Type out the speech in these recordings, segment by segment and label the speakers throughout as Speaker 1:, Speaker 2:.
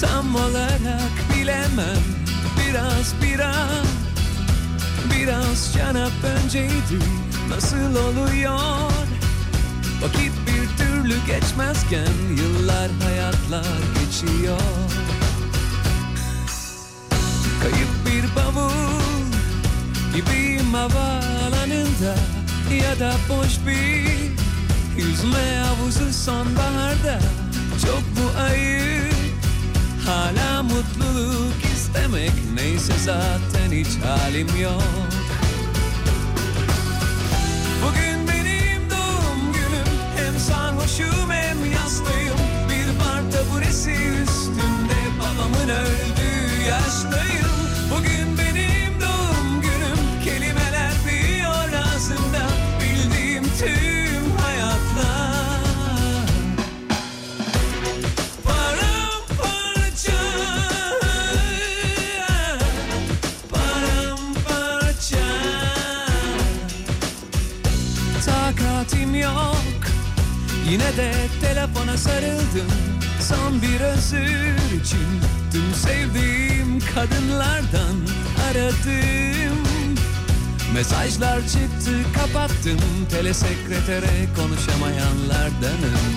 Speaker 1: Tam olarak bilemem Biraz biraz Biraz canap önceydi Nasıl oluyor Vakit bir türlü geçmezken Yıllar hayatlar geçiyor Kayıp bir bavul Gibiyim havaalanında Ya da boş bir Yüzme havuzu sonbaharda Çok bu ayıp Hala mutluluk istemek Neyse zaten hiç halim yok Bugün benim doğum günüm Hem sarhoşum hem yastayım Bir bar taburesi üstünde Babamın öldüğü yaştayım Bugün benim doğum günüm Kelimeler büyüyor ağzımda Bildiğim tüm hayatlar Paramparça Paramparça Takatim yok Yine de telefona sarıldım Son bir özür için Tüm sevdiğim kadınlardan aradım Mesajlar çıktı kapattım Telesekretere konuşamayanlardanım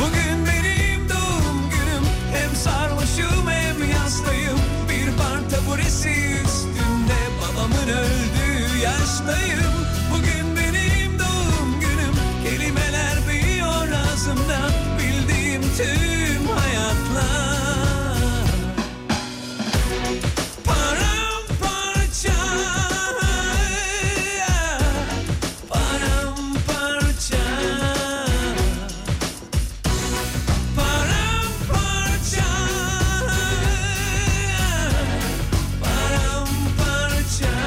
Speaker 1: Bugün benim doğum günüm Hem sarhoşum hem yastayım Bir bar taburesi üstünde Babamın öldüğü yaştayım Bugün benim doğum günüm Kelimeler büyüyor ağzımda Bildiğim tüm hayatlar Paramparça Paramparça Paramparça Paramparça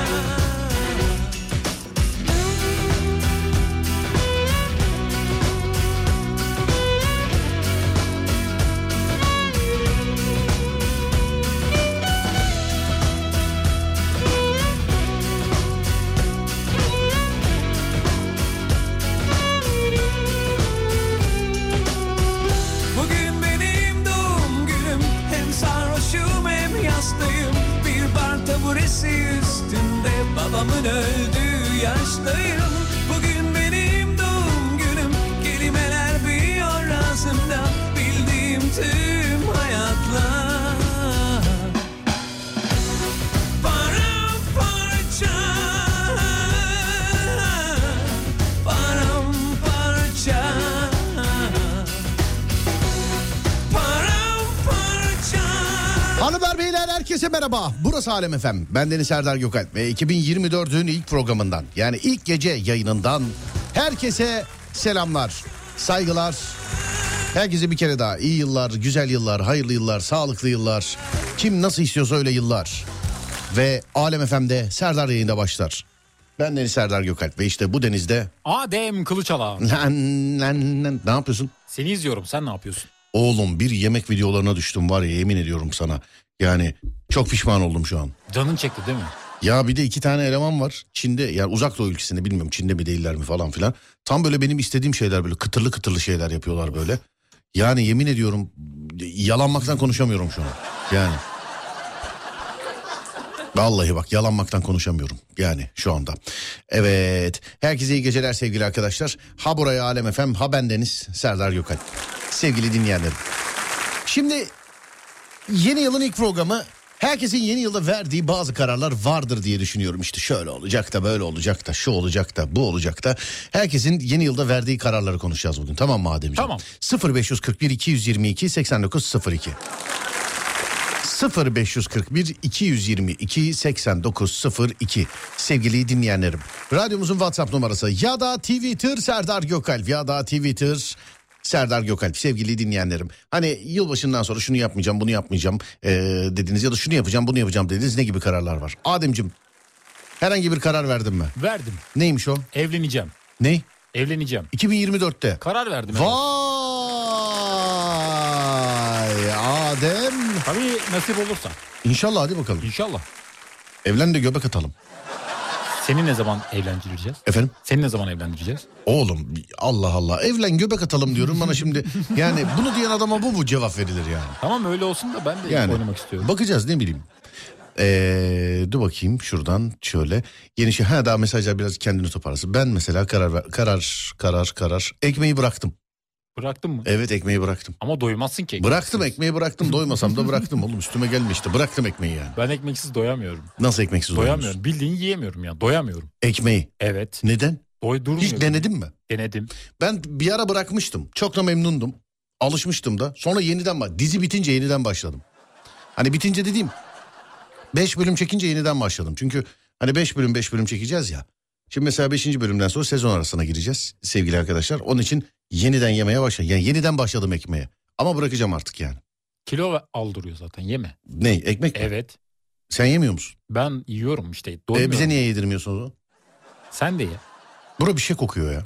Speaker 1: Bugün benim doğum günüm Hem sarhoşum hem yastayım Bir bar taburesi üstünde Babamın öldüğü yaştayım Bugün benim doğum günüm Kelimeler büyüyor ağzımda Bildiğim tüm hayatlar Paramparça Paramparça Paramparça
Speaker 2: Hanımlar beyler herkese merhaba. Burası Alem Efem. Ben Deniz Serdar Gökalp ve 2024'ün ilk programından yani ilk gece yayınından herkese selamlar, saygılar. Herkese bir kere daha iyi yıllar, güzel yıllar, hayırlı yıllar, sağlıklı yıllar. Kim nasıl istiyorsa öyle yıllar. Ve Alem FM'de Serdar yayında başlar. Ben Deniz Serdar Gökalp ve işte bu denizde
Speaker 3: Adem Kılıçala.
Speaker 2: Lan, lan, lan. ne yapıyorsun?
Speaker 3: Seni izliyorum sen ne yapıyorsun?
Speaker 2: Oğlum bir yemek videolarına düştüm var ya yemin ediyorum sana. Yani çok pişman oldum şu an.
Speaker 3: Canın çekti değil mi?
Speaker 2: Ya bir de iki tane eleman var. Çin'de yani uzak doğu ülkesinde bilmiyorum Çin'de mi değiller mi falan filan. Tam böyle benim istediğim şeyler böyle kıtırlı kıtırlı şeyler yapıyorlar böyle. Yani yemin ediyorum yalanmaktan konuşamıyorum şu an. Yani. Vallahi bak yalanmaktan konuşamıyorum yani şu anda. Evet herkese iyi geceler sevgili arkadaşlar. Ha buraya Alem Efem ha bendeniz Serdar Gökalp. Sevgili dinleyenlerim. Şimdi yeni yılın ilk programı herkesin yeni yılda verdiği bazı kararlar vardır diye düşünüyorum. İşte şöyle olacak da böyle olacak da şu olacak da bu olacak da herkesin yeni yılda verdiği kararları konuşacağız bugün. Tamam mı Ademciğim?
Speaker 3: Tamam.
Speaker 2: 0541 222 8902 0541 222 8902 sevgili dinleyenlerim. Radyomuzun WhatsApp numarası ya da Twitter Serdar Gökalp ya da Twitter Serdar Gökalp sevgili dinleyenlerim. Hani yılbaşından sonra şunu yapmayacağım bunu yapmayacağım ee, dediniz ya da şunu yapacağım bunu yapacağım dediniz ne gibi kararlar var? Ademcim herhangi bir karar verdin mi?
Speaker 3: Verdim.
Speaker 2: Neymiş o?
Speaker 3: Evleneceğim.
Speaker 2: Ne?
Speaker 3: Evleneceğim.
Speaker 2: 2024'te.
Speaker 3: Karar verdim. evet.
Speaker 2: Vay Adem.
Speaker 3: Tabii nasip olursa.
Speaker 2: İnşallah hadi bakalım.
Speaker 3: İnşallah.
Speaker 2: Evlen de göbek atalım.
Speaker 3: Seni ne zaman evlendireceğiz?
Speaker 2: Efendim?
Speaker 3: Seni ne zaman evlendireceğiz?
Speaker 2: Oğlum Allah Allah evlen göbek atalım diyorum bana şimdi yani bunu diyen adama bu mu cevap verilir yani?
Speaker 3: Tamam öyle olsun da ben de
Speaker 2: Yani
Speaker 3: oynamak istiyorum.
Speaker 2: bakacağız ne bileyim. Ee, dur bakayım şuradan şöyle yeni şey ha daha mesajlar biraz kendini toparlasın. Ben mesela karar ver- karar karar karar ekmeği bıraktım.
Speaker 3: Bıraktın mı?
Speaker 2: Evet ekmeği bıraktım.
Speaker 3: Ama doymazsın ki.
Speaker 2: Bıraktım ekmeği bıraktım doymasam da bıraktım oğlum üstüme gelme işte bıraktım ekmeği yani.
Speaker 3: Ben ekmeksiz doyamıyorum.
Speaker 2: Nasıl ekmeksiz doyamıyorsun?
Speaker 3: Doyamıyorum. Bildiğin yiyemiyorum ya. Doyamıyorum.
Speaker 2: Ekmeği
Speaker 3: Evet.
Speaker 2: neden?
Speaker 3: Doydurmuyor.
Speaker 2: Hiç denedin mi?
Speaker 3: Denedim.
Speaker 2: Ben bir ara bırakmıştım. Çok da memnundum. Alışmıştım da. Sonra yeniden ba- dizi bitince yeniden başladım. Hani bitince dediğim 5 bölüm çekince yeniden başladım. Çünkü hani 5 bölüm 5 bölüm çekeceğiz ya. Şimdi mesela 5. bölümden sonra sezon arasına gireceğiz sevgili arkadaşlar. Onun için yeniden yemeye başladım. Yani yeniden başladım ekmeğe. Ama bırakacağım artık yani.
Speaker 3: Kilo ve- aldırıyor zaten yeme.
Speaker 2: Ne ekmek mi?
Speaker 3: Evet.
Speaker 2: Sen yemiyor musun?
Speaker 3: Ben yiyorum işte.
Speaker 2: E,
Speaker 3: Doymuyorum.
Speaker 2: bize niye yedirmiyorsunuz o?
Speaker 3: Sen de ye.
Speaker 2: Bura bir şey kokuyor ya.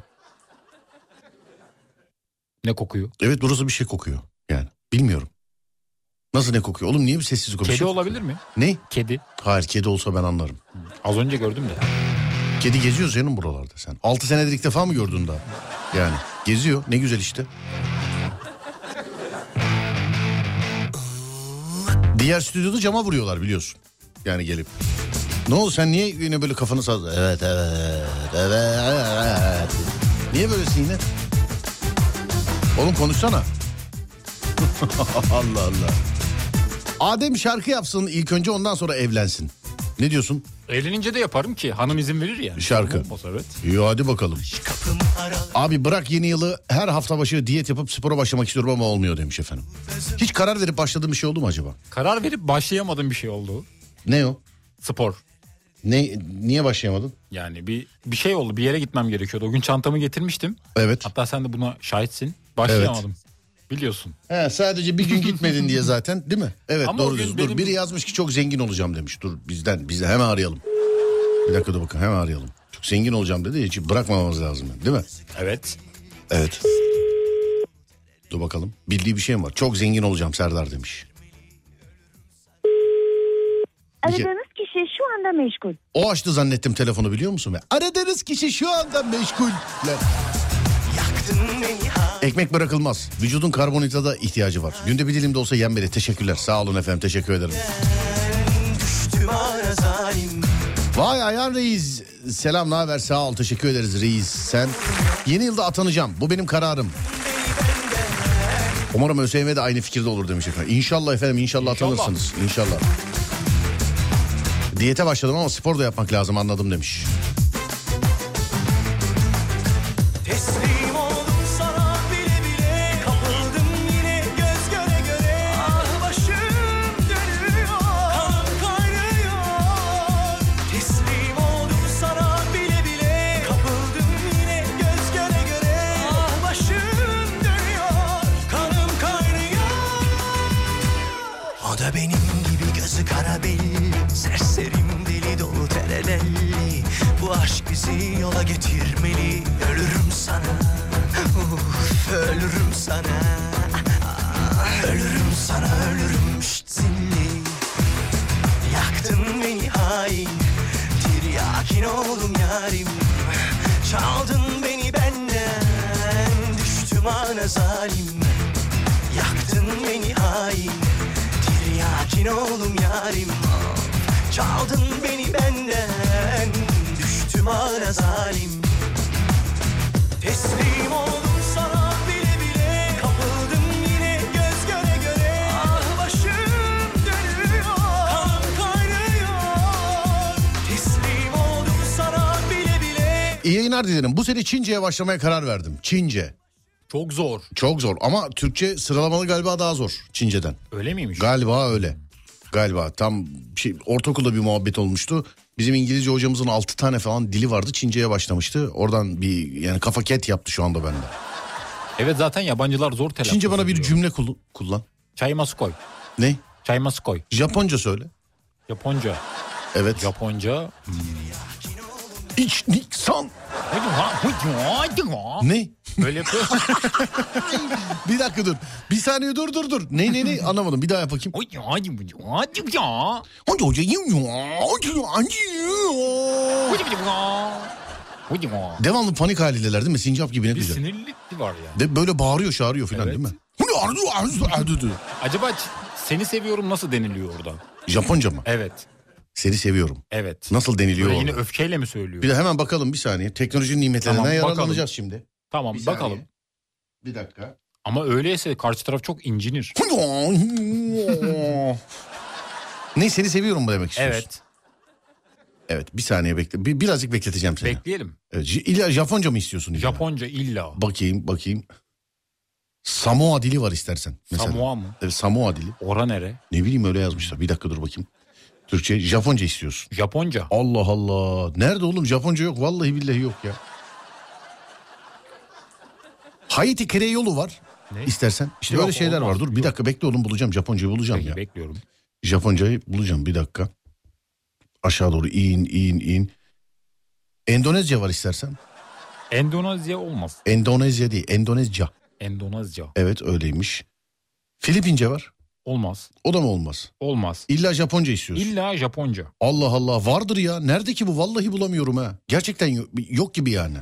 Speaker 3: Ne kokuyor?
Speaker 2: Evet burası bir şey kokuyor yani. Bilmiyorum. Nasıl ne kokuyor? Oğlum niye bir sessizlik oluyor?
Speaker 3: Kedi olabilir mi?
Speaker 2: Ne?
Speaker 3: Kedi.
Speaker 2: Hayır kedi olsa ben anlarım.
Speaker 3: Az önce gördüm de.
Speaker 2: Kedi geziyor senin buralarda sen. 6 senedir ilk defa mı gördün daha? Yani geziyor ne güzel işte. Diğer stüdyoda cama vuruyorlar biliyorsun. Yani gelip. Ne oldu sen niye yine böyle kafanı saz... Evet evet evet. Niye böylesin yine? Oğlum konuşsana. Allah Allah. Adem şarkı yapsın ilk önce ondan sonra evlensin. Ne diyorsun?
Speaker 3: Evlenince de yaparım ki. Hanım izin verir yani.
Speaker 2: Şarkı.
Speaker 3: Olmaz, evet.
Speaker 2: İyi hadi bakalım. Abi bırak yeni yılı her hafta başı diyet yapıp spora başlamak istiyorum ama olmuyor demiş efendim. Hiç karar verip başladığım bir şey oldu mu acaba?
Speaker 3: Karar verip başlayamadığım bir şey oldu.
Speaker 2: Ne o?
Speaker 3: Spor.
Speaker 2: Ne, niye başlayamadın?
Speaker 3: Yani bir bir şey oldu. Bir yere gitmem gerekiyordu. O gün çantamı getirmiştim.
Speaker 2: Evet.
Speaker 3: Hatta sen de buna şahitsin. Başlayamadım. Biliyorsun.
Speaker 2: He, sadece bir gün gitmedin diye zaten değil mi? Evet
Speaker 3: Ama o
Speaker 2: doğru
Speaker 3: gün
Speaker 2: diyorsun. Dur
Speaker 3: benim-
Speaker 2: biri yazmış ki çok zengin olacağım demiş. Dur bizden bizden hemen arayalım. Bir dakika dur bakın hemen arayalım. Çok zengin olacağım dedi hiç bırakmamamız lazım değil mi?
Speaker 3: Evet.
Speaker 2: Evet. Dur bakalım. Bildiği bir şey mi var? Çok zengin olacağım Serdar demiş. Peki.
Speaker 4: Aradığınız kişi şu anda meşgul.
Speaker 2: O açtı zannettim telefonu biliyor musun? Ve aradığınız kişi şu anda meşgul. Ekmek bırakılmaz. Vücudun karbonhidrata ihtiyacı var. Günde bir dilim de olsa yenmeli. Teşekkürler. Sağ olun efendim. Teşekkür ederim. Vay Ayhan Reis. Selam ne haber? Sağ ol. Teşekkür ederiz Reis. Sen yeni yılda atanacağım. Bu benim kararım. Umarım ÖSYM de aynı fikirde olur demiş efendim. İnşallah efendim inşallah,
Speaker 3: İnşallah.
Speaker 2: atanırsınız. İnşallah. Diyete başladım ama spor da yapmak lazım anladım demiş.
Speaker 5: Teslim oldum sana bile bile Kapıldım yine göz göre göre Ah başım dönüyor Kan kaynıyor Teslim oldum sana bile bile Kapıldım yine göz göre göre Ah başım dönüyor Kanım kaynıyor o da benim gibi gözü kara belli Serserim deli dolu terelelli Bu aşk bizi yola getirmeli Ölürüm sana Uf, Ölürüm sana Ah, Ölürüm sana ölürüm Şşt zilli Yaktın beni hain Tiryakin oldum yarim Çaldın beni benden Düştüm ana zalim Yaktın beni hain Tiryakin oğlum yarim Çaldın beni benden Düştüm ana zalim Teslim oldum sana bile bile Kapıldım yine göz göre göre Ah başım dönüyor Kan kaynıyor Teslim oldum sana bile bile
Speaker 2: İyi yayınlar dilerim. Bu sene Çince'ye başlamaya karar verdim. Çince.
Speaker 3: Çok zor.
Speaker 2: Çok zor ama Türkçe sıralamalı galiba daha zor Çince'den.
Speaker 3: Öyle miymiş?
Speaker 2: Galiba öyle. Galiba tam şey, ortaokulda bir muhabbet olmuştu. Bizim İngilizce hocamızın 6 tane falan dili vardı. Çince'ye başlamıştı. Oradan bir yani kafa ket yaptı şu anda bende.
Speaker 3: evet zaten yabancılar zor telaffuz
Speaker 2: Çince bana bir
Speaker 3: ediyor.
Speaker 2: cümle kullan. kullan.
Speaker 3: Çay masu koy.
Speaker 2: Ne?
Speaker 3: Çay masu koy.
Speaker 2: Japonca söyle.
Speaker 3: Japonca.
Speaker 2: Evet.
Speaker 3: Japonca.
Speaker 2: İç niksan. Ne?
Speaker 3: Böyle yapıyor.
Speaker 2: Bir dakika dur. Bir saniye dur dur dur. Ne ne ne anlamadım. Bir daha yap bakayım. Devamlı panik halindeler değil mi? Sincap gibi ne
Speaker 3: Bir
Speaker 2: güzel.
Speaker 3: sinirlilik var ya.
Speaker 2: De böyle bağırıyor çağırıyor filan
Speaker 3: Evet.
Speaker 2: değil mi?
Speaker 3: Acaba ç- seni seviyorum nasıl deniliyor oradan?
Speaker 2: Japonca mı?
Speaker 3: Evet.
Speaker 2: Seni seviyorum.
Speaker 3: Evet.
Speaker 2: Nasıl deniliyor
Speaker 3: Böyle yine
Speaker 2: orada?
Speaker 3: öfkeyle mi söylüyor?
Speaker 2: Bir de hemen bakalım bir saniye. Teknolojinin nimetlerinden
Speaker 3: Tamam, bakalım.
Speaker 2: yararlanacağız şimdi.
Speaker 3: tamam
Speaker 2: Bir saniye.
Speaker 3: bakalım.
Speaker 2: Bir dakika.
Speaker 3: Ama öyleyse karşı taraf çok incinir.
Speaker 2: ne seni seviyorum mu demek istiyorsun?
Speaker 3: Evet.
Speaker 2: Evet bir saniye bekle. Bir, birazcık bekleteceğim seni.
Speaker 3: Bekleyelim.
Speaker 2: Evet, E, J- İlla Japonca mı istiyorsun? illa?
Speaker 3: Japonca illa.
Speaker 2: Bakayım bakayım. Samoa dili var istersen. Mesela.
Speaker 3: Samoa mı?
Speaker 2: Evet, Samoa dili.
Speaker 3: Ora nere?
Speaker 2: Ne bileyim öyle yazmışlar. Bir dakika dur bakayım. Türkçe Japonca istiyorsun.
Speaker 3: Japonca.
Speaker 2: Allah Allah. Nerede oğlum Japonca yok. Vallahi billahi yok ya. Haiti Kereyolu var.
Speaker 3: Ne?
Speaker 2: İstersen. İşte
Speaker 3: Yok,
Speaker 2: böyle şeyler
Speaker 3: olmaz.
Speaker 2: var. Dur bir dakika bekle oğlum bulacağım. Japoncayı bulacağım
Speaker 3: Peki,
Speaker 2: ya.
Speaker 3: bekliyorum.
Speaker 2: Japoncayı bulacağım bir dakika. Aşağı doğru in in in. Endonezya var istersen.
Speaker 3: Endonezya olmaz.
Speaker 2: Endonezya değil. Endonezya.
Speaker 3: Endonezya.
Speaker 2: Evet öyleymiş. Filipince var.
Speaker 3: Olmaz.
Speaker 2: O da mı olmaz?
Speaker 3: Olmaz.
Speaker 2: İlla Japonca istiyorsun.
Speaker 3: İlla Japonca.
Speaker 2: Allah Allah vardır ya. Nerede ki bu? Vallahi bulamıyorum ha. Gerçekten yo- yok gibi yani.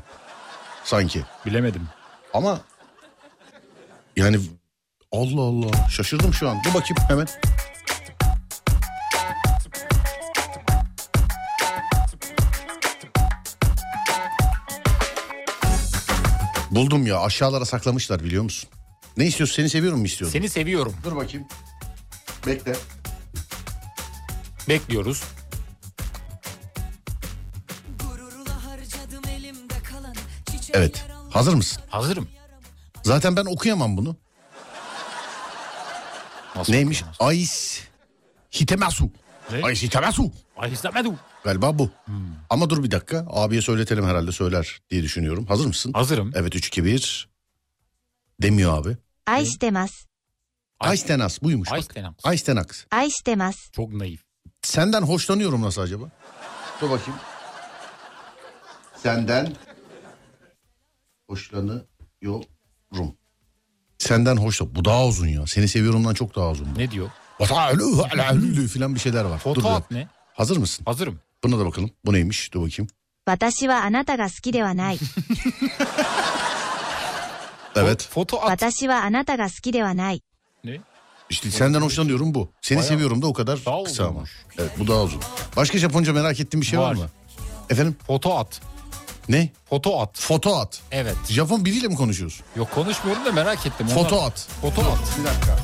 Speaker 2: Sanki.
Speaker 3: Bilemedim.
Speaker 2: Ama yani Allah Allah şaşırdım şu an. Dur bakayım hemen. Buldum ya aşağılara saklamışlar biliyor musun? Ne istiyorsun seni seviyorum mu istiyorum?
Speaker 3: Seni seviyorum.
Speaker 2: Dur bakayım. Bekle.
Speaker 3: Bekliyoruz.
Speaker 2: Evet. Hazır mısın?
Speaker 3: Hazırım.
Speaker 2: Zaten ben okuyamam bunu.
Speaker 3: Nasıl
Speaker 2: Neymiş?
Speaker 3: okuyamaz?
Speaker 2: Ais Hitemasu.
Speaker 3: Ne? Hmm.
Speaker 2: Ais Hitemasu.
Speaker 3: Ay istemedim.
Speaker 2: Galiba bu. Ama dur bir dakika. Abiye söyletelim herhalde söyler diye düşünüyorum. Hazır mısın?
Speaker 3: Hazırım.
Speaker 2: Evet 3 2 1. Demiyor abi.
Speaker 4: 愛してます。
Speaker 3: Ay-
Speaker 2: Aistenas buymuş.
Speaker 3: Ay
Speaker 2: bak.
Speaker 3: istenem.
Speaker 2: Aistenax.
Speaker 4: 愛してます。
Speaker 3: Çok naif.
Speaker 2: Senden hoşlanıyorum nasıl acaba? Dur bakayım. Senden hoşlanıyorum. Senden hoşla. Bu daha uzun ya. Seni seviyorumdan çok daha uzun. bu.
Speaker 3: Ne diyor?
Speaker 2: Vata'lü ala'lü filan bir şeyler var. Dur,
Speaker 3: Foto
Speaker 2: dur.
Speaker 3: at ne?
Speaker 2: Hazır mısın?
Speaker 3: Hazırım.
Speaker 2: Buna da bakalım. Bu neymiş? Dur bakayım.
Speaker 4: 私はあなたが好きではない。
Speaker 2: Evet.
Speaker 3: Foto at.
Speaker 4: 私はあなたが好きではない。
Speaker 3: Ne?
Speaker 2: İşte senden hoşlanıyorum bu. Seni
Speaker 3: Bayağı-
Speaker 2: seviyorum da o kadar
Speaker 3: Daha
Speaker 2: kısa ama.
Speaker 3: uzunmuş.
Speaker 2: Evet bu daha uzun. Başka Japonca merak ettiğin bir şey var,
Speaker 3: Var.
Speaker 2: mı? Efendim?
Speaker 3: Foto at.
Speaker 2: Ne?
Speaker 3: Foto at.
Speaker 2: Foto at.
Speaker 3: Evet.
Speaker 2: Japon biriyle mi konuşuyoruz?
Speaker 3: Yok konuşmuyorum da merak ettim.
Speaker 2: Foto
Speaker 3: Onlar-
Speaker 2: at.
Speaker 3: Foto at.
Speaker 2: Bir dakika.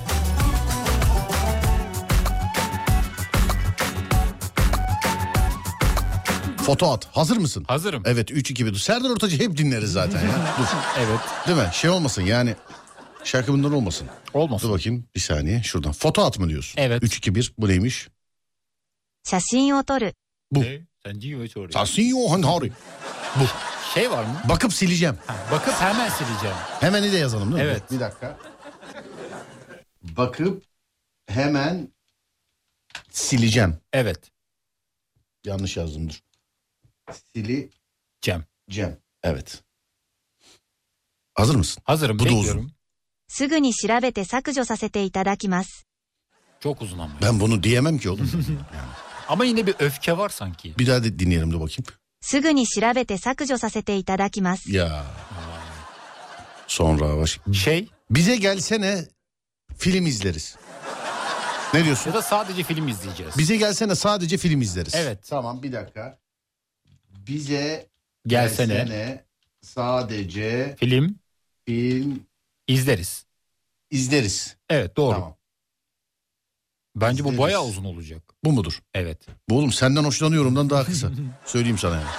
Speaker 2: Foto at. Hazır mısın?
Speaker 3: Hazırım.
Speaker 2: Evet 3 2 1. Serdar Ortaç'ı hep dinleriz zaten ya. Dur.
Speaker 3: Evet.
Speaker 2: Değil mi? Şey olmasın yani şarkı bundan olmasın. Dur
Speaker 3: Olmasın.
Speaker 2: bakayım bir saniye şuradan. Foto at mı diyorsun?
Speaker 3: Evet.
Speaker 2: 3 2 1 bu neymiş?
Speaker 4: 写真を撮る。
Speaker 2: bu.
Speaker 3: Ne? Sen diyor soruyor.
Speaker 2: Tahsin Yohan Hari.
Speaker 3: Şey var mı?
Speaker 2: hani Bakıp sileceğim.
Speaker 3: Ha, bakıp hemen sileceğim.
Speaker 2: Hemen de yazalım değil mi?
Speaker 3: Evet.
Speaker 2: Bir dakika. Bakıp hemen sileceğim.
Speaker 3: Evet.
Speaker 2: Yanlış yazdım dur. Sileceğim.
Speaker 3: Cem.
Speaker 2: Evet. Hazır mısın?
Speaker 3: Hazırım.
Speaker 2: Bu da uzun.
Speaker 3: bekliyorum.
Speaker 4: すぐに調べて削除させていただきます。
Speaker 3: Çok uzun ama.
Speaker 2: Ben bunu diyemem ki oğlum.
Speaker 3: Ama yine bir öfke var sanki.
Speaker 2: bir daha de dinleyelim de bakayım.
Speaker 4: すぐに調べて削除させていただきます。
Speaker 2: Ya. Sonra baş.
Speaker 3: Şey
Speaker 2: Bize gelsene film izleriz. Ne diyorsun?
Speaker 3: ya da sadece film izleyeceğiz.
Speaker 2: Bize gelsene sadece film izleriz.
Speaker 3: Evet.
Speaker 2: Tamam bir dakika. Bize
Speaker 3: Gelsene.
Speaker 2: sadece
Speaker 3: Film
Speaker 2: film
Speaker 3: izleriz.
Speaker 2: izleriz.
Speaker 3: Evet doğru.
Speaker 2: Tamam.
Speaker 3: Bence bu
Speaker 2: İzleriz.
Speaker 3: bayağı uzun olacak.
Speaker 2: Bu mudur?
Speaker 3: Evet.
Speaker 2: Bu oğlum senden hoşlanıyorumdan daha kısa. Söyleyeyim sana yani.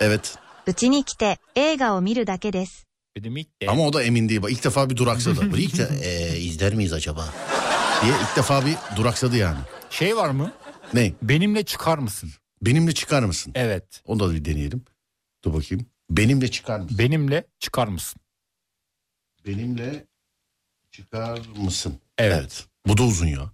Speaker 2: Evet.
Speaker 4: うちに来て映画を見るだけです。
Speaker 3: Benim ilk de.
Speaker 2: Ama o da emin değil. Bak ilk defa bir duraksadı. Böyle ilk de "Ee, izler miyiz acaba? diye ilk defa bir duraksadı yani.
Speaker 3: Şey var mı?
Speaker 2: Ne?
Speaker 3: Benimle çıkar mısın?
Speaker 2: Benimle çıkar mısın?
Speaker 3: Evet.
Speaker 2: Onu da bir deneyelim. Dur bakayım. Benimle çıkar mısın?
Speaker 3: Benimle çıkar mısın?
Speaker 2: Benimle çıkar mısın?
Speaker 3: Evet.
Speaker 2: evet. Bu da uzun ya.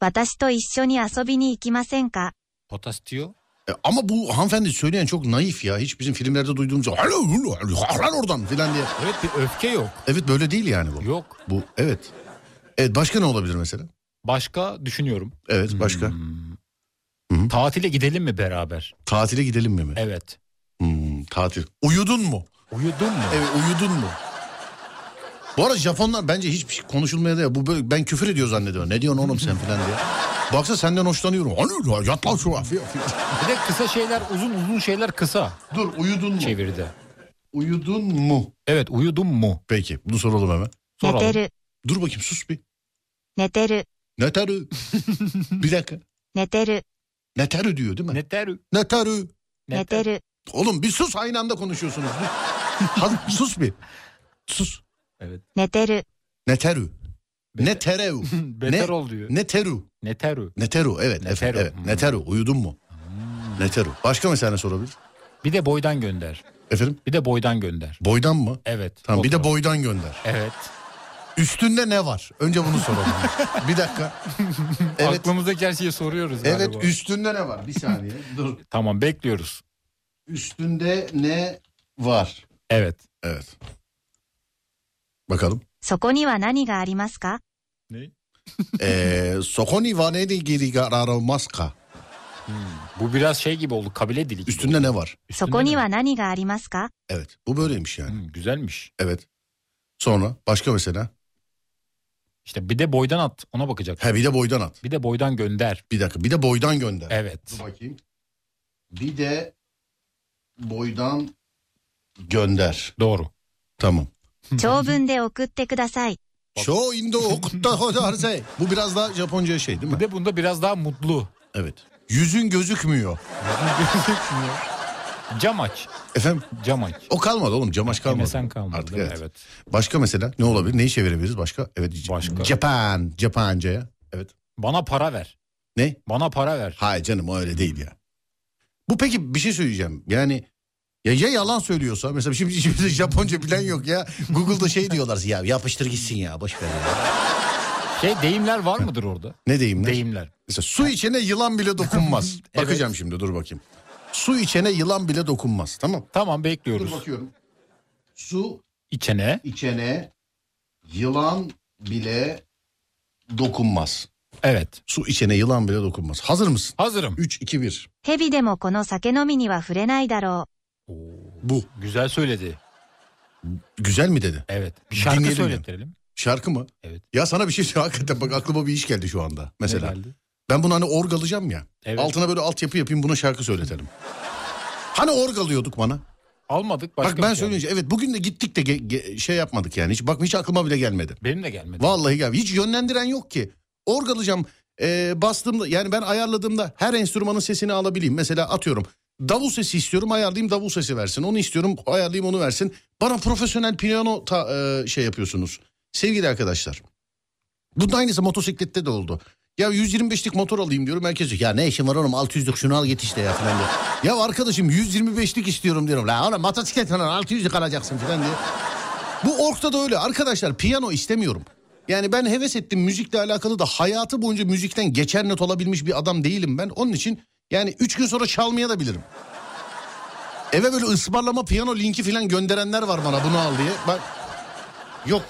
Speaker 4: 私と一緒に遊びに行きませんか
Speaker 3: Potastiyo
Speaker 2: E, ama bu hanımefendi söyleyen çok naif ya. Hiç bizim filmlerde duyduğumuz "Alo, alo, alo, kalk lan oradan filan diye.
Speaker 3: Evet bir öfke yok.
Speaker 2: Evet böyle değil yani bu.
Speaker 3: Yok.
Speaker 2: Bu evet. Evet başka ne olabilir mesela?
Speaker 3: Başka düşünüyorum. Hmm.
Speaker 2: Evet başka.
Speaker 3: Tatile gidelim mi beraber?
Speaker 2: Tatile gidelim mi mi?
Speaker 3: Evet.
Speaker 2: Hmm, tatil. Uyudun mu?
Speaker 3: Uyudun mu?
Speaker 2: Evet uyudun mu? Bu arada Japonlar bence hiçbir şey konuşulmaya da ya. Bu böyle ben küfür ediyor zannediyorum. Ne diyorsun oğlum sen filan diye. Baksa senden hoşlanıyorum. Hani ya, yat lan şuraya. filan.
Speaker 3: Bir de kısa şeyler uzun uzun şeyler kısa
Speaker 2: Dur uyudun mu?
Speaker 3: çeviride.
Speaker 2: Uyudun mu?
Speaker 3: Evet uyudun mu?
Speaker 2: Peki bunu soralım hemen.
Speaker 4: 寝て
Speaker 3: Soralım.
Speaker 4: る、
Speaker 2: Dur bakayım sus bir.
Speaker 4: 寝てる、
Speaker 2: Ne tarı? bir dakika.
Speaker 4: 寝てる、
Speaker 2: Ne tarı diyor değil mi? Ne,
Speaker 3: Neter.
Speaker 2: tarı?
Speaker 4: 寝てる、
Speaker 2: Oğlum bir sus aynı anda konuşuyorsunuz. Dur. Hadi sus bir. Sus.
Speaker 4: 寝てる、
Speaker 2: Ne tarı? Ne terev?
Speaker 3: Beter ol diyor.
Speaker 2: Ne teru?
Speaker 3: Neteru.
Speaker 2: Neteru evet.
Speaker 3: Neteru,
Speaker 2: efendim, evet.
Speaker 3: hmm.
Speaker 2: Neteru uyudun mu? Neteru. Başka mesela ne sorabilir?
Speaker 3: Bir de boydan gönder.
Speaker 2: Efendim?
Speaker 3: Bir de boydan gönder.
Speaker 2: Boydan mı?
Speaker 3: Evet.
Speaker 2: Tamam bir de
Speaker 3: Fotoğraf.
Speaker 2: boydan gönder.
Speaker 3: Evet.
Speaker 2: Üstünde ne var? Önce bunu soralım. bir dakika. Evet.
Speaker 3: Aklımızdaki her şeyi soruyoruz
Speaker 2: Evet
Speaker 3: galiba.
Speaker 2: üstünde ne var? Bir saniye. Dur.
Speaker 3: Tamam bekliyoruz.
Speaker 2: Üstünde ne var?
Speaker 3: Evet.
Speaker 2: Evet. Bakalım.
Speaker 4: そこには何がありますか
Speaker 2: Ee, Sokoni vaneri geri gararo maska.
Speaker 3: Hmm, Bu biraz şey gibi oldu kabile dili gibi
Speaker 2: Üstünde
Speaker 3: oldu.
Speaker 2: ne var?
Speaker 4: そ
Speaker 3: Üstünde
Speaker 4: こに
Speaker 3: ne?
Speaker 4: は何がありますか
Speaker 2: Evet. Bu böyleymiş yani.
Speaker 3: Hmm, güzelmiş.
Speaker 2: Evet. Sonra başka mesela.
Speaker 3: İşte bir de boydan at ona bakacak.
Speaker 2: Ha bir de boydan at.
Speaker 3: Bir de boydan gönder.
Speaker 2: Bir dakika. Bir de boydan gönder.
Speaker 3: Evet.
Speaker 2: Dur bakayım. Bir de boydan gönder.
Speaker 3: Doğru.
Speaker 2: Tamam.
Speaker 4: 長文で送ってください。
Speaker 2: Şo indo okutta hodarse. Bu biraz daha Japonca şey değil mi?
Speaker 3: Bir de bunda biraz daha mutlu.
Speaker 2: Evet. Yüzün gözükmüyor.
Speaker 3: Cam aç.
Speaker 2: Efendim
Speaker 3: Cam aç.
Speaker 2: o kalmadı oğlum. Camaş kalmadı.
Speaker 3: Yemesen kalmadı.
Speaker 2: Artık
Speaker 3: değil mi?
Speaker 2: evet.
Speaker 3: evet.
Speaker 2: Başka mesela ne olabilir? Neyi çevirebiliriz başka? Evet.
Speaker 3: Başka.
Speaker 2: Japan. Japanca'ya. Evet.
Speaker 3: Bana para ver.
Speaker 2: Ne?
Speaker 3: Bana para ver.
Speaker 2: Hayır canım o öyle değil ya. Bu peki bir şey söyleyeceğim. Yani ya, ya yalan söylüyorsa mesela şimdi şimdi Japonca bilen yok ya. Google'da şey diyorlar ya yapıştır gitsin ya boş ver ya.
Speaker 3: Şey deyimler var mıdır orada?
Speaker 2: Ne deyimler?
Speaker 3: Deyimler.
Speaker 2: Mesela su içene yılan bile dokunmaz.
Speaker 3: Evet.
Speaker 2: Bakacağım şimdi dur bakayım. Su içene yılan bile dokunmaz tamam.
Speaker 3: Tamam bekliyoruz.
Speaker 2: bakıyorum. Su
Speaker 3: İçene.
Speaker 2: içene yılan bile dokunmaz.
Speaker 3: Evet.
Speaker 2: Su içene yılan bile dokunmaz. Hazır mısın?
Speaker 3: Hazırım.
Speaker 2: 3 2 1.
Speaker 4: 蛇でもこの酒飲みには触れないだろ
Speaker 2: Bu.
Speaker 3: Güzel söyledi.
Speaker 2: Güzel mi dedi?
Speaker 3: Evet. Bir şarkı
Speaker 2: Dinleyelim
Speaker 3: söyletelim.
Speaker 2: Şarkı mı?
Speaker 3: Evet.
Speaker 2: Ya sana bir şey söyleyeyim. Hakikaten bak aklıma bir iş geldi şu anda. Mesela.
Speaker 3: Ne geldi?
Speaker 2: Ben bunu hani orgalayacağım ya.
Speaker 3: Evet.
Speaker 2: Altına böyle altyapı yapayım buna şarkı söyletelim. Hani orgalıyorduk bana.
Speaker 3: Almadık. Başka
Speaker 2: bak ben
Speaker 3: bir şey
Speaker 2: söyleyince evet bugün de gittik de ge- ge- şey yapmadık yani. Hiç bak hiç aklıma bile gelmedi.
Speaker 3: aldık. Benim de gelmedi.
Speaker 2: Vallahi gel. Hiç yönlendiren yok ki. Orgalayacağım ee, bastığımda yani ben ayarladığımda her enstrümanın sesini alabileyim. Mesela atıyorum davul sesi istiyorum ayarlayayım davul sesi versin. Onu istiyorum ayarlayayım onu versin. Bana profesyonel piyano ta, ee, şey yapıyorsunuz. Sevgili arkadaşlar. Bunun aynısı motosiklette de oldu. Ya 125'lik motor alayım diyorum. Herkes diyor ya ne işin var oğlum 600'lük şunu al git işte ya falan diyor. Ya arkadaşım 125'lik istiyorum diyorum. La oğlum motosiklet falan 600'lük alacaksın falan diye. Bu orkta da öyle. Arkadaşlar piyano istemiyorum. Yani ben heves ettim müzikle alakalı da hayatı boyunca müzikten geçer not olabilmiş bir adam değilim ben. Onun için yani 3 gün sonra çalmaya da bilirim. Eve böyle ısmarlama piyano linki falan gönderenler var bana bunu al diye. Ben... Yok.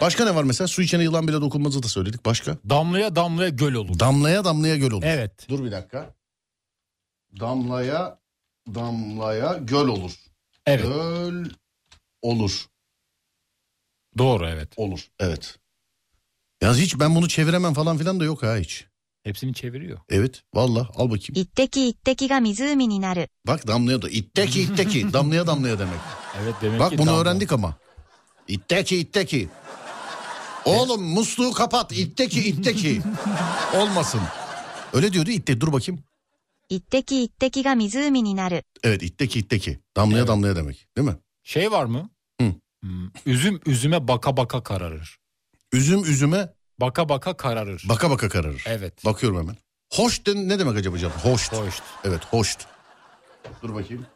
Speaker 2: Başka ne var mesela? Su içene yılan bile dokunmazı da söyledik. Başka?
Speaker 3: Damlaya damlaya göl olur.
Speaker 2: Damlaya damlaya göl olur.
Speaker 3: Evet.
Speaker 2: Dur bir dakika. Damlaya damlaya göl olur.
Speaker 3: Evet.
Speaker 2: Göl olur.
Speaker 3: Doğru evet.
Speaker 2: Olur. Evet. Yalnız hiç ben bunu çeviremem falan filan da yok ha hiç.
Speaker 3: Hepsini çeviriyor.
Speaker 2: Evet valla al
Speaker 4: う。
Speaker 2: bakayım.
Speaker 4: 一滴一滴が湖になる。
Speaker 2: Bak damlaya da itteki itteki damlaya damlaya demek.
Speaker 3: Evet demek
Speaker 2: Bak
Speaker 3: ki
Speaker 2: bunu
Speaker 3: damla.
Speaker 2: öğrendik ama. İtteki itteki. Oğlum musluğu kapat itteki itteki. Olmasın. Öyle diyordu itte dur bakayım.
Speaker 4: 一滴一滴が湖になる。
Speaker 2: Evet itteki itteki. Damlaya
Speaker 3: Evet.
Speaker 2: damlaya demek değil mi?
Speaker 3: Şey var mı?
Speaker 2: Hı.
Speaker 3: Hmm, Üzüm üzüme baka baka kararır.
Speaker 2: Üzüm üzüme
Speaker 3: Baka baka kararır.
Speaker 2: baka baka kararır.
Speaker 3: evet.
Speaker 2: Bakıyorum hemen. Hoş de- ne demek acaba canım? Hoş.
Speaker 3: Hoş.
Speaker 2: Evet hoş. Dur bakayım.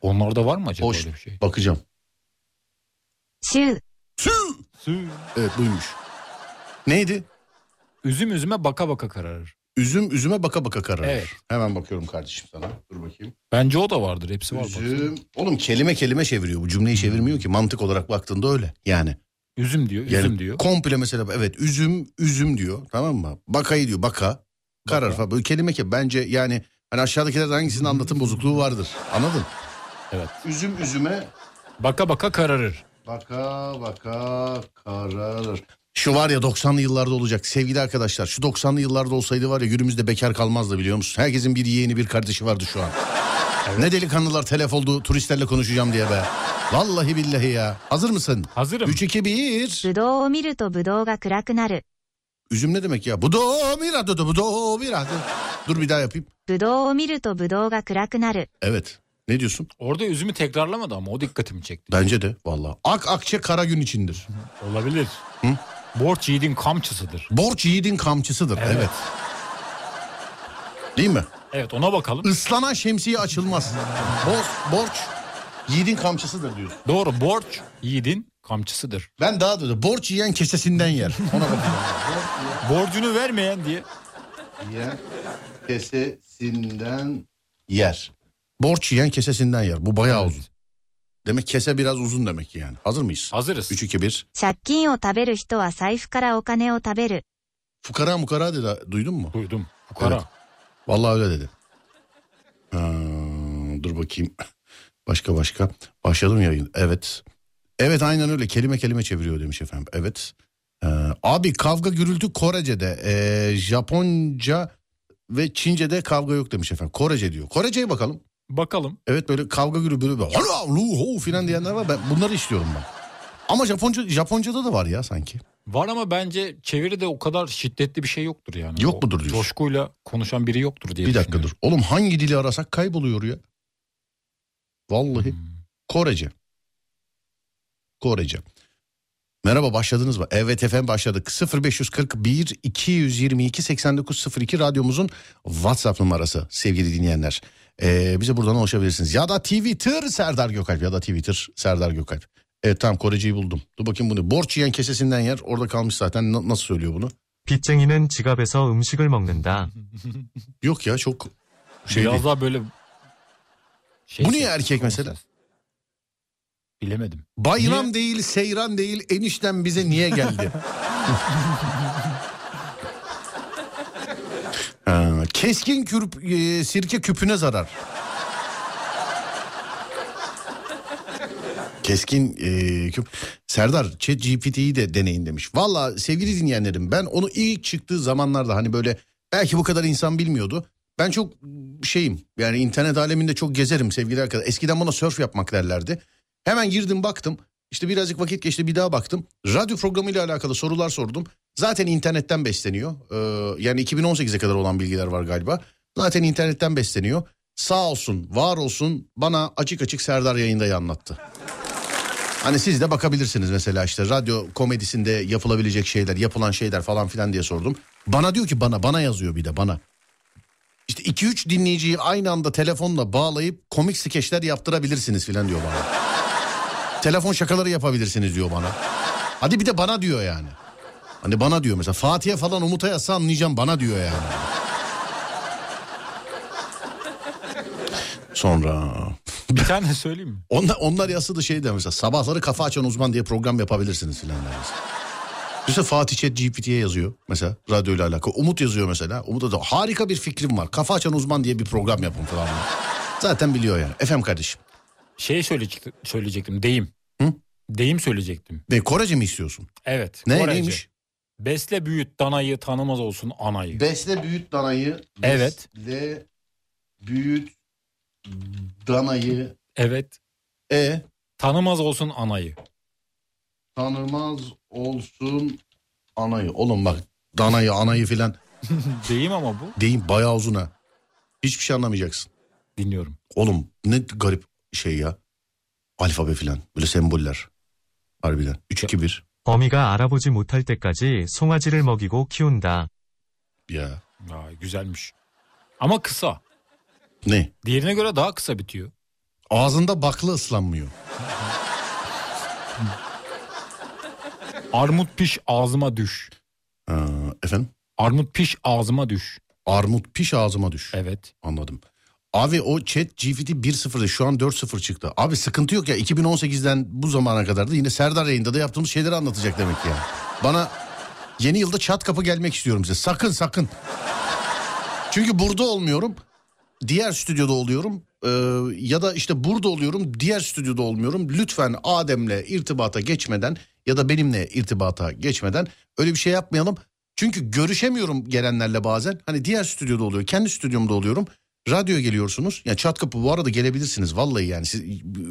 Speaker 3: Onlarda var mı acaba
Speaker 2: Hoş.
Speaker 3: öyle bir şey?
Speaker 2: Bakacağım.
Speaker 4: 州、
Speaker 2: Sü-
Speaker 3: Sü-
Speaker 2: Evet buymuş. Neydi?
Speaker 3: Üzüm üzüme baka baka kararır.
Speaker 2: Üzüm üzüme baka baka kararır.
Speaker 3: Evet.
Speaker 2: Hemen bakıyorum kardeşim sana. Dur bakayım.
Speaker 3: Bence o da vardır. Hepsi var. Üzüm.
Speaker 2: Üzüm. Oğlum kelime kelime çeviriyor. Bu cümleyi çevirmiyor ki. Mantık olarak baktığında öyle. Yani.
Speaker 3: Üzüm diyor.
Speaker 2: yani
Speaker 3: Üzüm diyor.
Speaker 2: Komple mesela evet üzüm üzüm diyor. Tamam mı? Bakayı diyor baka. Karar falan. Böyle kelime ki bence yani hani aşağıdakilerden hangisinin anlatım bozukluğu vardır. Anladın?
Speaker 3: Evet.
Speaker 2: Üzüm üzüme
Speaker 3: Baka baka kararır.
Speaker 2: Baka baka kararır. Şu var ya 90'lı yıllarda olacak sevgili arkadaşlar. Şu 90'lı yıllarda olsaydı var ya günümüzde bekar kalmazdı biliyor musun? Herkesin bir yeğeni bir kardeşi vardı şu an. Ne delikanlılar telef oldu turistlerle konuşacağım diye be. Vallahi billahi ya. Hazır mısın?
Speaker 3: Hazırım.
Speaker 2: 3 2 1.
Speaker 4: ぶどうを見るとぶどうが暗くなる。
Speaker 2: Üzüm ne demek ya? Bu do mira do bu do mira. Dur bir daha yapayım.
Speaker 4: ぶどうを見るとぶどうが暗くなる。
Speaker 2: Evet. Ne diyorsun?
Speaker 3: Orada üzümü tekrarlamadı ama o dikkatimi çekti.
Speaker 2: Bence de vallahi. Ak akçe kara gün içindir.
Speaker 3: Olabilir. Borç yiğidin kamçısıdır.
Speaker 2: Borç yiğidin kamçısıdır. Evet.
Speaker 3: Evet.
Speaker 2: Değil mi?
Speaker 3: Evet ona bakalım.
Speaker 2: Islanan şemsiye açılmaz. Boz, borç yiğidin kamçısıdır diyor.
Speaker 3: Doğru borç yiğidin kamçısıdır.
Speaker 2: Ben daha da borç yiyen kesesinden yer. Ona bakıyorum.
Speaker 3: Borcunu vermeyen diye.
Speaker 2: yiyen kesesinden yer. Borç yiyen kesesinden yer. Bu bayağı uzun. Demek kese biraz uzun demek ki yani. Hazır mıyız?
Speaker 3: Hazırız.
Speaker 2: 3 2 1.
Speaker 4: 借金を食べる人は財布からお金を食べる。
Speaker 2: Fukara mukara dedi. Duydun mu?
Speaker 3: Duydum. Fukara.
Speaker 2: Evet. Vallahi öyle dedi. Ha, dur bakayım. Başka başka. Başladım yayın. Evet. Evet aynen öyle. Kelime kelime çeviriyor demiş efendim. Evet. Ee, abi kavga gürültü Korece'de. Ee, Japonca ve Çince'de kavga yok demiş efendim. Korece diyor. Korece'ye bakalım.
Speaker 3: Bakalım.
Speaker 2: Evet böyle kavga gürültü böyle böyle "Hala, lu, ho" filan diyenler var. Ben bunları işliyorum ben. Ama Japonca Japonca'da da var ya sanki.
Speaker 3: Var ama bence çeviride o kadar şiddetli bir şey yoktur yani.
Speaker 2: Yok
Speaker 3: O
Speaker 2: mudur diyorsun?
Speaker 3: Coşkuyla konuşan biri yoktur diye
Speaker 2: Bir dakika
Speaker 3: düşünüyorum.
Speaker 2: dur. Oğlum hangi dili arasak kayboluyor ya. Vallahi. Korece. Korece. Merhaba başladınız mı? Evet efendim başladık. 0541 222 8902 radyomuzun WhatsApp numarası sevgili dinleyenler. Ee, bize buradan ulaşabilirsiniz. Ya da Twitter Serdar Gökalp ya da Twitter Serdar Gökalp. Evet tamam Korece'yi buldum. Dur bakayım bunu. Borç yiyen kesesinden yer. Orada kalmış zaten. Na- nasıl söylüyor bunu?
Speaker 6: 빚쟁이는 지갑에서 음식을 먹는다.
Speaker 2: Yok ya çok şey
Speaker 3: Biraz
Speaker 2: değil.
Speaker 3: daha böyle... Şey
Speaker 2: Bu niye erkek mesela?
Speaker 3: Bilemedim.
Speaker 2: Bayram
Speaker 3: Niye?
Speaker 2: değil, seyran değil, enişten bize niye geldi? Ha, Ee, keskin kürp, e, sirke küpüne zarar. Keskin e, küp. Serdar chat GPT'yi de deneyin demiş. Valla sevgili dinleyenlerim ben onu ilk çıktığı zamanlarda hani böyle belki bu kadar insan bilmiyordu. Ben çok şeyim yani internet aleminde çok gezerim sevgili arkadaşlar. Eskiden bana surf yapmak derlerdi. Hemen girdim baktım. İşte birazcık vakit geçti bir daha baktım. Radyo programıyla alakalı sorular sordum. Zaten internetten besleniyor. Ee, yani 2018'e kadar olan bilgiler var galiba. Zaten internetten besleniyor. Sağ olsun, var olsun bana açık açık Serdar yayında anlattı. Hani siz de bakabilirsiniz mesela işte radyo komedisinde yapılabilecek şeyler, yapılan şeyler falan filan diye sordum. Bana diyor ki bana, bana yazıyor bir de bana. İşte 2-3 dinleyiciyi aynı anda telefonla bağlayıp komik skeçler yaptırabilirsiniz filan diyor bana. Telefon şakaları yapabilirsiniz diyor bana. Hadi bir de bana diyor yani. Hani bana diyor mesela Fatih'e falan Umut'a yazsa anlayacağım bana diyor yani. Sonra
Speaker 3: Bir tane söyleyeyim mi?
Speaker 2: onlar, onlar yazsa da şey der mesela sabahları kafa açan uzman diye program yapabilirsiniz filan der mesela. Mesela Fatih Chat GPT'ye yazıyor mesela radyoyla alakalı. Umut yazıyor mesela. Umut da harika bir fikrim var. Kafa açan uzman diye bir program yapın falan. diyor. Zaten biliyor yani. Efendim kardeşim.
Speaker 3: Şey söyleyecektim, söyleyecektim deyim.
Speaker 2: Hı?
Speaker 3: Deyim söyleyecektim.
Speaker 2: Ne Korece mi istiyorsun?
Speaker 3: Evet.
Speaker 2: Ne
Speaker 3: Korece.
Speaker 2: neymiş?
Speaker 3: Besle büyüt danayı tanımaz olsun anayı.
Speaker 2: Besle büyüt danayı.
Speaker 3: Evet.
Speaker 2: Besle büyüt danayı.
Speaker 3: evet.
Speaker 2: E
Speaker 3: Tanımaz olsun anayı.
Speaker 2: tanımaz olsun anayı. Oğlum bak danayı anayı filan
Speaker 3: Deyim ama bu.
Speaker 2: deyin bayağı uzun ha. Hiçbir şey anlamayacaksın.
Speaker 3: Dinliyorum.
Speaker 2: Oğlum ne garip şey ya. Alfabe filan böyle semboller. Harbiden. 3-2-1
Speaker 6: 어미가 알아보지 못할 때까지 송아지를 먹이고 키운다.
Speaker 2: ya.
Speaker 3: Aa, güzelmiş. Ama kısa.
Speaker 2: Ne?
Speaker 3: Diğerine göre daha kısa bitiyor.
Speaker 2: Ağzında bakla ıslanmıyor.
Speaker 3: Armut piş ağzıma düş.
Speaker 2: Ha, efendim?
Speaker 3: Armut piş ağzıma düş.
Speaker 2: Armut piş ağzıma düş.
Speaker 3: Evet.
Speaker 2: Anladım. Abi o chat GPT 1.0'da şu an 4.0 çıktı. Abi sıkıntı yok ya 2018'den bu zamana kadar da yine Serdar yayında da yaptığımız şeyleri anlatacak demek ki yani. Bana yeni yılda çat kapı gelmek istiyorum size. Sakın sakın. Çünkü burada olmuyorum. Diğer stüdyoda oluyorum. Ee, ya da işte burada oluyorum. Diğer stüdyoda olmuyorum. Lütfen Adem'le irtibata geçmeden ya da benimle irtibata geçmeden öyle bir şey yapmayalım. Çünkü görüşemiyorum gelenlerle bazen. Hani diğer stüdyoda oluyor. Kendi stüdyomda oluyorum. Radyoya geliyorsunuz. Ya çat kapı bu arada gelebilirsiniz vallahi yani. Siz,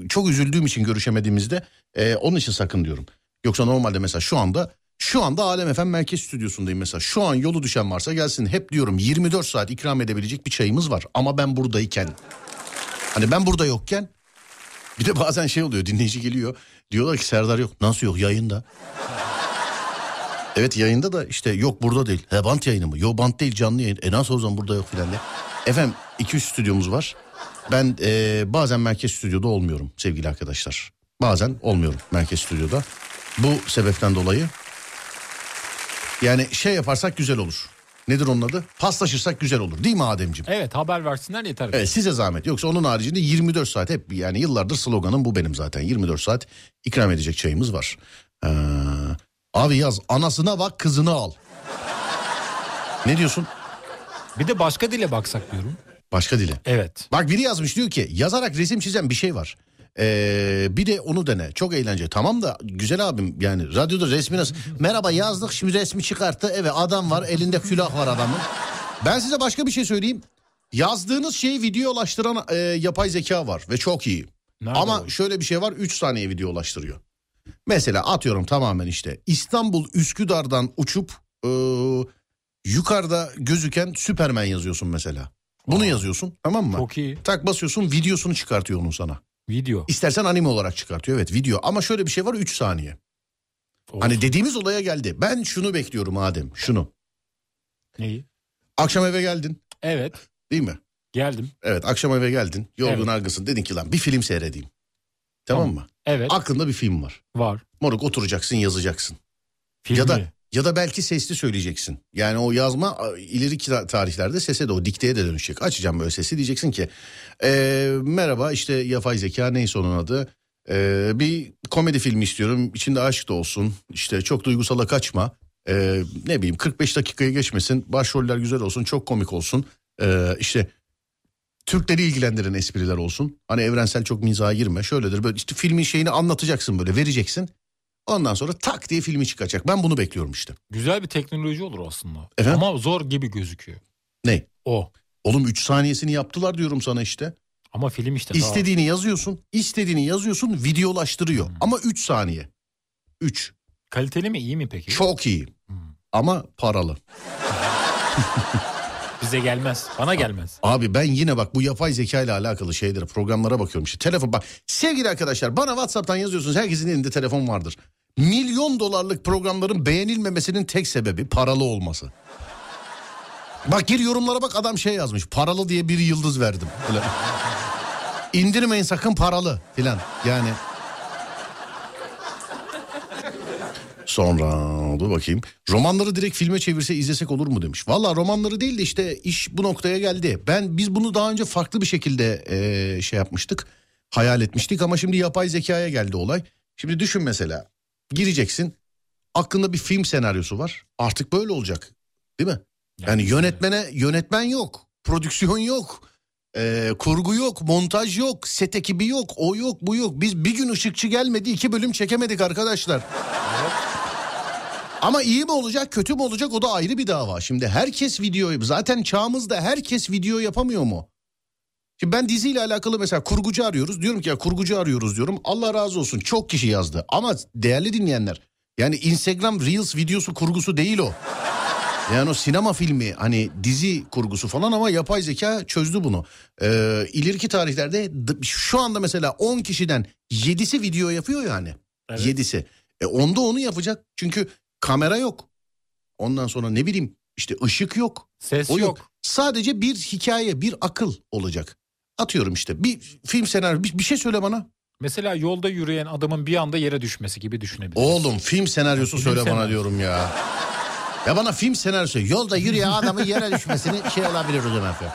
Speaker 2: çok üzüldüğüm için görüşemediğimizde e, onun için sakın diyorum. Yoksa normalde mesela şu anda şu anda Alem Efem Merkez Stüdyosu'ndayım mesela. Şu an yolu düşen varsa gelsin. Hep diyorum 24 saat ikram edebilecek bir çayımız var. Ama ben buradayken. Hani ben burada yokken. Bir de bazen şey oluyor dinleyici geliyor. Diyorlar ki Serdar yok. Nasıl yok yayında. Evet yayında da işte yok burada değil. He bant yayını mı? Yok bant değil canlı yayın. E nasıl o zaman burada yok filan diye. Efendim 2-3 stüdyomuz var. Ben e, bazen merkez stüdyoda olmuyorum sevgili arkadaşlar. Bazen olmuyorum merkez stüdyoda. Bu sebepten dolayı yani şey yaparsak güzel olur. Nedir onun adı? Paslaşırsak güzel olur değil mi Ademciğim?
Speaker 3: Evet haber versinler yeter.
Speaker 2: Evet size zahmet. Yoksa onun haricinde 24 saat hep yani yıllardır sloganım bu benim zaten. 24 saat ikram edecek çayımız var. Ee, abi yaz anasına bak kızını al. ne diyorsun?
Speaker 3: Bir de başka dile baksak diyorum.
Speaker 2: Başka dile.
Speaker 3: Evet.
Speaker 2: Bak biri yazmış diyor ki yazarak resim çizen bir şey var. Ee, bir de onu dene. Çok eğlenceli. Tamam da güzel abim yani radyoda resmi nasıl? Merhaba yazdık şimdi resmi çıkarttı. Evet adam var elinde külah var adamın. Ben size başka bir şey söyleyeyim. Yazdığınız şeyi videolaştıran e, yapay zeka var ve çok iyi.
Speaker 3: Nerede
Speaker 2: Ama
Speaker 3: o?
Speaker 2: şöyle bir şey var 3 saniye videolaştırıyor. Mesela atıyorum tamamen işte İstanbul Üsküdar'dan uçup e, yukarıda gözüken Süpermen yazıyorsun mesela. Bunu yazıyorsun tamam mı?
Speaker 3: çok iyi.
Speaker 2: Tak basıyorsun videosunu çıkartıyor onun sana.
Speaker 3: Video.
Speaker 2: İstersen anime olarak çıkartıyor evet video ama şöyle bir şey var 3 saniye. Hani dediğimiz olaya geldi. Ben şunu bekliyorum Adem şunu.
Speaker 3: Neyi?
Speaker 2: Akşam eve geldin
Speaker 3: Evet.
Speaker 2: değil mi?
Speaker 3: Geldim.
Speaker 2: Evet akşam eve geldin yorgun
Speaker 3: Evet.
Speaker 2: argısın dedin ki lan bir film seyredeyim. Tamam,
Speaker 3: Tamam.
Speaker 2: mı?
Speaker 3: Evet.
Speaker 2: Aklında bir film var.
Speaker 3: var.
Speaker 2: Moruk oturacaksın yazacaksın.
Speaker 3: Filmi.
Speaker 2: Ya da ya da belki sesli söyleyeceksin. Yani o yazma a, ileri kira- tarihlerde sese de o dikteye de dönüşecek. Açacağım böyle sesi diyeceksin ki "Ee, merhaba işte yapay zeka neyse onun adı. Ee, bir komedi filmi istiyorum. İçinde aşk da olsun. İşte çok duygusala kaçma. Ee, ne bileyim 45 dakikaya geçmesin. Başroller güzel olsun. Çok komik olsun. Ee, işte Türkleri ilgilendiren espriler olsun. Hani evrensel çok mizaha girme. Şöyledir böyle işte filmin şeyini anlatacaksın böyle vereceksin. Ondan sonra tak diye filmi çıkacak. Ben bunu bekliyorum işte.
Speaker 3: Güzel bir teknoloji olur aslında.
Speaker 2: Efendim?
Speaker 3: Ama zor gibi gözüküyor.
Speaker 2: Ne?
Speaker 3: O.
Speaker 2: Oğlum 3 saniyesini yaptılar diyorum sana işte.
Speaker 3: Ama film işte. daha-
Speaker 2: İstediğini yazıyorsun, istediğini yazıyorsun, videolaştırıyor. Ama 3 saniye. 3.
Speaker 3: Hmm. Kaliteli mi iyi mi peki?
Speaker 2: Çok iyi.
Speaker 3: Hmm.
Speaker 2: Ama paralı.
Speaker 3: Bize gelmez. Bana gelmez.
Speaker 2: Abi ben yine bak bu yapay zeka ile alakalı şeylere programlara bakıyorum işte telefon bak sevgili arkadaşlar bana WhatsApp'tan yazıyorsunuz herkesin elinde telefon vardır. Milyon dolarlık programların beğenilmemesinin tek sebebi paralı olması. Bak gir yorumlara bak adam şey yazmış paralı diye bir yıldız verdim. Öyle. İndirmeyin sakın paralı filan yani. Sonra dur bakayım. Romanları direkt filme çevirse izlesek olur mu demiş. Valla romanları değil de işte iş bu noktaya geldi. Ben biz bunu daha önce farklı bir şekilde eee, şey yapmıştık. Hayal etmiştik ama şimdi yapay zekaya geldi olay. Şimdi düşün mesela. Gireceksin. Aklında bir film senaryosu var. Artık böyle olacak. Değil mi? Yani yönetmene yönetmen yok. Prodüksiyon yok. eee, kurgu yok, montaj yok, set ekibi yok, o yok, bu yok. Biz bir gün ışıkçı gelmedi, iki bölüm çekemedik arkadaşlar. Ama iyi mi olacak kötü mü olacak o da ayrı bir dava. Şimdi herkes video zaten çağımızda herkes video yapamıyor mu? Şimdi ben diziyle alakalı mesela kurgucu arıyoruz. Diyorum ki ya kurgucu arıyoruz diyorum. Allah razı olsun çok kişi yazdı. Ama değerli dinleyenler yani Instagram Reels videosu kurgusu değil o. Yani o sinema filmi hani dizi kurgusu falan ama yapay zeka çözdü bunu. Ee, ileriki tarihlerde d- şu anda mesela 10 kişiden 7'si video yapıyor yani.
Speaker 3: Evet.
Speaker 2: Yedisi. E onda onu yapacak. Çünkü kamera yok. Ondan sonra ne bileyim işte ışık yok.
Speaker 3: Ses
Speaker 2: O
Speaker 3: yok.
Speaker 2: yok. Sadece bir hikaye, bir akıl olacak. Atıyorum işte bir film senaryo bir, bir şey söyle bana.
Speaker 3: Mesela yolda yürüyen adamın bir anda yere düşmesi gibi düşünebiliriz.
Speaker 2: Oğlum film senaryosu
Speaker 3: Film
Speaker 2: söyle bana
Speaker 3: senaryosu.
Speaker 2: diyorum ya. Ya bana film senaryosu yolda yürüyen adamın yere düşmesini şey olabilir o zaman. efendim.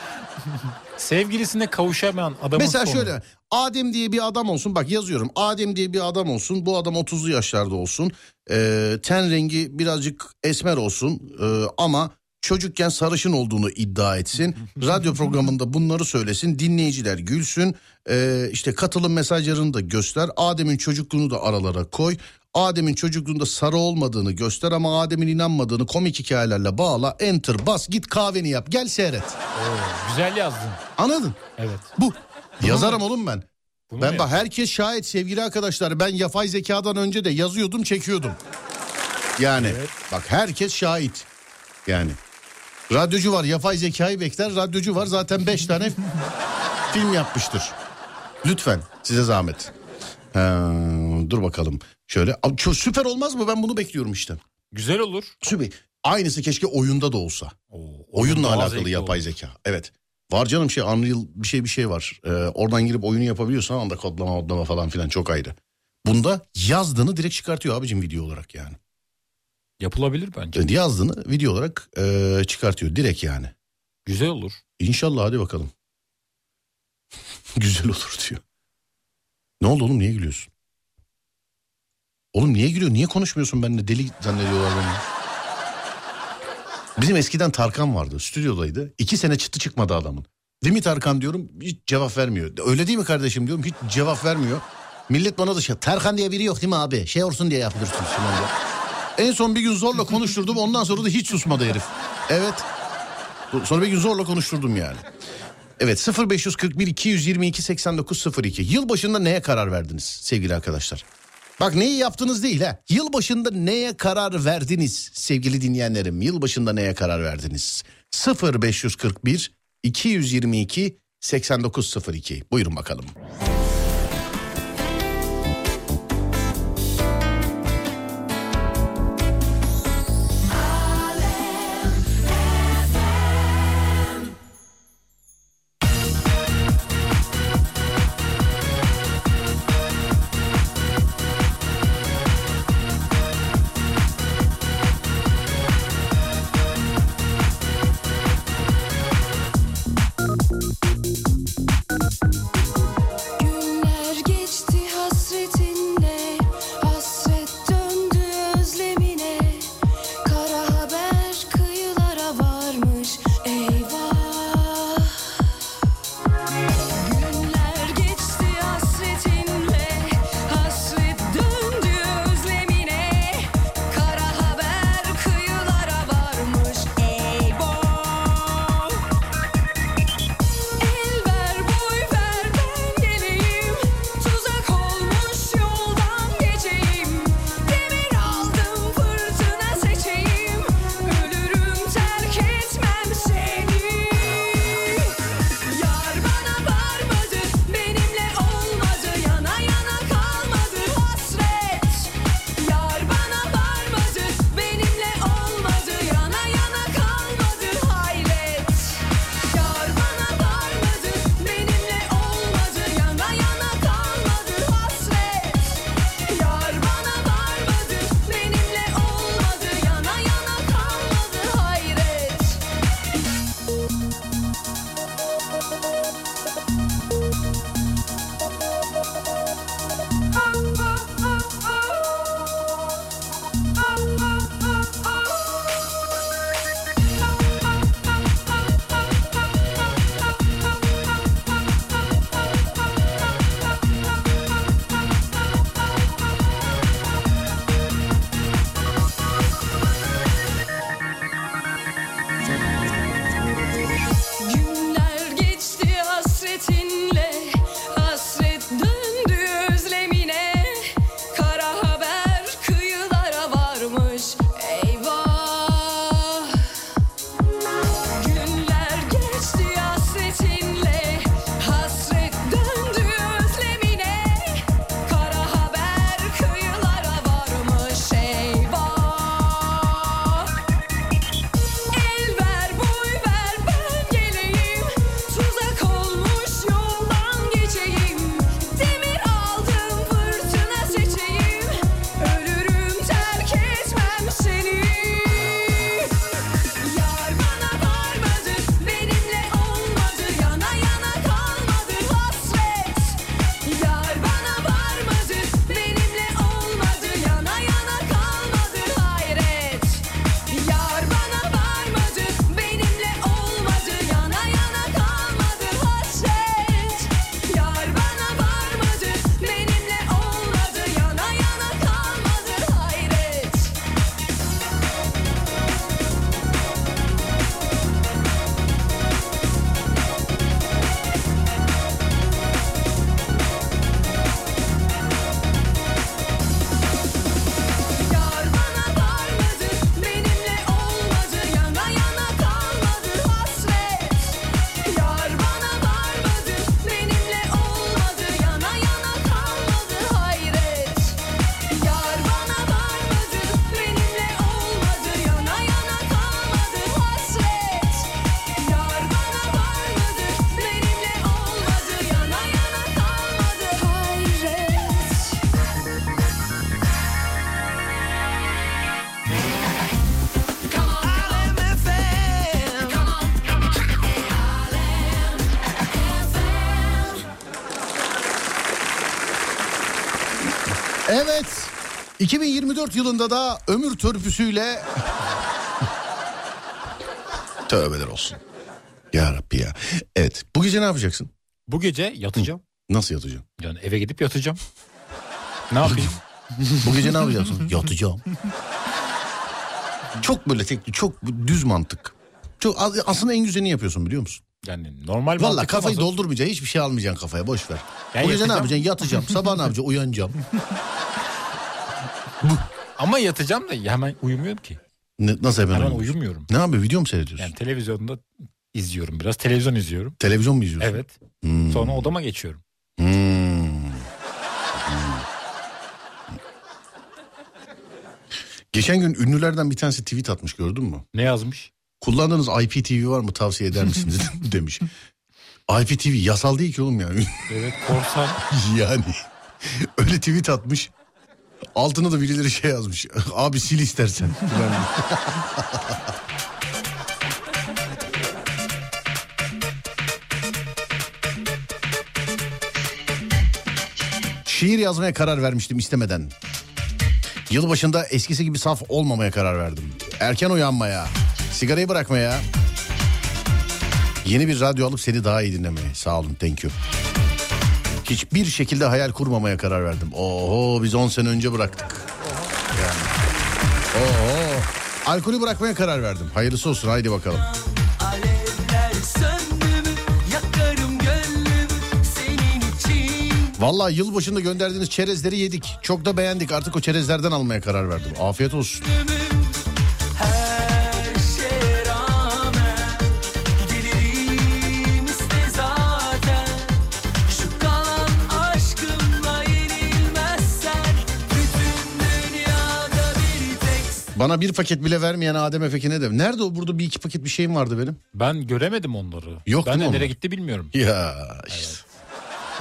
Speaker 3: Sevgilisine kavuşamayan adamın
Speaker 2: Mesela
Speaker 3: sonu.
Speaker 2: şöyle Adem diye bir adam olsun bak yazıyorum Adem diye bir adam olsun bu adam 30'lu yaşlarda olsun Ee, ten rengi birazcık esmer olsun Ee, ama çocukken sarışın olduğunu iddia etsin radyo programında bunları söylesin dinleyiciler gülsün Ee, işte katılım mesajlarını da göster Adem'in çocukluğunu da aralara koy Adem'in çocukluğunda sarı olmadığını göster ama Adem'in inanmadığını komik hikayelerle bağla enter bas git kahveni yap gel seyret
Speaker 3: Güzel yazdın.
Speaker 2: anladın
Speaker 3: Evet.
Speaker 2: bu yazarım oğlum ben
Speaker 3: Bunu
Speaker 2: ben
Speaker 3: mu
Speaker 2: bak herkes şahit sevgili arkadaşlar ben yapay zekadan önce de yazıyordum çekiyordum. Yani bak herkes şahit yani. Radyocu var yapay zekayı bekler radyocu var zaten 5 tane film yapmıştır. Lütfen size zahmet. Ee, dur bakalım şöyle Abi çok süper olmaz mı ben bunu bekliyorum işte.
Speaker 3: Güzel olur.
Speaker 2: Süper. Aynısı keşke oyunda da olsa. Oyunla
Speaker 3: Daha
Speaker 2: alakalı
Speaker 3: zevkli
Speaker 2: yapay
Speaker 3: olur.
Speaker 2: zeka. Evet. Var canım şey Unreal bir şey bir şey var. Ee, oradan girip oyunu yapabiliyorsan anda kodlama kodlama falan filan çok ayrı. Bunda yazdığını direkt çıkartıyor abicim video olarak yani.
Speaker 3: Yapılabilir bence.
Speaker 2: Yani yazdığını video olarak ee, çıkartıyor direkt yani.
Speaker 3: Güzel olur.
Speaker 2: İnşallah hadi bakalım. Güzel olur diyor. Ne oldu oğlum niye gülüyorsun? Oğlum niye gülüyor? Niye konuşmuyorsun benimle? Deli zannediyorlar beni. Bizim eskiden Tarkan vardı. Stüdyodaydı. İki sene çıktı çıkmadı adamın. Değil mi Tarkan diyorum hiç cevap vermiyor. Öyle değil mi kardeşim diyorum hiç cevap vermiyor. Millet bana da şey Tarkan diye biri yok değil mi abi? Şey olsun diye yapıyorsunuz şu anda. En son bir gün zorla konuşturdum ondan sonra da hiç susmadı herif. Evet. Sonra bir gün zorla konuşturdum yani. Evet 0541 222 8902. Yılbaşında neye karar verdiniz sevgili arkadaşlar? Bak neyi yaptınız değil ha. Yılbaşında neye karar verdiniz sevgili dinleyenlerim? Yılbaşında neye karar verdiniz? 0541 222 8902. Buyurun bakalım.
Speaker 7: You
Speaker 2: 2024 yılında da ömür törpüsüyle... Tövbeler olsun. Ya Rabbi ya. Evet bu gece ne yapacaksın?
Speaker 3: Bu gece yatacağım.
Speaker 2: Nasıl yatacaksın?
Speaker 3: Yani eve gidip yatacağım. ne yapayım?
Speaker 2: Bu gece ne yapacaksın? Yatacağım. Çok böyle tek, çok düz mantık. Çok aslında en güzelini yapıyorsun biliyor musun?
Speaker 3: Yani normal
Speaker 2: Valla
Speaker 3: mantık
Speaker 2: kafayı
Speaker 3: olmaz.
Speaker 2: doldurmayacaksın. Hiçbir şey almayacaksın kafaya. Boş ver.
Speaker 3: Ya
Speaker 2: o gece ne
Speaker 3: yatacağım.
Speaker 2: yapacaksın? Yatacağım. Sabah ne yapacaksın? Uyanacağım.
Speaker 3: Ama yatacağım da hemen uyumuyorum ki.
Speaker 2: Ne- nasıl hemen
Speaker 3: Hemen
Speaker 2: uyumuyorsun?
Speaker 3: uyumuyorum.
Speaker 2: Ne yapıyorsun? Video mu seyrediyorsun?
Speaker 3: Yani televizyonda izliyorum biraz. Televizyon izliyorum.
Speaker 2: Televizyon mu izliyorsun?
Speaker 3: Evet.
Speaker 2: Hmm.
Speaker 3: Sonra odama geçiyorum.
Speaker 2: Hmm. Geçen gün ünlülerden bir tanesi tweet atmış gördün mü?
Speaker 3: Ne yazmış?
Speaker 2: Kullandığınız IPTV var mı tavsiye eder misiniz demiş. IPTV yasal değil ki oğlum ya.
Speaker 3: Evet korsan.
Speaker 2: yani öyle tweet atmış. Altına da birileri şey yazmış. Abi sil istersen. Ulan. Şiir yazmaya karar vermiştim istemeden. Yılbaşında eskisi gibi saf olmamaya karar verdim. Erken uyanmaya, sigarayı bırakmaya, yeni bir radyo alıp seni daha iyi dinlemeye. Sağ olun, thank you. Hiçbir şekilde hayal kurmamaya karar verdim. Oho biz 10 sene önce bıraktık. Yani. Oho. Alkolü bırakmaya karar verdim. Hayırlısı olsun haydi bakalım.
Speaker 5: Alevler söndü mü yakarım gönlümü senin için
Speaker 2: Valla yılbaşında gönderdiğiniz çerezleri yedik. Çok da beğendik. Artık o çerezlerden almaya karar verdim. Afiyet olsun.
Speaker 5: her şeye rağmen gelirim iste zaten şu kalan aşkımla yenilmezsen bütün dünyada bir tek
Speaker 2: Bana bir paket bile vermeyen Adem Efeki ne de. Nerede o burada bir iki paket bir şeyim vardı benim.
Speaker 3: Ben göremedim onları.
Speaker 2: Yok
Speaker 3: ben
Speaker 2: değil
Speaker 3: de
Speaker 2: mi
Speaker 3: nereye
Speaker 2: onlar?
Speaker 3: gitti bilmiyorum.
Speaker 2: Ya işte.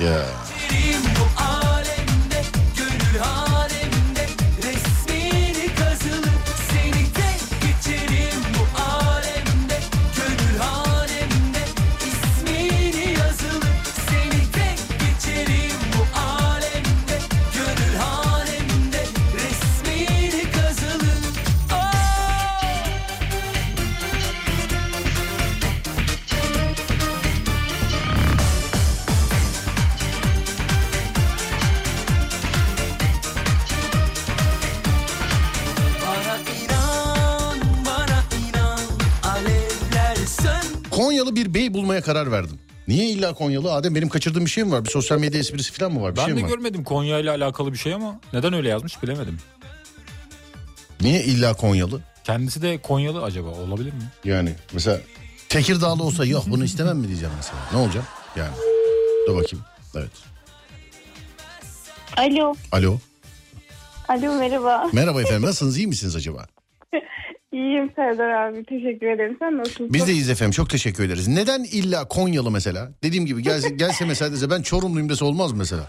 Speaker 2: Ya.
Speaker 5: Senin bu alemde gönül halimde resmini kazılı seni tek geçerim bu alemde gönül halimde ismini yazılı seni tek geçerim bu alemde gönül halimde resmini kazılı Ah! bana inan bana inan alevler sön
Speaker 2: Konyalı bir bey bulmaya karar verdim. Niye illa Konyalı? Adem benim kaçırdığım bir şey mi var? Bir sosyal medya esprisi falan mı var? Bir
Speaker 3: Ben
Speaker 2: şey
Speaker 3: de
Speaker 2: mi var?
Speaker 3: görmedim Konya ile alakalı bir şey ama neden öyle yazmış bilemedim.
Speaker 2: Niye illa Konyalı?
Speaker 3: Kendisi de Konyalı acaba olabilir mi?
Speaker 2: Yani mesela Tekirdağlı olsa yok bunu istemem mi diyeceğim mesela. Ne olacak? Yani. Dur bakayım. Evet.
Speaker 7: Alo.
Speaker 2: Alo.
Speaker 7: Alo merhaba.
Speaker 2: Merhaba efendim. Nasılsınız? İyi misiniz acaba?
Speaker 7: İyiyim Serdar abi. Teşekkür ederim. Sen nasılsın?
Speaker 2: Biz de iyiyiz efendim. Çok teşekkür ederiz. Neden illa Konyalı mesela? Dediğim gibi gelse, gelse mesela dese ben Çorumluyum dese olmaz mı mesela?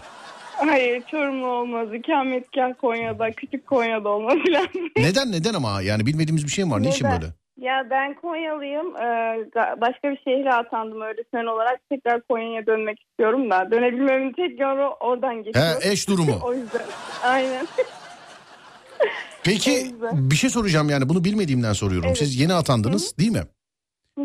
Speaker 7: Hayır Çorumlu olmaz. İkametgah Konya'da. Küçük Konya'da olması lazım.
Speaker 2: Neden neden ama yani bilmediğimiz bir şey mi var? Niçin
Speaker 7: Neden?
Speaker 2: böyle?
Speaker 7: ya ben Konyalıyım. Ee, ga- başka bir şehre atandım öğretmen olarak. Tekrar Konya'ya dönmek istiyorum da. Dönebilmemin tek yolu oradan geçiyor.
Speaker 2: He, eş durumu.
Speaker 7: o yüzden. Aynen.
Speaker 2: Peki bir şey soracağım yani bunu bilmediğimden soruyorum.
Speaker 7: Evet.
Speaker 2: Siz yeni atandınız değil mi?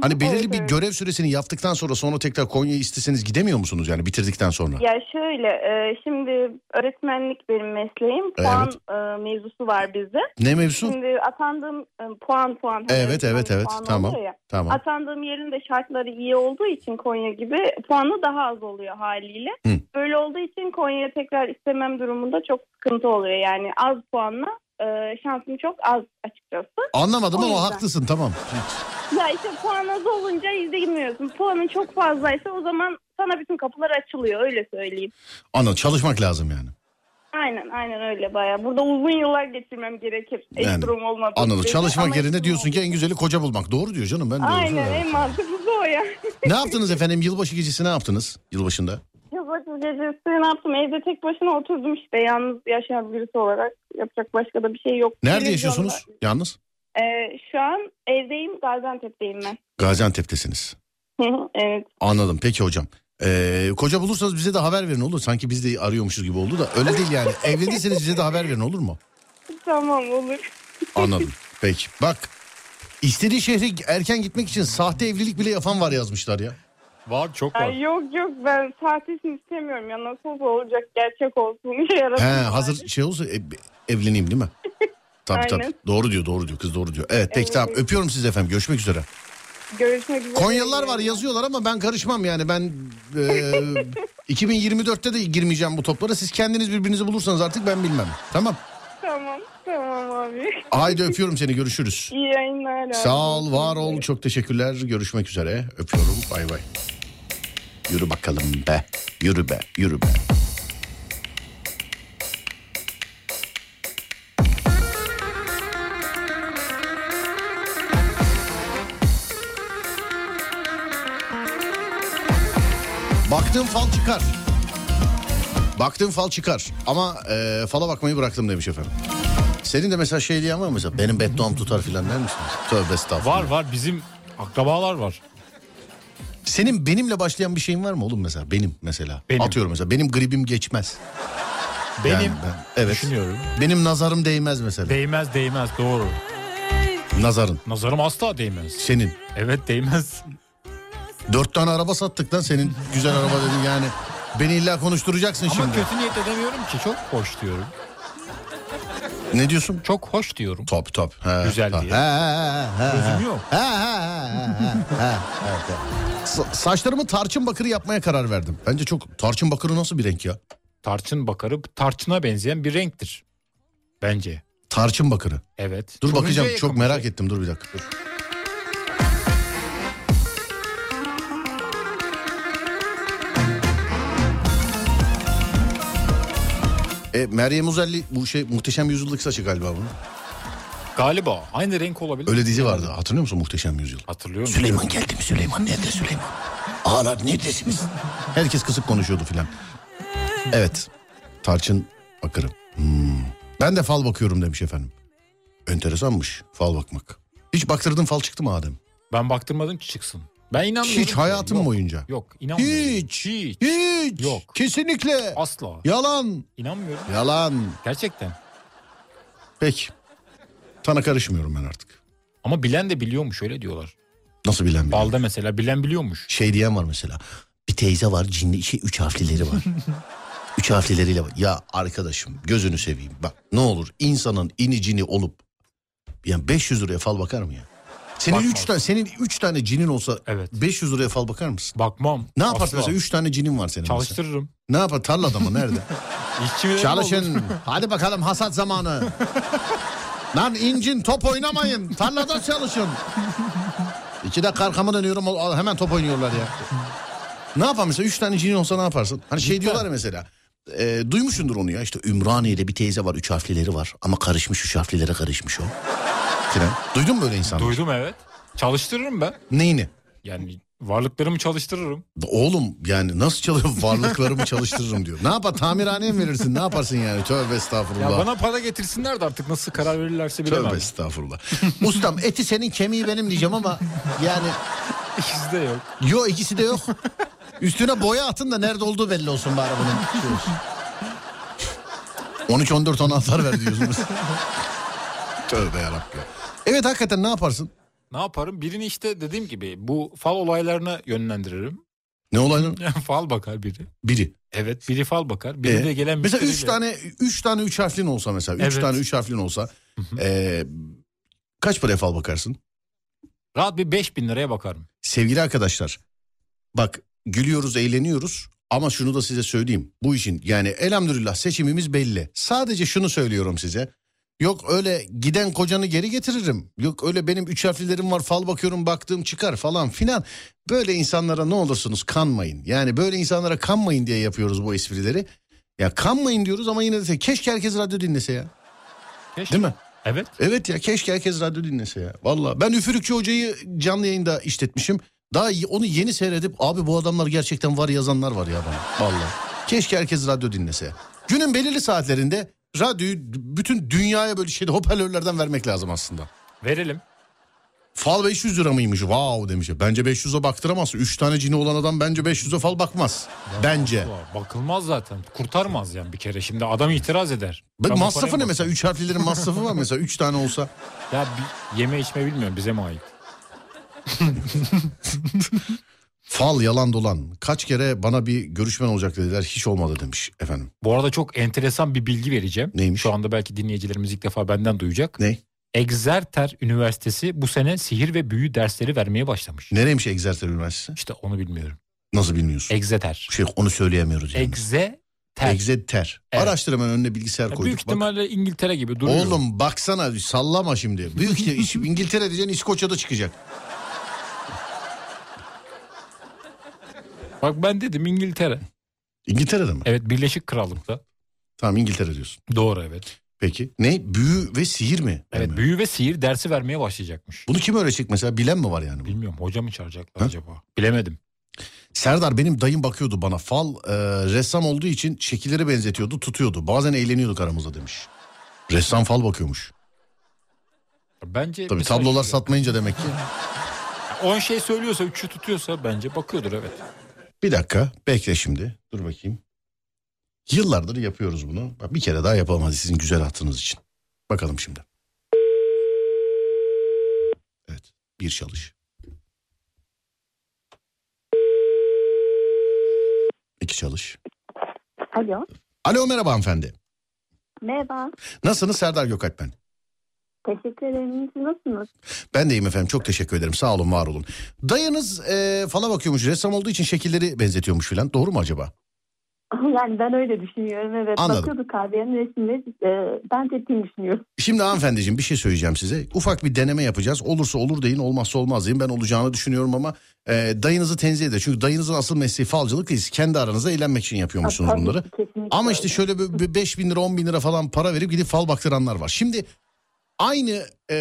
Speaker 2: Hani belirli
Speaker 7: Evet,
Speaker 2: bir
Speaker 7: evet.
Speaker 2: görev süresini yaptıktan sonra sonra tekrar Konya'yı isteseniz gidemiyor musunuz yani bitirdikten sonra?
Speaker 7: Ya şöyle e, şimdi öğretmenlik benim mesleğim. Puan e, mevzusu var bizde.
Speaker 2: Ne mevzu?
Speaker 7: Şimdi atandığım e, puan puan. hani
Speaker 2: Evet evet
Speaker 7: öğretmenlik
Speaker 2: evet
Speaker 7: puanı
Speaker 2: tamam
Speaker 7: oluyor ya.
Speaker 2: tamam.
Speaker 7: Atandığım yerin de şartları iyi olduğu için Konya gibi puanı daha az oluyor haliyle.
Speaker 2: Hı.
Speaker 7: Böyle olduğu için Konya'ya tekrar istemem durumunda çok sıkıntı oluyor. Yani az puanla e, şansım çok az açıkçası.
Speaker 2: Anlamadım
Speaker 7: O
Speaker 2: ama
Speaker 7: yüzden.
Speaker 2: haklısın tamam.
Speaker 7: Ya işte puan az olunca izleyemiyorsun. Puanın çok fazlaysa o zaman sana bütün kapılar açılıyor öyle söyleyeyim.
Speaker 2: Anladım çalışmak lazım yani.
Speaker 7: Aynen aynen öyle baya. Burada uzun yıllar geçirmem gerekir. Eş
Speaker 2: Yani,
Speaker 7: durum olmadığı
Speaker 2: Anladım
Speaker 7: sürece
Speaker 2: çalışmak
Speaker 7: ama
Speaker 2: yerine
Speaker 7: eş
Speaker 2: diyorsun
Speaker 7: durum
Speaker 2: ki en güzeli koca bulmak. Doğru diyor canım ben de.
Speaker 7: olmadığı-
Speaker 2: öyle
Speaker 7: Aynen
Speaker 2: söylüyorum.
Speaker 7: en mantıklısı o ya.
Speaker 2: Ne yaptınız efendim yılbaşı gecesi ne yaptınız yılbaşında?
Speaker 7: Yılbaşı gecesi ne yaptım? Evde tek başına oturdum işte. Yalnız yaşayan birisi olarak yapacak başka da bir şey yok.
Speaker 2: Nerede
Speaker 7: Televizyonda-
Speaker 2: yaşıyorsunuz yalnız?
Speaker 7: Ee, şu an evdeyim. Gaziantep'teyim ben.
Speaker 2: Gaziantep'tesiniz.
Speaker 7: evet.
Speaker 2: Anladım peki hocam. Ee, koca bulursanız bize de haber verin olur. Sanki biz de arıyormuşuz gibi oldu da öyle değil yani. Evlendiyseniz bize de haber verin olur mu?
Speaker 7: Tamam olur.
Speaker 2: Anladım. Peki. Bak istediği şehre erken gitmek için sahte evlilik bile yapan var yazmışlar ya.
Speaker 3: Var çok var.
Speaker 7: Ay yok yok ben sahtesini istemiyorum ya nasıl olsa olacak gerçek olsun diye yarabbim.
Speaker 2: He hazır şey olsa e- evleneyim değil mi? Tabii tabii.
Speaker 7: Aynen.
Speaker 2: Doğru diyor doğru diyor kız doğru diyor. Evet peki tamam öpüyorum sizi efendim görüşmek üzere.
Speaker 7: Görüşmek üzere.
Speaker 2: Konyalılar var yazıyorlar ama ben karışmam yani ben e, 2024'te de girmeyeceğim bu toplara. Siz kendiniz birbirinizi bulursanız artık ben bilmem. Tamam.
Speaker 7: Tamam tamam abi.
Speaker 2: Haydi öpüyorum seni görüşürüz.
Speaker 7: İyi yayınlar. abi.
Speaker 2: Sağ ol, var ol. Çok teşekkürler. Görüşmek üzere. Öpüyorum. Bay bay. Yürü bakalım be. Yürü be, yürü be. Baktığım fal çıkar. Baktığım fal çıkar. Ama e, fala bakmayı bıraktım demiş efendim. Senin de mesela şey diyen var mı mesela? Benim bedduam tutar filan der misin? Tövbe estağfurullah.
Speaker 3: Var var bizim akrabalar var.
Speaker 2: Senin benimle başlayan bir şeyin var mı oğlum mesela? Benim mesela.
Speaker 3: Benim.
Speaker 2: Atıyorum mesela. Benim gribim geçmez.
Speaker 3: Benim
Speaker 2: Yani ben- evet.
Speaker 3: düşünüyorum.
Speaker 2: Benim nazarım değmez mesela.
Speaker 3: Değmez değmez doğru.
Speaker 2: Nazarın.
Speaker 3: Nazarım asla değmez.
Speaker 2: Senin.
Speaker 3: Evet değmez.
Speaker 2: Dört tane araba sattık lan senin güzel araba dedin yani. Beni illa konuşturacaksın
Speaker 3: Ama
Speaker 2: şimdi.
Speaker 3: kötü niyet edemiyorum ki çok hoş diyorum.
Speaker 2: Ne diyorsun?
Speaker 3: Çok hoş diyorum.
Speaker 2: Top top. He,
Speaker 3: Güzel
Speaker 2: ha,
Speaker 3: diye.
Speaker 2: he, he, he, he, he.
Speaker 3: Gözüm yok.
Speaker 2: He, he, he, he, he, he, he. Sa- saçlarımı tarçın bakırı yapmaya karar verdim. Bence çok tarçın bakırı nasıl bir renk ya?
Speaker 3: Tarçın bakarı tarçına benzeyen bir renktir. Bence.
Speaker 2: Tarçın bakırı.
Speaker 3: Evet.
Speaker 2: Dur
Speaker 3: Turuncuya
Speaker 2: bakacağım
Speaker 3: yakın
Speaker 2: çok
Speaker 3: bir
Speaker 2: merak
Speaker 3: şey.
Speaker 2: ettim dur bir dakika. Dur. E, Meryem Uzerli bu şey Muhteşem Yüzyıl'da saçı galiba bunun.
Speaker 3: Galiba aynı renk olabilir.
Speaker 2: Öyle dizi vardı hatırlıyor musun Muhteşem Yüzyıl?
Speaker 3: Hatırlıyor musun?
Speaker 2: Süleyman geldi mi Süleyman nerede Süleyman? Ağalar neredesiniz? Herkes kısık konuşuyordu filan. Evet tarçın bakırı. Hmm. Ben de fal bakıyorum demiş efendim. Enteresanmış fal bakmak. Hiç baktırdın fal çıktı mı Adem?
Speaker 3: Ben baktırmadım ki çıksın. Ben inanmıyorum.
Speaker 2: Hiç
Speaker 3: ki.
Speaker 2: hayatım
Speaker 3: Yok,
Speaker 2: boyunca.
Speaker 3: Yok inanmıyorum.
Speaker 2: Hiç.
Speaker 3: Hiç.
Speaker 2: Hiç.
Speaker 3: Yok.
Speaker 2: Kesinlikle.
Speaker 3: Asla.
Speaker 2: Yalan.
Speaker 3: İnanmıyorum.
Speaker 2: Yalan.
Speaker 3: Gerçekten.
Speaker 2: Peki. Sana karışmıyorum ben artık.
Speaker 3: Ama bilen de biliyormuş öyle diyorlar.
Speaker 2: Nasıl bilen biliyor?
Speaker 3: Balda mesela bilen biliyormuş.
Speaker 2: Şey diyen var mesela. Bir teyze var cinli şey üç harflileri var. üç harflileriyle var. Ya arkadaşım gözünü seveyim. Bak ne olur insanın ini cini olup yani 500 liraya fal bakar mı ya? Senin
Speaker 3: Bakmaz.
Speaker 2: üç tane senin üç tane cinin olsa
Speaker 3: Evet.
Speaker 2: 500 liraya fal bakar mısın?
Speaker 3: Bakmam.
Speaker 2: Ne yaparsın
Speaker 3: Asla.
Speaker 2: mesela 3 tane cinin var senin mesela.
Speaker 3: Çalıştırırım.
Speaker 2: Ne yapar tarlada mı nerede?
Speaker 3: İşçi mi
Speaker 2: Çalışın. Hadi bakalım hasat zamanı. Lan incin top oynamayın. Tarlada çalışın. İki dakika arkama dönüyorum o- o- hemen top oynuyorlar ya. Ne yapar mesela? Üç tane cinin olsa ne yaparsın? Hani şey diyorlar ya mesela. e, duymuşsundur onu ya işte Ümraniye'de bir teyze var üç harflileri var ama karışmış üç harflilere karışmış o. Filan. Duydun mu böyle insanları?
Speaker 3: Duydum evet. Çalıştırırım ben.
Speaker 2: Neyini?
Speaker 3: Yani varlıklarımı çalıştırırım.
Speaker 2: Oğlum yani nasıl çalıyor varlıklarımı çalıştırırım diyor. Ne yapar tamirhaneye mi verirsin ne yaparsın yani tövbe
Speaker 3: Ya
Speaker 2: estağfurullah.
Speaker 3: bana para getirsinler de artık nasıl karar verirlerse
Speaker 2: Tövbe
Speaker 3: bilemem.
Speaker 2: estağfurullah. Ustam eti senin kemiği benim diyeceğim ama yani
Speaker 3: İkisi de yok.
Speaker 2: yo ikisi de yok. Üstüne boya atın da nerede olduğu belli olsun bari bunun. Şey olsun. 13 14 anahtar ver diyorsunuz. Tövbe yarabbim. Evet hakikaten ne yaparsın?
Speaker 3: Ne yaparım? Birini işte dediğim gibi bu fal olaylarına yönlendiririm.
Speaker 2: Ne olayın?
Speaker 3: fal bakar biri.
Speaker 2: Biri.
Speaker 3: Evet biri fal bakar. Biri
Speaker 2: Ee,
Speaker 3: de gelen
Speaker 2: Mesela üç
Speaker 3: müşteriyle-
Speaker 2: tane üç tane üç harflin olsa mesela. Üç
Speaker 3: Evet.
Speaker 2: tane üç harflin olsa. ee, kaç paraya fal bakarsın?
Speaker 3: Rahat bir 5000 liraya bakarım.
Speaker 2: Sevgili arkadaşlar bak gülüyoruz eğleniyoruz ama şunu da size söyleyeyim. Bu işin yani elhamdülillah seçimimiz belli. Sadece şunu söylüyorum size. Yok öyle giden kocanı geri getiririm. Yok öyle benim üç harflilerim var fal bakıyorum baktığım çıkar falan filan. Böyle insanlara ne olursunuz kanmayın. Yani böyle insanlara kanmayın diye yapıyoruz bu esprileri. Ya kanmayın diyoruz ama yine de keşke herkes radyo dinlese ya.
Speaker 3: Keşke.
Speaker 2: Değil mi?
Speaker 3: Evet.
Speaker 2: Evet ya keşke herkes radyo dinlese ya. Valla ben Üfürükçü Hoca'yı canlı yayında işletmişim. Daha y- onu yeni seyredip abi bu adamlar gerçekten var yazanlar var ya bana. Valla. Keşke herkes radyo dinlese. Günün belirli saatlerinde radyoyu d- bütün dünyaya böyle şeyde hoparlörlerden vermek lazım aslında.
Speaker 3: Verelim.
Speaker 2: Fal 500 lira mıymış? Wow demiş. Bence 500'e baktıramaz. 3 tane cini olan adam bence 500'e fal bakmaz. Bence.
Speaker 3: Ulan Bakılmaz zaten. Kurtarmaz yani bir kere. Şimdi adam itiraz eder.
Speaker 2: Bak
Speaker 3: Ben bu
Speaker 2: masrafı
Speaker 3: paraya
Speaker 2: ne mesela? 3 harflilerin masrafı var mesela. 3 tane olsa.
Speaker 3: bak- Ya bir yeme içme bilmiyorum bize mi ait?
Speaker 2: Fal yalan dolan. Kaç kere bana bir görüşmen olacak dediler. Hiç olmadı demiş efendim.
Speaker 3: Bu arada çok enteresan bir bilgi vereceğim.
Speaker 2: Neymiş?
Speaker 3: Şu anda belki dinleyicilerimiz ilk defa benden duyacak.
Speaker 2: Ne?
Speaker 3: Exeter Üniversitesi bu sene sihir ve büyü dersleri vermeye başlamış.
Speaker 2: Nereymiş Exeter Üniversitesi?
Speaker 3: İşte onu bilmiyorum.
Speaker 2: Nasıl bilmiyorsun?
Speaker 3: Exeter.
Speaker 2: şey onu söyleyemiyoruz yani.
Speaker 3: Exeter.
Speaker 2: Exeter.
Speaker 3: Evet.
Speaker 2: Araştır hemen önüne bilgisayar
Speaker 3: Ya
Speaker 2: koyduk.
Speaker 3: büyük
Speaker 2: bak.
Speaker 3: ihtimalle İngiltere gibi duruyor.
Speaker 2: Oğlum baksana sallama şimdi. Büyük ihtim- İngiltere diyeceksin İskoçya'da çıkacak.
Speaker 3: Bak ben dedim İngiltere.
Speaker 2: İngiltere'de mi?
Speaker 3: Evet Birleşik Krallık'ta.
Speaker 2: Tamam İngiltere diyorsun.
Speaker 3: Doğru evet.
Speaker 2: Peki. Ne? Büyü ve sihir mi?
Speaker 3: Evet
Speaker 2: Yani.
Speaker 3: büyü ve sihir dersi vermeye başlayacakmış.
Speaker 2: Bunu kim öğretecek mesela? Bilen mi var yani? bunu?
Speaker 3: Bilmiyorum hoca mı çağıracaklar
Speaker 2: Ha?
Speaker 3: acaba? Bilemedim.
Speaker 2: Serdar benim dayım bakıyordu bana. Fal e, ressam olduğu için şekilleri benzetiyordu, tutuyordu. Bazen eğleniyorduk aramızda demiş. Ressam fal bakıyormuş.
Speaker 3: Bence
Speaker 2: Tabii
Speaker 3: mesela
Speaker 2: tablolar
Speaker 3: şöyle,
Speaker 2: satmayınca demek ki.
Speaker 3: 10 şey söylüyorsa 3'ü tutuyorsa bence bakıyordur evet.
Speaker 2: Bir dakika bekle şimdi. Dur bakayım. Yıllardır yapıyoruz bunu. Bak, Bir kere daha yapalım hadi sizin güzel hatırınız için. Bakalım şimdi. Evet bir çalış. İki çalış.
Speaker 7: Alo.
Speaker 2: Alo merhaba hanımefendi.
Speaker 7: Merhaba.
Speaker 2: Nasılsınız Serdar Gökalp ben.
Speaker 7: Teşekkür ederim. Siz nasılsınız?
Speaker 2: Ben de iyiyim efendim çok teşekkür ederim sağ olun var olun. Dayınız e, fala bakıyormuş ressam olduğu için şekilleri benzetiyormuş filan doğru mu acaba?
Speaker 7: Yani ben öyle düşünüyorum. Evet.
Speaker 2: Anladım.
Speaker 7: Bakıyorduk kahvenin resimleri. e, ben tepkini düşünüyorum.
Speaker 2: Şimdi hanımefendiciğim bir şey söyleyeceğim size. Ufak bir deneme yapacağız. Olursa olur deyin olmazsa olmaz deyin. Ben olacağını düşünüyorum ama e, dayınızı tenzih edin. Çünkü dayınızın asıl mesleği falcılık değil. Siz Kendi aranızda eğlenmek için yapıyormuşsunuz
Speaker 7: Tabii ki,
Speaker 2: bunları.
Speaker 7: kesinlikle
Speaker 2: Ama işte şöyle bir, bir 5 bin lira 10 bin lira falan para verip gidip fal baktıranlar var. Şimdi aynı e,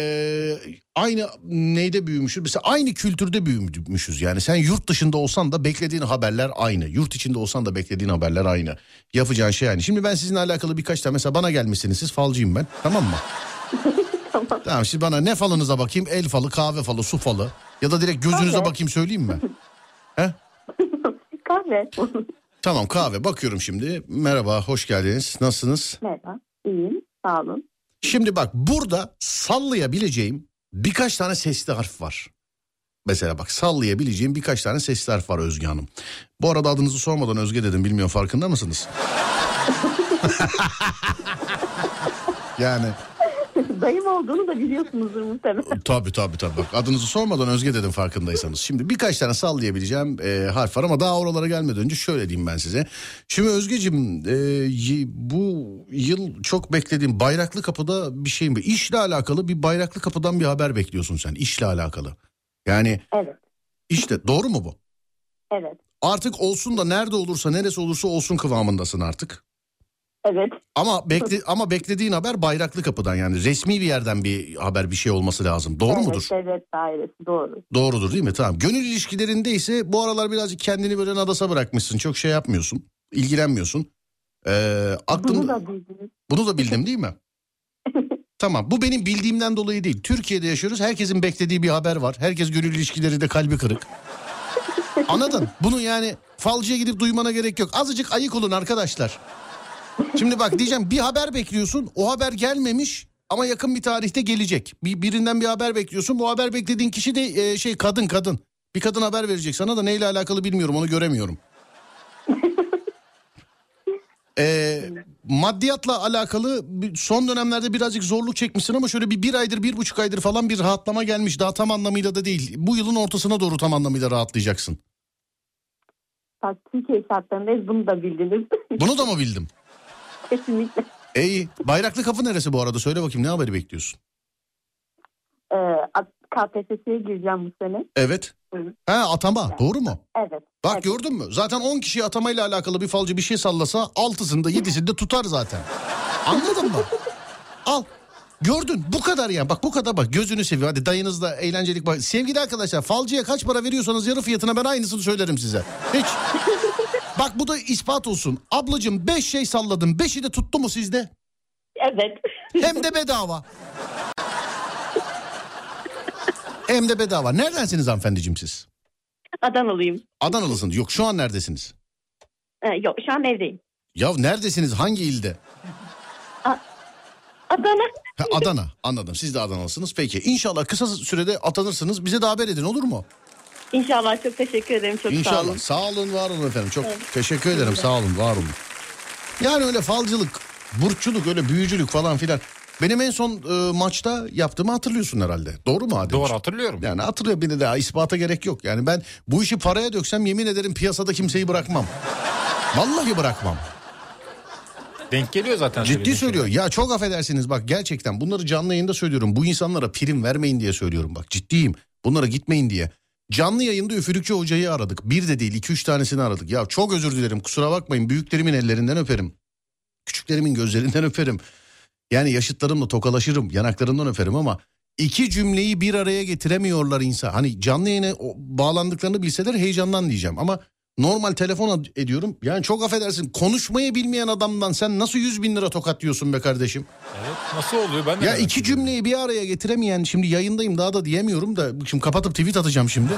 Speaker 2: aynı neyde büyümüşüz? Mesela aynı kültürde büyümüşüz. Yani sen yurt dışında olsan da beklediğin haberler aynı. Yurt içinde olsan da beklediğin haberler aynı. Yapacağın şey aynı. Şimdi ben sizinle alakalı birkaç tane mesela bana gelmişsiniz siz falcıyım ben tamam mı?
Speaker 7: Tamam.
Speaker 2: Tamam şimdi bana ne falınıza bakayım? El falı, kahve falı, su falı. Ya da direkt gözünüze
Speaker 7: Kahve.
Speaker 2: bakayım söyleyeyim mi?
Speaker 7: Kahve.
Speaker 2: Tamam kahve bakıyorum şimdi. Merhaba hoş geldiniz. Nasılsınız?
Speaker 7: Merhaba. İyiyim. Sağ olun.
Speaker 2: Şimdi bak burada sallayabileceğim birkaç tane sesli harf var. Mesela bak sallayabileceğim birkaç tane sesli harf var Özge Hanım. Bu arada adınızı sormadan Özge dedim bilmiyorum farkında mısınız? yani
Speaker 7: Dayım olduğunu da biliyorsunuzdur muhtemelen.
Speaker 2: Tabii tabii tabii. Bak adınızı sormadan Özge dedim farkındaysanız. Şimdi birkaç tane sallayabileceğim e, harf var ama daha oralara gelmeden önce şöyle diyeyim ben size. Şimdi Özgeciğim e, y- bu yıl çok beklediğim Bayraklı Kapı'da bir şeyim var. İşle alakalı bir Bayraklı Kapı'dan bir haber bekliyorsun sen işle alakalı. Yani
Speaker 7: Evet.
Speaker 2: işte doğru mu bu?
Speaker 7: Evet.
Speaker 2: Artık olsun da nerede olursa neresi olursa olsun kıvamındasın artık.
Speaker 7: Evet.
Speaker 2: Ama bekle ama beklediğin haber Bayraklı Kapı'dan yani resmi bir yerden bir haber bir şey olması lazım. Doğru
Speaker 7: evet,
Speaker 2: mudur?
Speaker 7: Devlet dairesi doğru.
Speaker 2: Doğrudur değil mi? Tamam. Gönül ilişkilerinde ise bu aralar birazcık kendini böyle nadasa bırakmışsın. Çok şey yapmıyorsun. ilgilenmiyorsun. Ee, aklım...
Speaker 7: Bunu da bildiniz.
Speaker 2: Bunu da bildim değil mi? tamam. Bu benim bildiğimden dolayı değil. Türkiye'de yaşıyoruz. Herkesin beklediği bir haber var. Herkes gönül ilişkileri de kalbi kırık. Anladın? Bunu yani falcıya gidip duymana gerek yok. Azıcık ayık olun arkadaşlar. Şimdi bak diyeceğim bir haber bekliyorsun. O haber gelmemiş ama yakın bir tarihte gelecek. Bir, birinden bir haber bekliyorsun. Bu haber beklediğin kişi de e, şey kadın kadın. Bir kadın haber verecek sana da neyle alakalı bilmiyorum onu göremiyorum. Ee, maddiyatla alakalı bir- son dönemlerde birazcık zorluk çekmişsin ama şöyle bir bir aydır bir buçuk aydır falan bir rahatlama gelmiş. Daha tam anlamıyla da değil. Bu yılın ortasına doğru tam anlamıyla rahatlayacaksın.
Speaker 7: Bak Türkiye şartlarındayız bunu da bildiniz.
Speaker 2: Bunu da mı bildim?
Speaker 7: Kesinlikle.
Speaker 2: İyi. Bayraklı kapı neresi bu arada? Söyle bakayım ne haberi bekliyorsun?
Speaker 7: Ee, KPSS'ye gireceğim bu sene.
Speaker 2: Evet.
Speaker 7: Hı.
Speaker 2: Ha atama. Doğru mu?
Speaker 7: Evet.
Speaker 2: Bak
Speaker 7: evet.
Speaker 2: gördün mü? Zaten 10 kişi atamayla alakalı bir falcı bir şey sallasa 6'sında 7'sinde tutar zaten. Anladın mı? Al. Gördün bu kadar yani bak bu kadar bak gözünü seviyor hadi dayınızla eğlencelik bak. Sevgili arkadaşlar falcıya kaç para veriyorsanız yarı fiyatına ben aynısını söylerim size. Hiç. bak bu da ispat olsun. Ablacığım 5 şey salladım 5'i de tuttu mu sizde?
Speaker 7: Evet.
Speaker 2: Hem de bedava. Hem de bedava. Neredensiniz hanımefendiciğim siz?
Speaker 8: Adanalıyım.
Speaker 2: Adanalısınız. Yok şu an neredesiniz?
Speaker 8: Ee, yok şu an evdeyim.
Speaker 2: Ya neredesiniz? Hangi ilde?
Speaker 8: Adana.
Speaker 2: Ha, Adana. Anladım. Siz de Adanalısınız. Peki. İnşallah kısa sürede atanırsınız. Bize de haber edin olur mu?
Speaker 8: İnşallah çok teşekkür ederim. Çok sağ
Speaker 2: İnşallah.
Speaker 8: olun.
Speaker 2: Sağ olun, var olun efendim. Çok teşekkür ederim. Sağ olun, var olun. Yani öyle falcılık, burççuluk, öyle büyücülük falan filan. Benim en son e, maçta yaptığımı hatırlıyorsun herhalde. Doğru mu Adem?
Speaker 3: Doğru hatırlıyorum.
Speaker 2: Yani hatırlıyor beni daha ispata gerek yok. Yani ben bu işi paraya döksem yemin ederim piyasada kimseyi bırakmam. Vallahi bırakmam.
Speaker 3: Denk geliyor zaten.
Speaker 2: Ciddi
Speaker 3: söylediğin
Speaker 2: söylüyor. Ya çok affedersiniz bak gerçekten bunları canlı yayında söylüyorum. Bu insanlara prim vermeyin diye söylüyorum bak ciddiyim. Bunlara gitmeyin diye. Canlı yayında üfürükçü hocayı aradık. Bir de değil iki üç tanesini aradık. Ya çok özür dilerim kusura bakmayın büyüklerimin ellerinden öperim. Küçüklerimin gözlerinden öperim. Yani yaşıtlarımla tokalaşırım yanaklarından öperim ama iki cümleyi bir araya getiremiyorlar insan. Hani canlı yayına o- bağlandıklarını bilseler heyecandan diyeceğim ama normal telefon ad- ediyorum. Yani çok affedersin konuşmayı bilmeyen adamdan sen nasıl 100 bin lira tokat diyorsun be kardeşim?
Speaker 3: şey. Evet, nasıl oluyor ben de
Speaker 2: Ya
Speaker 3: merak
Speaker 2: iki
Speaker 3: ediyorum.
Speaker 2: cümleyi bir araya getiremeyen şimdi yayındayım daha da diyemiyorum da şimdi kapatıp tweet atacağım şimdi.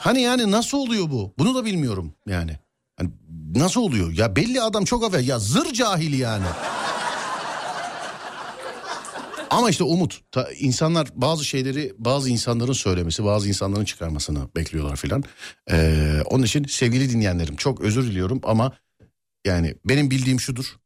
Speaker 2: hani yani nasıl oluyor bu? Bunu da bilmiyorum yani. Hani nasıl oluyor? Ya belli adam çok afer ya zır cahil yani. Ama işte umut. Ta- insanlar bazı şeyleri bazı insanların söylemesi, bazı insanların çıkarmasını bekliyorlar filan. Ee, onun için sevgili dinleyenlerim çok özür diliyorum ama yani benim bildiğim şudur.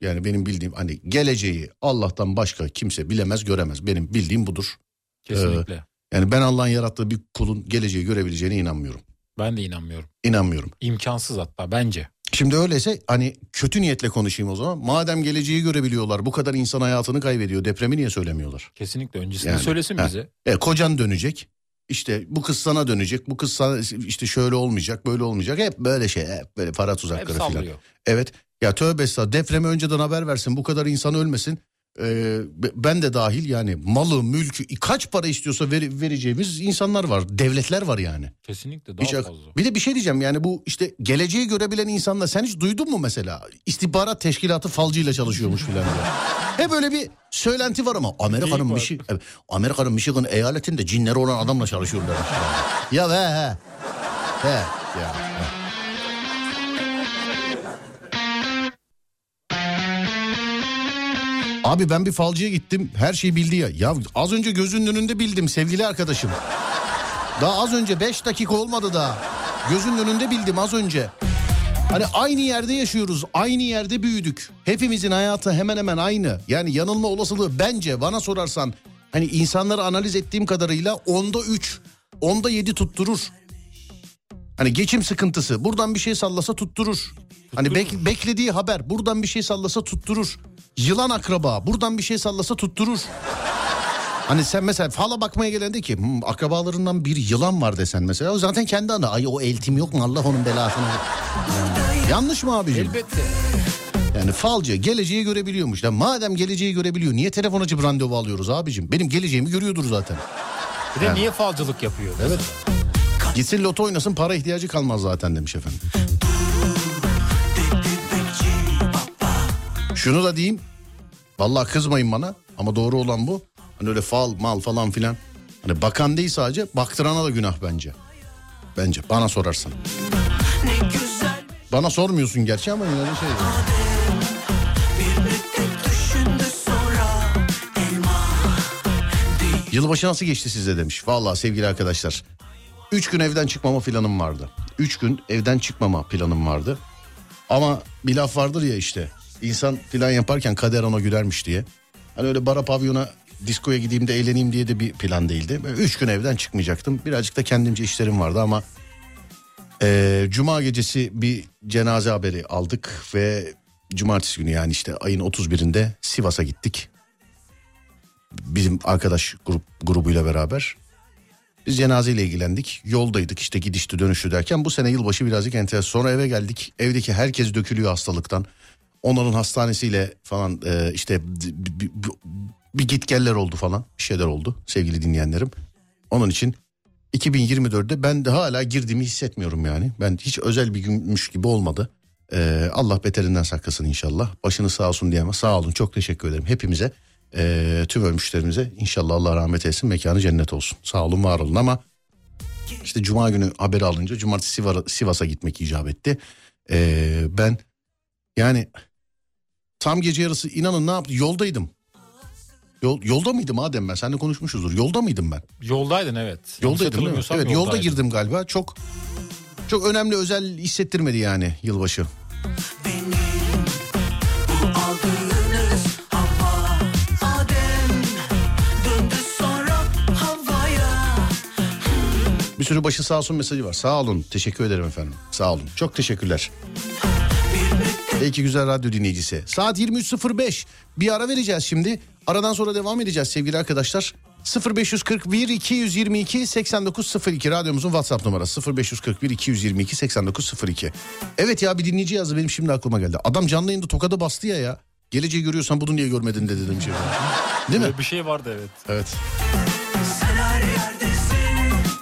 Speaker 2: Yani benim bildiğim hani geleceği Allah'tan başka kimse bilemez göremez. Benim bildiğim budur. Ee,
Speaker 3: Kesinlikle.
Speaker 2: e- Yani ben Allah'ın yarattığı bir kulun geleceği görebileceğine inanmıyorum.
Speaker 3: Ben de inanmıyorum.
Speaker 2: İnanmıyorum.
Speaker 3: İmkansız hatta bence.
Speaker 2: Şimdi öyleyse hani kötü niyetle konuşayım o zaman. Madem geleceği görebiliyorlar bu kadar insan hayatını kaybediyor depremi niye söylemiyorlar?
Speaker 3: Kesinlikle öncesini
Speaker 2: Yani,
Speaker 3: söylesin
Speaker 2: ha.
Speaker 3: bize.
Speaker 2: E, kocan dönecek. İşte bu kız sana dönecek. Bu kız sana işte şöyle olmayacak böyle olmayacak. Hep böyle şey hep böyle para
Speaker 3: Hep
Speaker 2: tuzakları filan.
Speaker 3: sallıyor.
Speaker 2: Evet. Ya tövbe estağfurullah. Depremi önceden haber versin. Bu kadar insan ölmesin. Ee, be- ben de dahil yani malı, mülkü kaç para istiyorsa veri- vereceğimiz insanlar var. Devletler var yani.
Speaker 3: Kesinlikle
Speaker 2: Hiç
Speaker 3: daha
Speaker 2: ak-
Speaker 3: fazla.
Speaker 2: bir de bir şey diyeceğim yani bu işte geleceği görebilen insanlar sen hiç duydun mu mesela? İstihbarat teşkilatı falcıyla çalışıyormuş filan diye. Hep böyle bir söylenti var ama Amerika'nın
Speaker 3: var.
Speaker 2: Michi- evet, Amerika'nın Michigan eyaletinde cinleri olan adamla çalışıyorlar. ya he he. He ya. he. Abi ben bir falcıya gittim her şeyi bildi ya. Ya az önce gözünün önünde bildim sevgili arkadaşım. Daha az önce 5 dakika olmadı daha. Gözünün önünde bildim az önce. Hani aynı yerde yaşıyoruz, aynı yerde büyüdük. Hepimizin hayatı hemen hemen aynı. Yani yanılma olasılığı bence bana sorarsan hani insanları analiz ettiğim kadarıyla onda 3, onda 7 tutturur. Hani geçim sıkıntısı buradan bir şey sallasa tutturur. Hani bek- beklediği haber buradan bir şey sallasa tutturur. Yılan akraba buradan bir şey sallasa tutturur. Hani sen mesela fala bakmaya gelen de ki "Hmm, akrabalarından bir yılan var desen mesela o zaten kendi ana. Ay o eltim yok mu Allah onun belasını. Yani Yanlış mı abicim?
Speaker 3: Elbette.
Speaker 2: Yani falcı geleceği görebiliyormuş. Ya madem geleceği görebiliyor niye telefon açıp randevu alıyoruz abicim? Benim geleceğimi görüyordur zaten.
Speaker 3: Bir de niye falcılık yapıyor? Evet.
Speaker 2: Gitsin loto oynasın para ihtiyacı kalmaz zaten demiş efendim. Şunu da diyeyim. Vallahi kızmayın bana ama doğru olan bu. Hani öyle fal mal falan filan. Hani bakan değil sadece baktırana da günah bence. Bence bana sorarsan. Bana sormuyorsun gerçi ama yine de şey. Yılbaşı nasıl geçti size demiş. Vallahi sevgili arkadaşlar. Üç gün evden çıkmama planım vardı. Üç gün evden çıkmama planım vardı. Ama bir laf vardır ya işte. İnsan plan yaparken kader ona gülermiş diye. Hani öyle bara pavyona diskoya gideyim de eğleneyim diye de bir plan değildi. Böyle üç gün evden çıkmayacaktım. Birazcık da kendimce işlerim vardı ama... eee, Ee, Cuma gecesi bir cenaze haberi aldık ve cumartesi günü yani işte ayın 31'inde Sivas'a gittik. Bizim arkadaş grup grubuyla beraber. Biz cenazeyle ilgilendik. Yoldaydık işte gidişti dönüştü derken bu sene yılbaşı birazcık enteresan. Sonra eve geldik. Evdeki herkes dökülüyor hastalıktan. Onların hastanesiyle falan e, işte bir, bir, bir- bir gitgeller oldu falan. Bir şeyler oldu sevgili dinleyenlerim. Onun için 2024'te ben de hala girdiğimi hissetmiyorum yani. Ben hiç özel bir günmüş gibi olmadı. Ee, E, Allah beterinden saklasın inşallah. Başını sağ olsun diyemez. Sağ olun çok teşekkür ederim hepimize. E, Ee, tüm ölmüşlerimize inşallah Allah rahmet eylesin mekanı cennet olsun. Sağ olun var olun ama işte cuma günü haberi alınca cumartesi Sivar- Sivas'a gitmek icap etti. Ee, ben yani tam gece yarısı inanın ne yaptım yoldaydım. Yol, yolda mıydım Adem ben seninle konuşmuşuzdur yolda mıydım ben?
Speaker 3: Yoldaydın evet. Yanlış
Speaker 2: Yoldaydım değil mi?
Speaker 3: hatırlamıyorsam
Speaker 2: Evet yolda
Speaker 3: yoldaydın.
Speaker 2: girdim galiba. Çok çok önemli özel hissettirmedi yani yılbaşı.
Speaker 5: Aldığınız hava Adem Döndü sonra havaya
Speaker 2: Bir sürü başı sağ olsun mesajı var. Sağ olun. Teşekkür ederim efendim. Sağ olun. Çok teşekkürler. Peki güzel radyo dinleyicisi. Saat 23.05. Bir ara vereceğiz şimdi. Aradan sonra devam edeceğiz sevgili arkadaşlar. 0541 222 8902 radyomuzun WhatsApp numarası 0541 222 8902. Evet ya bir dinleyici yazdı benim şimdi aklıma geldi. Adam canlı yayında tokadı bastı ya ya. Geleceği görüyorsan bunu niye görmedin de dedim şey. Değil mi?
Speaker 3: Böyle Bir şey vardı evet.
Speaker 2: Evet.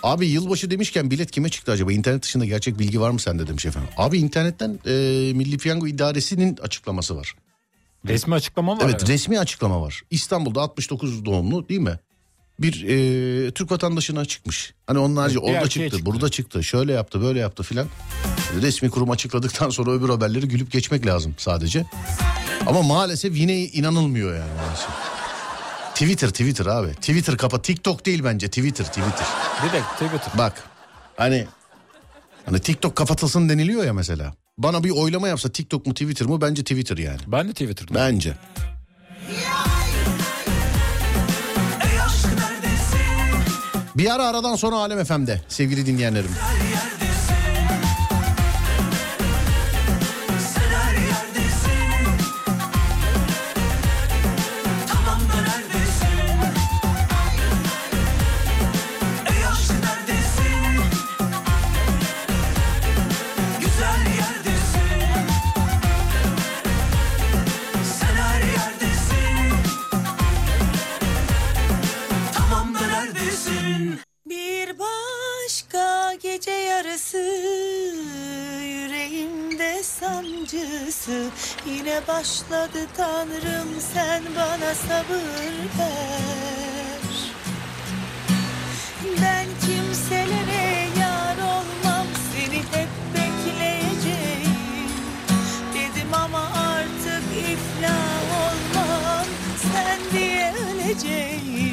Speaker 2: Abi yılbaşı demişken bilet kime çıktı acaba? İnternet dışında gerçek bilgi var mı sende demiş efendim. Abi internetten e, Milli Piyango İdaresi'nin açıklaması var.
Speaker 3: Resmi açıklama var.
Speaker 2: evet resmi açıklama var. İstanbul'da 69 doğumlu değil mi? Bir e, Türk vatandaşına çıkmış. Hani onun harici
Speaker 3: Evet, bir
Speaker 2: orada
Speaker 3: erkeğe
Speaker 2: çıktı,
Speaker 3: çıktı.
Speaker 2: burada çıktı, şöyle yaptı, böyle yaptı filan. Resmi kurum açıkladıktan sonra öbür haberleri gülüp geçmek lazım sadece. Ama maalesef yine inanılmıyor yani. maalesef. Twitter, Twitter abi. Twitter kapat. TikTok değil bence. Twitter, Twitter.
Speaker 3: Direkt Twitter.
Speaker 2: Bak hani hani TikTok kapatılsın deniliyor ya mesela. Bana bir oylama yapsa TikTok mu Twitter mı bence Twitter yani.
Speaker 3: Ben de Twitter'da.
Speaker 2: Bence.
Speaker 5: Ey aşk neredesin?
Speaker 2: Bir ara aradan sonra Alem FM'de sevgili dinleyenlerim.
Speaker 5: Her yerdesin Sen her yerdesin Tamam da neredesin? Ey aşk neredesin? Güzel yerdesin Sen her yerdesin Tamam da neredesin?
Speaker 9: Bir başka gece yarısı yüreğimde sancısı yine başladı tanrım sen bana sabır ver. Ben kimselere yar olmam seni hep bekleyeceğim Dedim ama artık iflah olmam sen diye öleceğim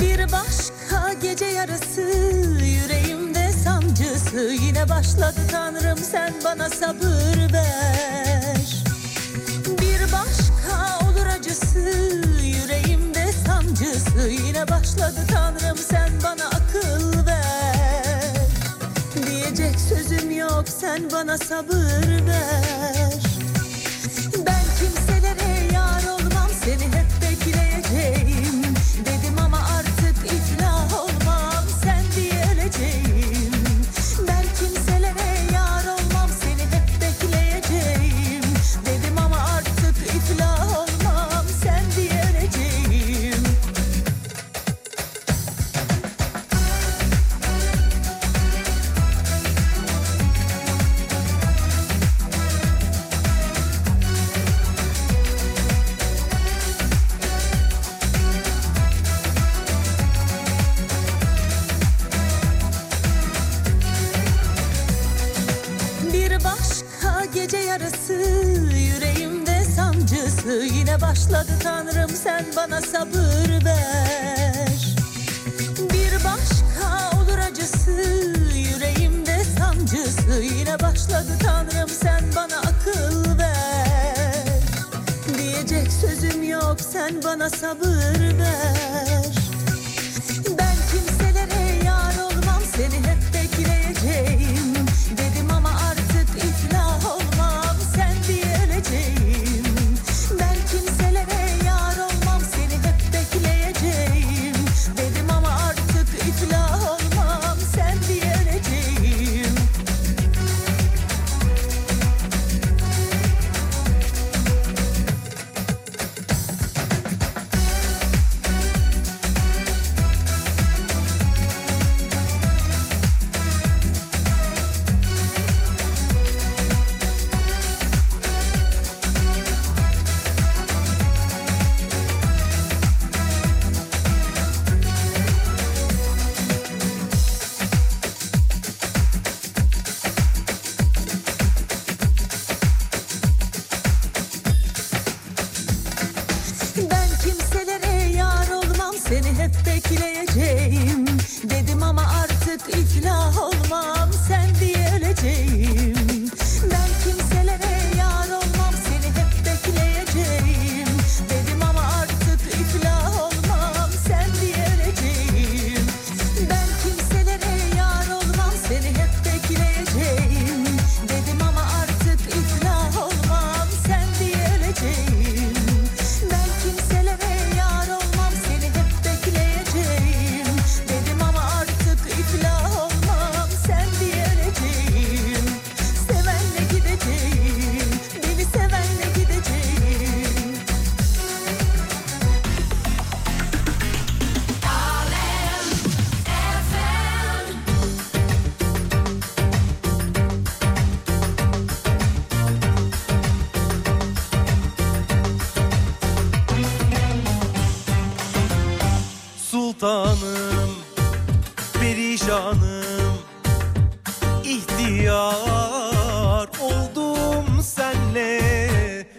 Speaker 9: Bir başka gece yarısı yüreğimde sancısı yine başladı tanrım sen bana sabır ver. Bir başka olur acısı yüreğimde sancısı yine başladı tanrım sen bana akıl ver. Diyecek sözüm yok sen bana sabır ver. Ben kimselere yar olmam seni hep bekleyeceğim Dedim ama artık iflah olmam sen diye öleceğim Ben kimselere yar olmam seni hep bekleyeceğim Dedim ama artık iflah olmam sen diye öleceğim Bir başka gece yarısı yüreğimde sancısı yine başladı tanrım sen bana sabır ver. Bir başka olur acısı yüreğimde sancısı yine başladı tanrım sen bana akıl ver. Diyecek sözüm yok sen bana sabır ver. Ben kimselere yar olmam seni hep bekleyeceğim Dedim ama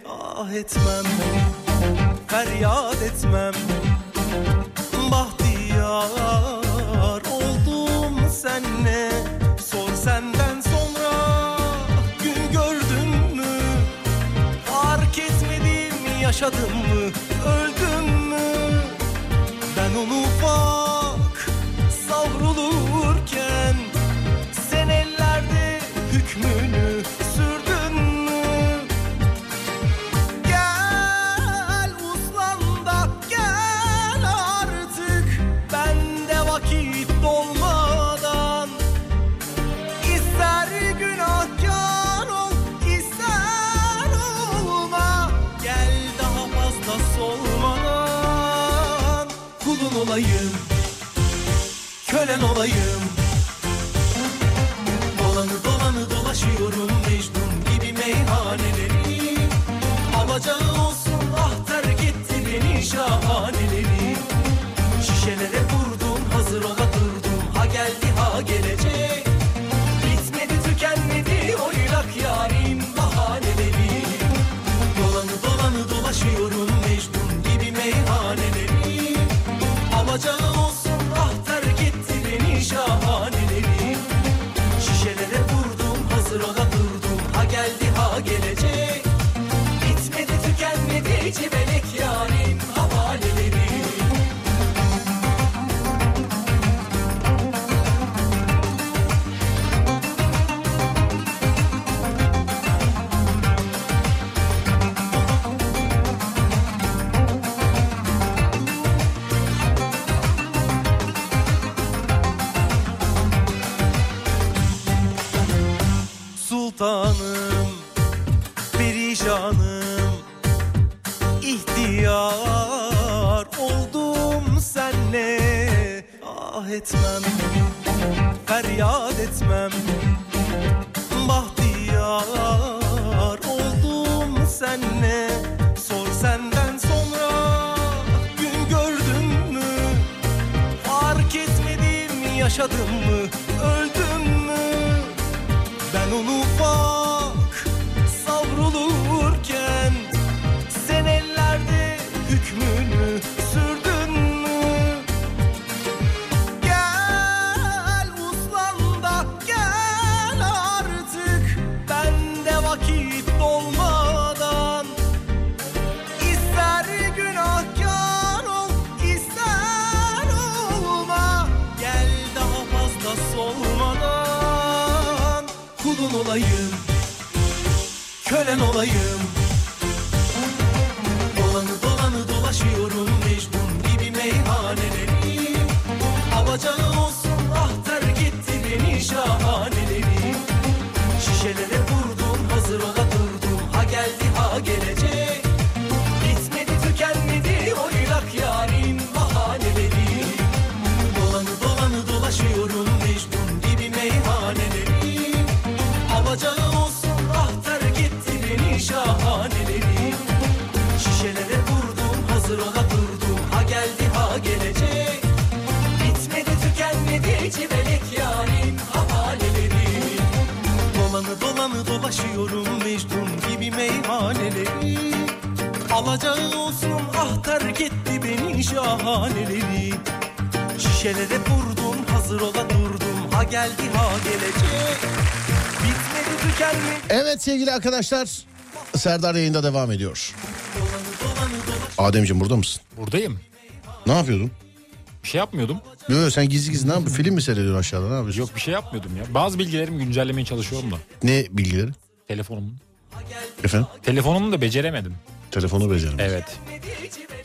Speaker 10: ah etmem Feryat etmem Bahtiyar oldum senle Sor senden sonra gün gördün mü Fark etmedim yaşadım mı öldüm mü Ben onu bak savrulurken Sen ellerde hükmünü sürdün mü Gel uslan da gel artık Bende vakit dolmadan İster günahkar ol ister olma Gel daha fazla solmadan Kulun olayım Kölen olayım Dolanı dolanı dolaşıyorum Mecnun gibi meyhaneleri Alacağı olsun ah terk etti beni şahaneleri Şişelere vurdum hazır ola durdum Ha geldi ha gelecek Bitmedi tükenmedi oynak yarim bahaneleri Dolanı dolanı dolaşıyorum Mecnun gibi meyhaneleri Alacağı olsun ah terk etti beni şahaneleri Şişelere vurdum hazır ola durdum Ha geldi ha gelecek Bitmedi tükenmedi civelek yarim havaleleri Sultanım, perişanım, ihtiyar oldum senle. Ah etmem, feryat etmem, bahtiyar oldum senle. Sor senden sonra gün gördün mü? Fark etmedim yaşadım mı? Öldüm mü? Ben onu bak savrulurken Sen ellerde hükmünü sürdün mü? Gel uslan da gel artık Bende vakit dolmadan İster günahkar ol, ister olma Gel daha fazla solmadan Kulun olayım, kölen olayım Dolanı dolanı dolaşıyorum Mecnun gibi meyhaneleri Alacağı olsun ah terk etti beni şahaneleri Şişelere vurdum hazır ola durdum Ha geldi ha gelecek Bitmedi tükenmedi oynak yarim bahaneleri Dolanı dolanı dolaşıyorum Mecnun gibi meyhaneleri Alacağı olsun ah terk etti beni şahaneleri Şişelere vurdum hazır ola durdum Ha geldi ha gelecek Bitmedi tükenmedi civelek yarim havaleleri Dolanı dolanı dolaşıyorum Mecnun gibi meyhaneleri Alacağı olsun ah terk etti beni şahaneleri Şişelere vurdum hazır ola durdum Ha geldi ha gelecek Bitmedi tükenmedi
Speaker 2: Evet sevgili arkadaşlar Serdar yayında devam ediyor. Ademciğim burada mısın?
Speaker 3: Buradayım.
Speaker 2: Ne yapıyordun?
Speaker 3: Bir şey yapmıyordum.
Speaker 2: Yok yok, sen gizli gizli ne yapıyorsun? Film mi seyrediyorsun aşağıda ne yapıyorsun?
Speaker 3: Yok bir şey yapmıyordum ya. Bazı bilgilerimi güncellemeye çalışıyorum da.
Speaker 2: Ne bilgileri?
Speaker 3: Telefonumun.
Speaker 2: Efendim?
Speaker 3: Telefonumu da beceremedim.
Speaker 2: Telefonu beceremez.
Speaker 3: Evet.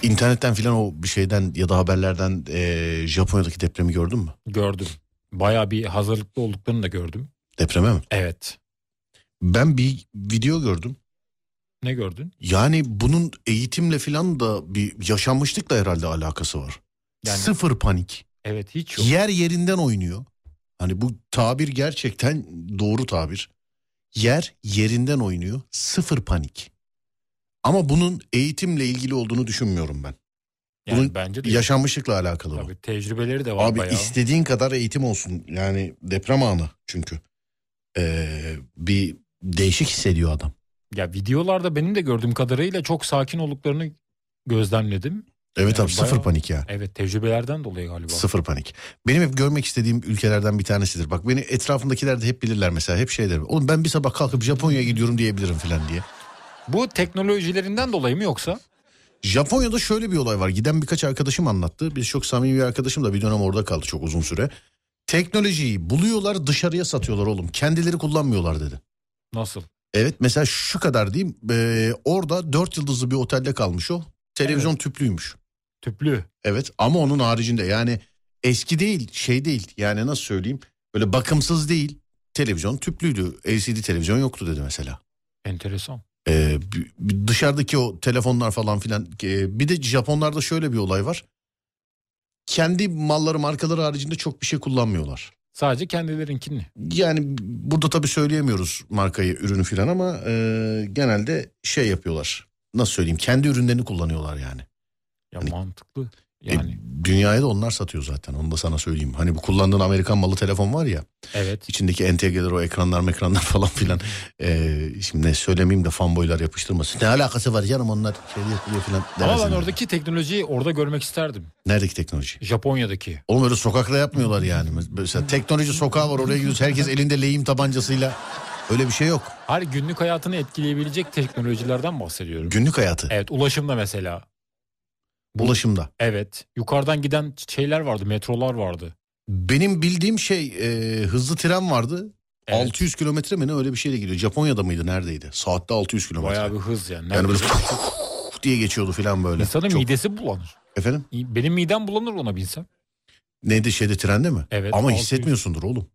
Speaker 2: İnternetten filan o bir şeyden ya da haberlerden eee, Japonya'daki depremi gördün mü?
Speaker 3: Gördüm. Baya bir hazırlıklı olduklarını da gördüm.
Speaker 2: Depreme mi?
Speaker 3: Evet.
Speaker 2: Ben bir video gördüm.
Speaker 3: Ne gördün?
Speaker 2: Yani bunun eğitimle filan da bir yaşanmışlıkla herhalde alakası var.
Speaker 3: Yani-
Speaker 2: Sıfır panik.
Speaker 3: Evet hiç yok.
Speaker 2: Yer yerinden oynuyor. Hani bu tabir gerçekten doğru tabir. Yer yerinden oynuyor. Sıfır panik. Ama bunun eğitimle ilgili olduğunu düşünmüyorum ben.
Speaker 3: Yani
Speaker 2: bunun
Speaker 3: bence de yok.
Speaker 2: Yaşanmışlıkla alakalı bu.
Speaker 3: Tabii tecrübeleri de var
Speaker 2: Abi
Speaker 3: bayağı.
Speaker 2: istediğin kadar eğitim olsun. Yani deprem anı çünkü. Ee, bir değişik hissediyor adam.
Speaker 3: Ya videolarda benim de gördüğüm kadarıyla çok sakin olduklarını gözlemledim.
Speaker 2: Evet
Speaker 3: Yani
Speaker 2: abi sıfır
Speaker 3: bayağı-
Speaker 2: panik yani.
Speaker 3: Evet tecrübelerden dolayı galiba.
Speaker 2: Sıfır panik. Benim hep görmek istediğim ülkelerden bir tanesidir. Bak beni etrafımdakiler de hep bilirler mesela. Hep şey derim. Oğlum ben bir sabah kalkıp Japonya'ya gidiyorum diyebilirim falan diye.
Speaker 3: Bu teknolojilerinden dolayı mı yoksa?
Speaker 2: Japonya'da şöyle bir olay var. Giden birkaç arkadaşım anlattı. Biz çok samimi bir arkadaşım da bir dönem orada kaldı çok uzun süre. Teknolojiyi buluyorlar dışarıya satıyorlar oğlum. Kendileri kullanmıyorlar dedi.
Speaker 3: Nasıl?
Speaker 2: Evet mesela şu kadar diyeyim. Ee, orada dört yıldızlı bir otelde kalmış o. Televizyon tüplüymüş.
Speaker 3: Tüplü.
Speaker 2: Evet ama onun haricinde yani eski değil şey değil yani nasıl söyleyeyim böyle bakımsız değil televizyon tüplüydü LCD televizyon yoktu dedi mesela.
Speaker 3: Enteresan.
Speaker 2: Ee, b- b- dışarıdaki o telefonlar falan filan ee, bir de Japonlarda şöyle bir olay var. Kendi malları markaları haricinde çok bir şey kullanmıyorlar.
Speaker 3: Sadece kendilerinkini.
Speaker 2: Yani burada tabii söyleyemiyoruz markayı ürünü filan ama ee, genelde şey yapıyorlar nasıl söyleyeyim kendi ürünlerini kullanıyorlar yani.
Speaker 3: Ya
Speaker 2: Hani-
Speaker 3: mantıklı.
Speaker 2: E,
Speaker 3: Yani
Speaker 2: dünyaya da onlar satıyor zaten onu da sana söyleyeyim. Hani bu kullandığın Amerikan malı telefon var ya
Speaker 3: evet.
Speaker 2: içindeki entegreler o ekranlar mekranlar falan filan. E, şimdi ne söylemeyeyim de fanboylar yapıştırmasın. Ne alakası var canım onlar şey yapıyor filan.
Speaker 3: Ama
Speaker 2: dersin.
Speaker 3: ben oradaki teknolojiyi orada görmek isterdim.
Speaker 2: Neredeki teknoloji?
Speaker 3: Japonya'daki.
Speaker 2: Oğlum öyle sokakta yapmıyorlar yani. Mesela teknoloji sokağı var oraya gidiyoruz herkes elinde lehim tabancasıyla. Öyle bir şey yok.
Speaker 3: Her günlük hayatını etkileyebilecek teknolojilerden bahsediyorum.
Speaker 2: Günlük hayatı.
Speaker 3: Evet ulaşımda mesela.
Speaker 2: Ulaşımda.
Speaker 3: Evet. Yukarıdan giden şeyler vardı. Metrolar vardı.
Speaker 2: Benim bildiğim şey e, hızlı tren vardı.
Speaker 3: Evet.
Speaker 2: 600 kilometre mi ne öyle bir şeyle gidiyor. Japonya'da mıydı neredeydi? Saatte 600 kilometre.
Speaker 3: Bayağı bir hız yani.
Speaker 2: Yani böyle
Speaker 3: Neredeyse-
Speaker 2: diye geçiyordu falan böyle.
Speaker 3: İnsanın
Speaker 2: Çok-
Speaker 3: midesi bulanır.
Speaker 2: Efendim?
Speaker 3: Benim midem bulanır ona binsem.
Speaker 2: Neydi şeyde trende mi?
Speaker 3: Evet,
Speaker 2: Ama
Speaker 3: 600.
Speaker 2: hissetmiyorsundur oğlum.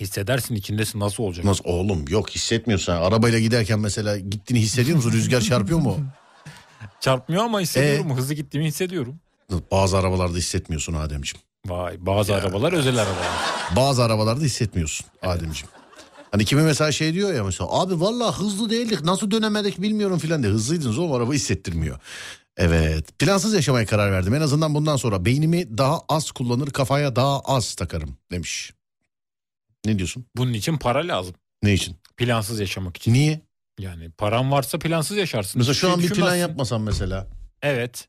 Speaker 3: Hissedersin içindesin nasıl olacak?
Speaker 2: Nasıl oğlum yok hissetmiyorsun. Arabayla giderken mesela gittiğini hissediyor musun? Rüzgar çarpıyor mu? E?
Speaker 3: Çarpmıyor ama hissediyorum. Hızlı gittiğimi hissediyorum.
Speaker 2: Bazı arabalarda hissetmiyorsun Ademciğim.
Speaker 3: Vay bazı arabalar özel arabalar.
Speaker 2: Bazı arabalarda hissetmiyorsun Ademciğim. Hani kimi mesela şey diyor ya mesela abi valla hızlı değildik nasıl dönemedik bilmiyorum filan de hızlıydınız oğlum araba hissettirmiyor. Evet plansız yaşamaya karar verdim en azından bundan sonra beynimi daha az kullanır kafaya daha az takarım demiş. Ne diyorsun?
Speaker 3: Bunun için para lazım.
Speaker 2: Ne için?
Speaker 3: Plansız yaşamak için.
Speaker 2: Niye?
Speaker 3: Yani paran varsa plansız yaşarsın.
Speaker 2: Mesela
Speaker 3: Hiçbir
Speaker 2: şu
Speaker 3: şey
Speaker 2: an bir plan
Speaker 3: düşünmezsin.
Speaker 2: yapmasan mesela.
Speaker 3: Evet.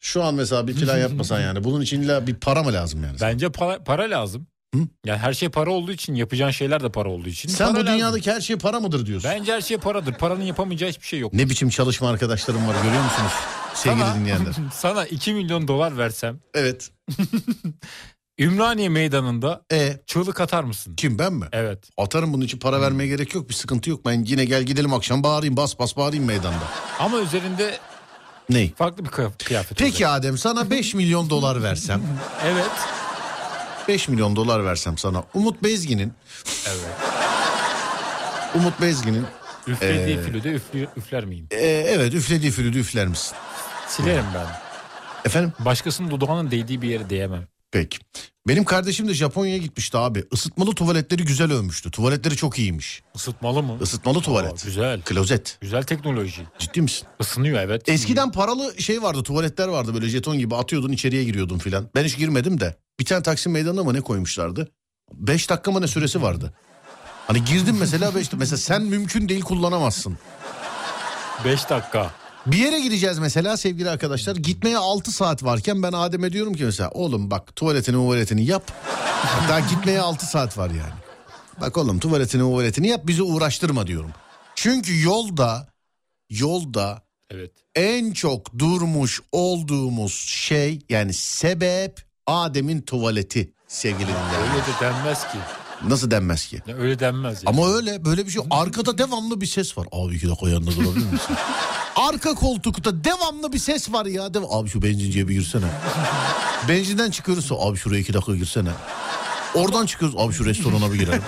Speaker 2: Şu an mesela bir plan yapmasan yani. Bunun için illa bir para mı lazım yani?
Speaker 3: Bence para, para lazım.
Speaker 2: Hı?
Speaker 3: Yani her şey para olduğu için yapacağın şeyler de para olduğu için.
Speaker 2: Sen
Speaker 3: para
Speaker 2: bu
Speaker 3: lazım.
Speaker 2: dünyadaki her şey para mıdır diyorsun?
Speaker 3: Bence her şey paradır. Paranın yapamayacağı hiçbir şey yok.
Speaker 2: Ne biçim çalışma arkadaşlarım var görüyor musunuz? Sevgili
Speaker 3: Sana-
Speaker 2: dinleyenler.
Speaker 3: Sana 2 milyon dolar versem
Speaker 2: Evet.
Speaker 3: Ümraniye meydanında
Speaker 2: E
Speaker 3: çığlık atar mısın?
Speaker 2: kim ben mi?
Speaker 3: Evet.
Speaker 2: Atarım bunun için para vermeye gerek yok. Bir sıkıntı yok. Ben yine gel gidelim akşam bağırayım bas bas bağırayım meydanda.
Speaker 3: Ama üzerinde
Speaker 2: Ney?
Speaker 3: farklı bir kıyaf- kıyafet
Speaker 2: Peki
Speaker 3: olacak.
Speaker 2: Adem sana 5 milyon dolar versem.
Speaker 3: Evet.
Speaker 2: 5 milyon dolar versem sana. Umut Bezgin'in.
Speaker 3: Evet.
Speaker 2: Umut Bezgin'in.
Speaker 3: Üflediği
Speaker 2: Ee,
Speaker 3: flüde üflü- üfler miyim?
Speaker 2: e, evet üflediği flütü üfler misin?
Speaker 3: Silerim ben.
Speaker 2: Efendim?
Speaker 3: Başkasının dudağının değdiği bir yere değemem.
Speaker 2: Peki. Benim kardeşim de Japonya'ya gitmişti abi. Isıtmalı tuvaletleri güzel övmüştü. Tuvaletleri çok iyiymiş.
Speaker 3: Isıtmalı mı?
Speaker 2: Isıtmalı tuvalet.
Speaker 3: Aa, güzel.
Speaker 2: Klozet.
Speaker 3: Güzel teknoloji.
Speaker 2: Ciddi misin?
Speaker 3: Isınıyor evet.
Speaker 2: Eskiden paralı şey vardı tuvaletler vardı böyle jeton gibi atıyordun içeriye giriyordun filan. Ben hiç girmedim de bir tane Taksim Meydanı'na mı ne koymuşlardı? 5 dakika mı ne süresi vardı? Hani girdin mesela 5 mesela sen mümkün değil kullanamazsın.
Speaker 3: 5 dakika.
Speaker 2: Bir yere gideceğiz mesela sevgili arkadaşlar. Gitmeye 6 saat varken ben Adem'e diyorum ki mesela oğlum bak tuvaletini tuvaletini yap. Bak Daha gitmeye 6 saat var yani. Bak oğlum tuvaletini tuvaletini yap bizi uğraştırma diyorum. Çünkü yolda yolda
Speaker 3: Evet.
Speaker 2: en çok durmuş olduğumuz şey yani sebep Adem'in tuvaleti sevgili dinleyenler.
Speaker 3: Öyle de denmez ki.
Speaker 2: Nasıl denmez ki?
Speaker 3: Ya öyle denmez. yani.
Speaker 2: Ama öyle böyle bir şey. Arkada devamlı bir ses var. Abi iki dakika yanında durabilir misin? Arka koltukta devamlı bir ses var ya. Dev abi şu benzinciye bir girsene. Benzinden çıkıyoruz. Abi şuraya iki dakika girsene. Oradan çıkıyoruz. Abi şu restorana bir girelim.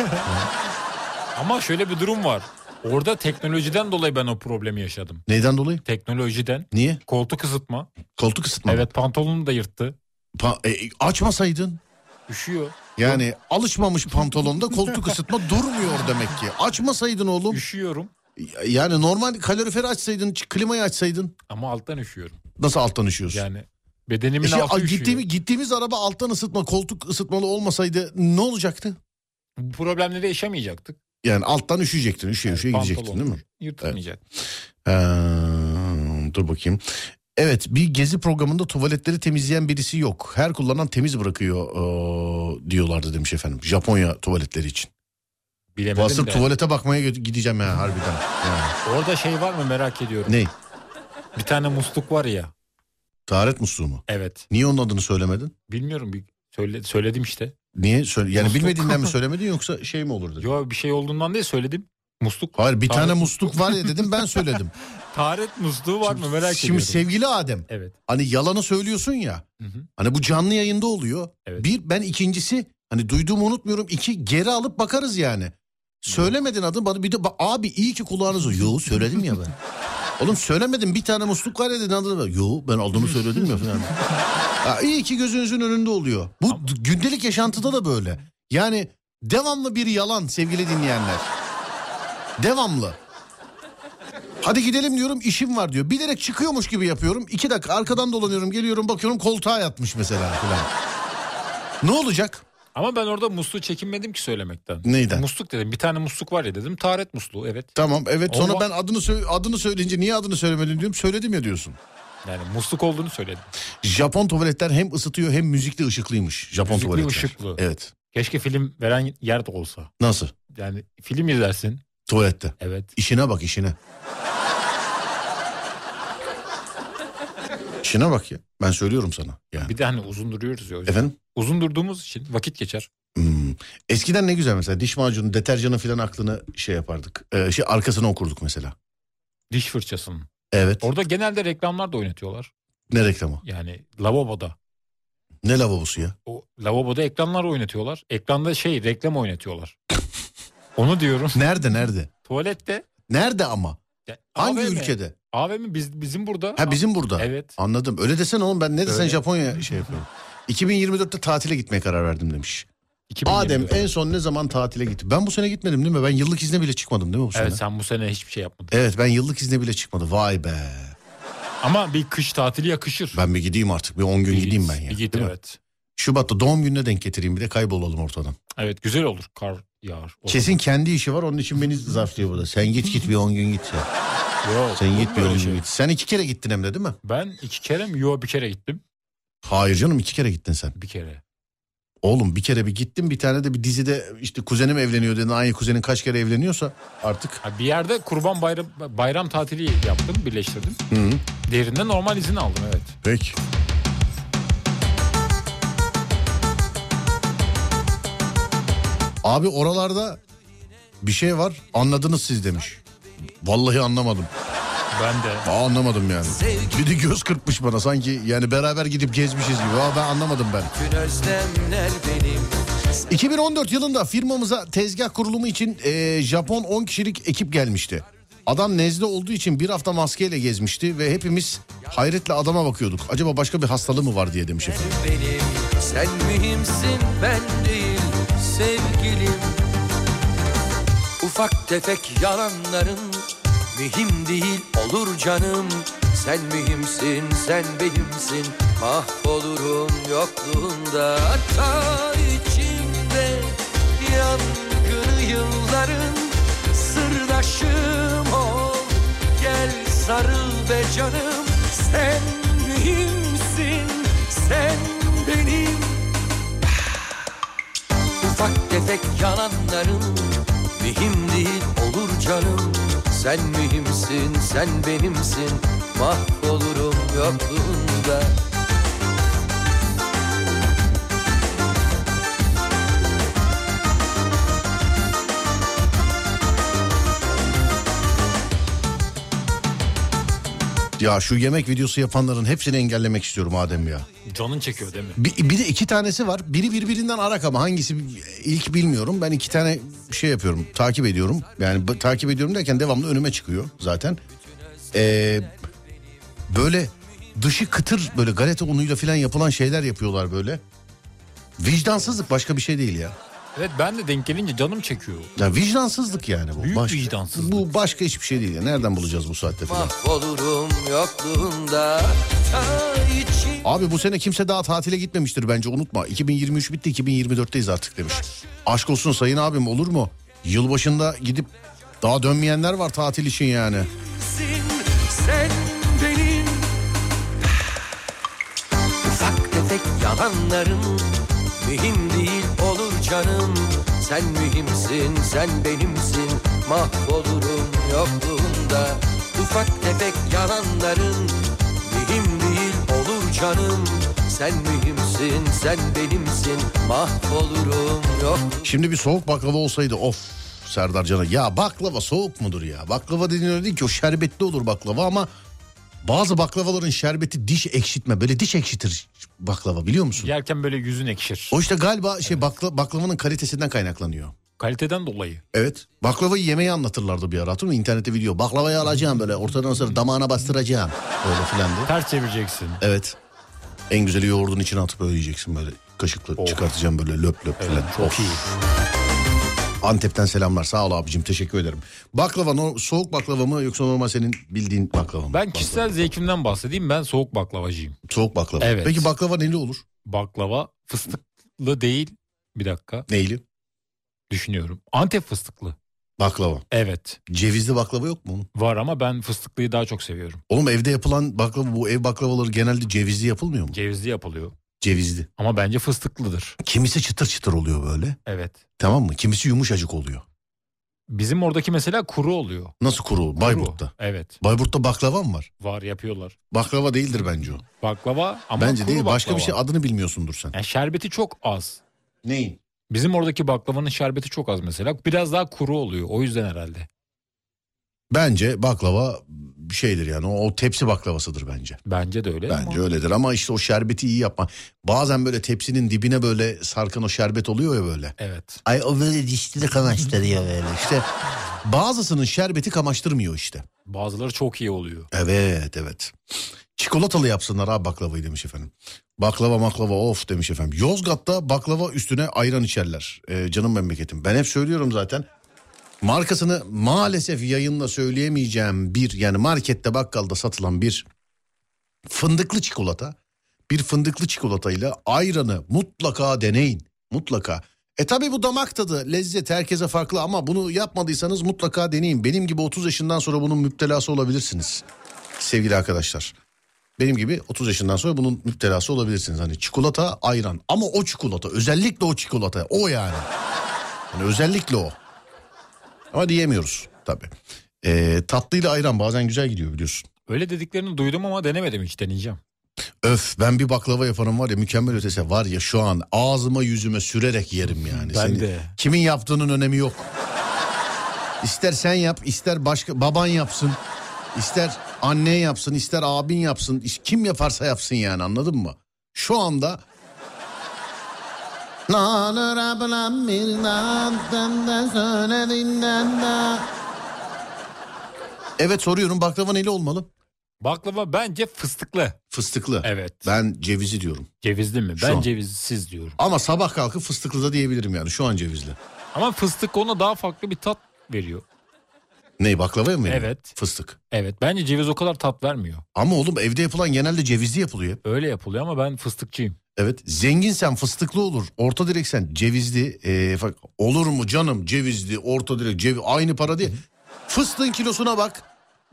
Speaker 3: Ama şöyle bir durum var. Orada teknolojiden dolayı ben o problemi yaşadım.
Speaker 2: Neyden dolayı?
Speaker 3: Teknolojiden.
Speaker 2: Niye?
Speaker 3: Koltuk ısıtma.
Speaker 2: Koltuk ısıtma. mı?
Speaker 3: Evet pantolonunu da yırttı.
Speaker 2: Pa- e, açmasaydın.
Speaker 3: Üşüyor.
Speaker 2: Yani alışmamış pantolonda koltuk ısıtma durmuyor demek ki. Açmasaydın oğlum.
Speaker 3: Üşüyorum
Speaker 2: Yani normal kaloriferi açsaydın, ç- klimayı açsaydın
Speaker 3: ama alttan üşüyorum.
Speaker 2: nasıl alttan üşüyorsun?
Speaker 3: Yani bedenimin
Speaker 2: E şey,
Speaker 3: altı
Speaker 2: a-
Speaker 3: üşüyor.
Speaker 2: gittiğimiz, gittiğimiz araba alttan ısıtma, koltuk ısıtmalı olmasaydı ne olacaktı?
Speaker 3: Bu problemleri yaşamayacaktık.
Speaker 2: Yani alttan üşüyecektin. Üşüye üşüye gidecektin değil mi?
Speaker 3: Yırtılmayacak.
Speaker 2: Ee, dur bakayım. Evet bir gezi programında tuvaletleri temizleyen birisi yok. Her kullanan temiz bırakıyor ee, diyorlardı demiş efendim. Japonya tuvaletleri için.
Speaker 3: Bilemedim
Speaker 2: Basıp
Speaker 3: de.
Speaker 2: tuvalete bakmaya gö- gideceğim ya harbiden. Yani.
Speaker 3: Orada şey var mı merak ediyorum.
Speaker 2: Ne?
Speaker 3: Bir tane musluk var ya.
Speaker 2: Taharet musluğu mu?
Speaker 3: Evet.
Speaker 2: Niye onun adını söylemedin?
Speaker 3: Bilmiyorum. Bir söyle, söyledim işte.
Speaker 2: Niye? Söyle, yani
Speaker 3: Musluk.
Speaker 2: bilmediğinden mi söylemedin yoksa şey mi olur dedim.
Speaker 3: Yo bir şey olduğundan değil söyledim. Musluk.
Speaker 2: Hayır bir
Speaker 3: Taharet
Speaker 2: tane musluk var ya dedim ben söyledim.
Speaker 3: Taharet musluğu var mı merak
Speaker 2: Şimdi
Speaker 3: ediyorum.
Speaker 2: sevgili Adem
Speaker 3: Evet.
Speaker 2: hani yalanı söylüyorsun ya.
Speaker 3: Hı hı.
Speaker 2: Hani bu canlı yayında oluyor.
Speaker 3: Evet.
Speaker 2: Bir ben ikincisi hani duyduğumu unutmuyorum. İki geri alıp bakarız yani. Söylemedin adı bana bir de ba- abi iyi ki kulağınız o. Yo söyledim ya ben. Oğlum söylemedim bir tane musluk var ya dedin adını. ver. Yo ben adımı söyledim ya falan. Ha, iyi ki gözünüzün önünde oluyor. Bu d- gündelik yaşantıda da böyle. Yani devamlı bir yalan sevgili dinleyenler. Devamlı. Hadi gidelim diyorum işim var diyor. Bilerek çıkıyormuş gibi yapıyorum. İki dakika arkadan dolanıyorum geliyorum bakıyorum koltuğa yatmış mesela falan. ne olacak?
Speaker 3: Ama ben orada musluğu çekinmedim ki söylemekten.
Speaker 2: Neyden?
Speaker 3: Musluk dedim. Bir tane musluk var ya dedim. Taharet musluğu evet.
Speaker 2: Tamam evet sonra
Speaker 3: Allah-
Speaker 2: ben adını sö- adını söyleyince niye adını söylemedin diyorum. Söyledim ya diyorsun.
Speaker 3: Yani musluk olduğunu söyledim.
Speaker 2: Japon tuvaletler hem ısıtıyor hem müzikli ışıklıymış. Japon
Speaker 3: Müzikli
Speaker 2: tuvaletler.
Speaker 3: ışıklı.
Speaker 2: Evet.
Speaker 3: Keşke film veren yer de olsa.
Speaker 2: Nasıl?
Speaker 3: Yani film izlersin.
Speaker 2: Tuvalette.
Speaker 3: Evet.
Speaker 2: İşine bak işine. işine bak ya. Ben söylüyorum sana. Yani.
Speaker 3: Bir de hani uzun duruyoruz ya. o yüzden.
Speaker 2: Efendim?
Speaker 3: Uzun durduğumuz için vakit geçer.
Speaker 2: Hmm. Eskiden ne güzel mesela diş macunu, deterjanı filan aklını şey yapardık. Ee, şey arkasına okurduk mesela.
Speaker 3: Diş fırçasının.
Speaker 2: Evet.
Speaker 3: Orada genelde reklamlar da oynatıyorlar.
Speaker 2: Ne reklamı?
Speaker 3: Yani lavaboda.
Speaker 2: Ne lavabosu ya?
Speaker 3: O lavaboda ekranlar oynatıyorlar. Ekranda şey reklam oynatıyorlar. Onu diyorum.
Speaker 2: Nerede nerede?
Speaker 3: Tuvalette.
Speaker 2: Nerede ama?
Speaker 3: Ya,
Speaker 2: Hangi
Speaker 3: AVM.
Speaker 2: ülkede?
Speaker 3: AVM biz, bizim burada.
Speaker 2: Ha bizim burada.
Speaker 3: Evet.
Speaker 2: Anladım. Öyle desen oğlum ben ne desen
Speaker 3: Öyle.
Speaker 2: Japonya şey yapıyorum. 2024'te tatile gitmeye karar verdim demiş.
Speaker 3: 2024.
Speaker 2: Adem en son ne zaman tatile gitti? Ben bu sene gitmedim değil mi? Ben yıllık izne bile çıkmadım değil mi bu sene?
Speaker 3: Evet sen bu sene hiçbir şey yapmadın.
Speaker 2: Evet ben yıllık izne bile çıkmadım. Vay be.
Speaker 3: Ama bir kış tatili yakışır.
Speaker 2: Ben bir gideyim artık. Bir 10 gün
Speaker 3: Bir
Speaker 2: gideyim
Speaker 3: git,
Speaker 2: ben ya.
Speaker 3: bir git
Speaker 2: Değil mi?
Speaker 3: evet.
Speaker 2: Şubat'ta doğum gününe denk getireyim bir de kaybolalım ortadan.
Speaker 3: Evet güzel olur kar yağar. O
Speaker 2: Kesin kendi işi var onun için beni zarflıyor burada. Sen git git bir 10 gün git ya.
Speaker 3: zaman- Yok,
Speaker 2: Sen
Speaker 3: olur
Speaker 2: git
Speaker 3: mu
Speaker 2: bir 10
Speaker 3: öyle
Speaker 2: gün
Speaker 3: şey?
Speaker 2: git. Sen iki kere gittin hem de değil mi?
Speaker 3: Ben iki kere mi? Yo bir kere gittim.
Speaker 2: Hayır canım iki kere gittin sen.
Speaker 3: Bir kere.
Speaker 2: Oğlum bir kere bir gittim bir tane de bir dizide işte kuzenim evleniyor dedin. Aynı kuzenin kaç kere evleniyorsa artık.
Speaker 3: Ha, bir yerde kurban bayram, bayram tatili yaptım birleştirdim.
Speaker 2: Hı -hı.
Speaker 3: Derinde normal izin aldım evet.
Speaker 2: Peki. Abi oralarda bir şey var anladınız siz demiş. Vallahi anlamadım.
Speaker 3: Ben de.
Speaker 2: Aa, anlamadım yani. Bir de göz kırpmış bana sanki yani beraber gidip gezmişiz gibi. Aa, ben anlamadım ben.
Speaker 11: Gün özlemler benim
Speaker 2: 2014 yılında firmamıza tezgah kurulumu için e, Japon 10 kişilik ekip gelmişti. Adam nezle olduğu için bir hafta maskeyle gezmişti ve hepimiz hayretle adama bakıyorduk. Acaba başka bir hastalığı mı var diye demiş efendim.
Speaker 11: benim Sen mühimsin ben değil sevgilim Ufak tefek yalanların mühim değil olur canım Sen mühimsin sen benimsin mahvolurum yokluğunda Hatta içimde yangını yılların sırdaşım ol Gel sarıl be canım sen mühimsin sen benim Ufak tefek yalanların mühim değil olur canım Sen mühimsin sen benimsin mahvolurum yokluğunda
Speaker 2: Ya şu yemek videosu yapanların hepsini engellemek istiyorum Adem ya.
Speaker 3: Canın çekiyor değil mi?
Speaker 2: Bir, bir de iki tanesi var. Biri birbirinden arak ama hangisi ilk bilmiyorum. Ben iki tane şey yapıyorum. Takip ediyorum. Yani b- takip ediyorum derken devamlı önüme çıkıyor zaten. Ee, böyle dışı kıtır böyle galeta unuyla falan yapılan şeyler yapıyorlar böyle. Vicdansızlık başka bir şey değil ya.
Speaker 3: Evet ben de denk gelince canım çekiyor.
Speaker 2: Ya vicdansızlık yani bu.
Speaker 3: Büyük vicdansızlık.
Speaker 2: Bu başka hiçbir şey değil ya. Nereden bulacağız bu saatte falan.
Speaker 11: Mahvolurum yokluğunda Ta içim
Speaker 2: Abi bu sene kimse daha tatile gitmemiştir bence unutma. 2023 bitti 2024'teyiz artık demiş. Aşk olsun sayın abim olur mu? Yılbaşında gidip daha dönmeyenler var tatil için yani.
Speaker 5: Sensin, sen benim Ufak tefek yalanların mühim değil olur canım Sen mühimsin, sen benimsin mahvolurum yokluğunda Ufak tefek yalanların mühim değil olur canım Sen mühimsin, sen benimsin mahvolurum yokluğunda
Speaker 2: Şimdi bir soğuk baklava olsaydı of Serdar Can'a. Ya baklava soğuk mudur ya? Baklava dediğin öyle değil ki o şerbetli olur baklava ama bazı baklavaların şerbeti diş ekşitme. Böyle diş ekşitir baklava biliyor musun?
Speaker 3: Yerken böyle yüzün ekşir.
Speaker 2: O işte galiba şey bakla, baklavanın kalitesinden kaynaklanıyor.
Speaker 3: Kaliteden dolayı.
Speaker 2: Evet. Baklavayı yemeği anlatırlardı bir ara. Hatırlıyor musun? İnternette video. Baklavayı alacağım böyle ortadan sonra damağına bastıracağım. Öyle filan diye.
Speaker 3: Ters çevireceksin.
Speaker 2: Evet. En güzeli yoğurdun içine atıp öyle yiyeceksin böyle. Kaşıkla çıkartacağım böyle löp löp filan.
Speaker 3: çok
Speaker 2: Of.
Speaker 3: iyi.
Speaker 2: Antep'ten selamlar. Sağ ol abicim. Teşekkür ederim. Baklava no, soğuk baklava mı yoksa normal senin bildiğin baklava mı?
Speaker 3: Ben kişisel zevkimden bahsedeyim. Ben soğuk baklavacıyım.
Speaker 2: Soğuk baklava.
Speaker 3: Evet.
Speaker 2: Peki baklava neli olur?
Speaker 3: Baklava fıstıklı değil. Bir dakika
Speaker 2: Neyli?
Speaker 3: düşünüyorum. Antep fıstıklı.
Speaker 2: Baklava.
Speaker 3: Evet
Speaker 2: Cevizli baklava yok mu onun?
Speaker 3: var ama ben fıstıklıyı daha çok seviyorum.
Speaker 2: Oğlum evde yapılan baklava bu ev baklavaları genelde cevizli yapılmıyor mu?
Speaker 3: Cevizli yapılıyor.
Speaker 2: Cevizli.
Speaker 3: Ama bence fıstıklıdır.
Speaker 2: Kimisi çıtır çıtır oluyor böyle.
Speaker 3: Evet.
Speaker 2: Tamam mı? Kimisi yumuşacık oluyor.
Speaker 3: Bizim oradaki mesela kuru oluyor.
Speaker 2: Nasıl kuru? Bayburt'ta.
Speaker 3: Kuru. Evet.
Speaker 2: Bayburt'ta baklava mı var?
Speaker 3: Var yapıyorlar.
Speaker 2: Baklava değildir bence o.
Speaker 3: Baklava ama
Speaker 2: bence
Speaker 3: kuru
Speaker 2: değil. Başka bir
Speaker 3: baklava.
Speaker 2: şey adını bilmiyorsundur sen.
Speaker 3: Yani şerbeti çok az.
Speaker 2: Neyin?
Speaker 3: Bizim oradaki baklavanın şerbeti çok az mesela. Biraz daha kuru oluyor. O yüzden herhalde.
Speaker 2: Bence baklava bir şeydir yani. O, o tepsi baklavasıdır bence.
Speaker 3: Bence de öyle. ama-
Speaker 2: Bence öyledir ama işte o şerbeti iyi yapma. Bazen böyle tepsinin dibine böyle sarkan o şerbet oluyor ya böyle.
Speaker 3: Evet.
Speaker 2: Ay o böyle dişleri kamaştırıyor böyle işte. Bazısının şerbeti kamaştırmıyor işte.
Speaker 3: Bazıları çok iyi oluyor.
Speaker 2: Evet evet. Çikolatalı yapsınlar abi baklavayı demiş efendim. Baklava maklava of demiş efendim. Yozgat'ta baklava üstüne ayran içerler. Ee, canım memleketim. Ben hep söylüyorum zaten. Markasını maalesef yayınla söyleyemeyeceğim bir yani markette bakkalda satılan bir fındıklı çikolata. Bir fındıklı çikolatayla ayranı mutlaka deneyin. Mutlaka. E tabi bu damak tadı, lezzet herkese farklı ama bunu yapmadıysanız mutlaka deneyin. Benim gibi 30 yaşından sonra bunun müptelası olabilirsiniz sevgili arkadaşlar. Benim gibi 30 yaşından sonra bunun müptelası olabilirsiniz. Hani çikolata, ayran ama o çikolata özellikle o çikolata o yani. Hani özellikle o. Ama diyemiyoruz tabii. Ee, tatlıyla ayran bazen güzel gidiyor biliyorsun.
Speaker 3: Öyle dediklerini duydum ama denemedim hiç deneyeceğim.
Speaker 2: Öf ben bir baklava yaparım var ya mükemmel ötesi var ya şu an ağzıma yüzüme sürerek yerim yani.
Speaker 3: Ben
Speaker 2: Seni-
Speaker 3: de.
Speaker 2: Kimin yaptığının önemi yok. İster sen yap ister başka baban yapsın. ister anne yapsın ister abin yapsın. iş- Kim yaparsa yapsın yani anladın mı? Şu anda... Ne olur ablam bir naatten de söylediğinden de. Evet soruyorum baklava neli olmalı?
Speaker 3: Baklava bence fıstıklı.
Speaker 2: Fıstıklı.
Speaker 3: Evet.
Speaker 2: Ben cevizi diyorum.
Speaker 3: Cevizli mi?
Speaker 2: Şu
Speaker 3: Ben
Speaker 2: an.
Speaker 3: cevizsiz diyorum.
Speaker 2: Ama sabah kalkıp fıstıklı da diyebilirim yani şu an cevizli.
Speaker 3: Ama fıstık ona daha farklı bir tat veriyor.
Speaker 2: Ne baklavaya mı? yani?
Speaker 3: Evet.
Speaker 2: Fıstık.
Speaker 3: Evet. Bence ceviz o kadar tat vermiyor.
Speaker 2: Ama oğlum evde yapılan genelde cevizli yapılıyor hep.
Speaker 3: Öyle yapılıyor ama ben fıstıkçıyım.
Speaker 2: Evet. Zenginsen fıstıklı olur. Orta direksen cevizli. Ee, fak- olur mu canım cevizli, orta direk, ceviz aynı para değil. Fıstığın kilosuna bak.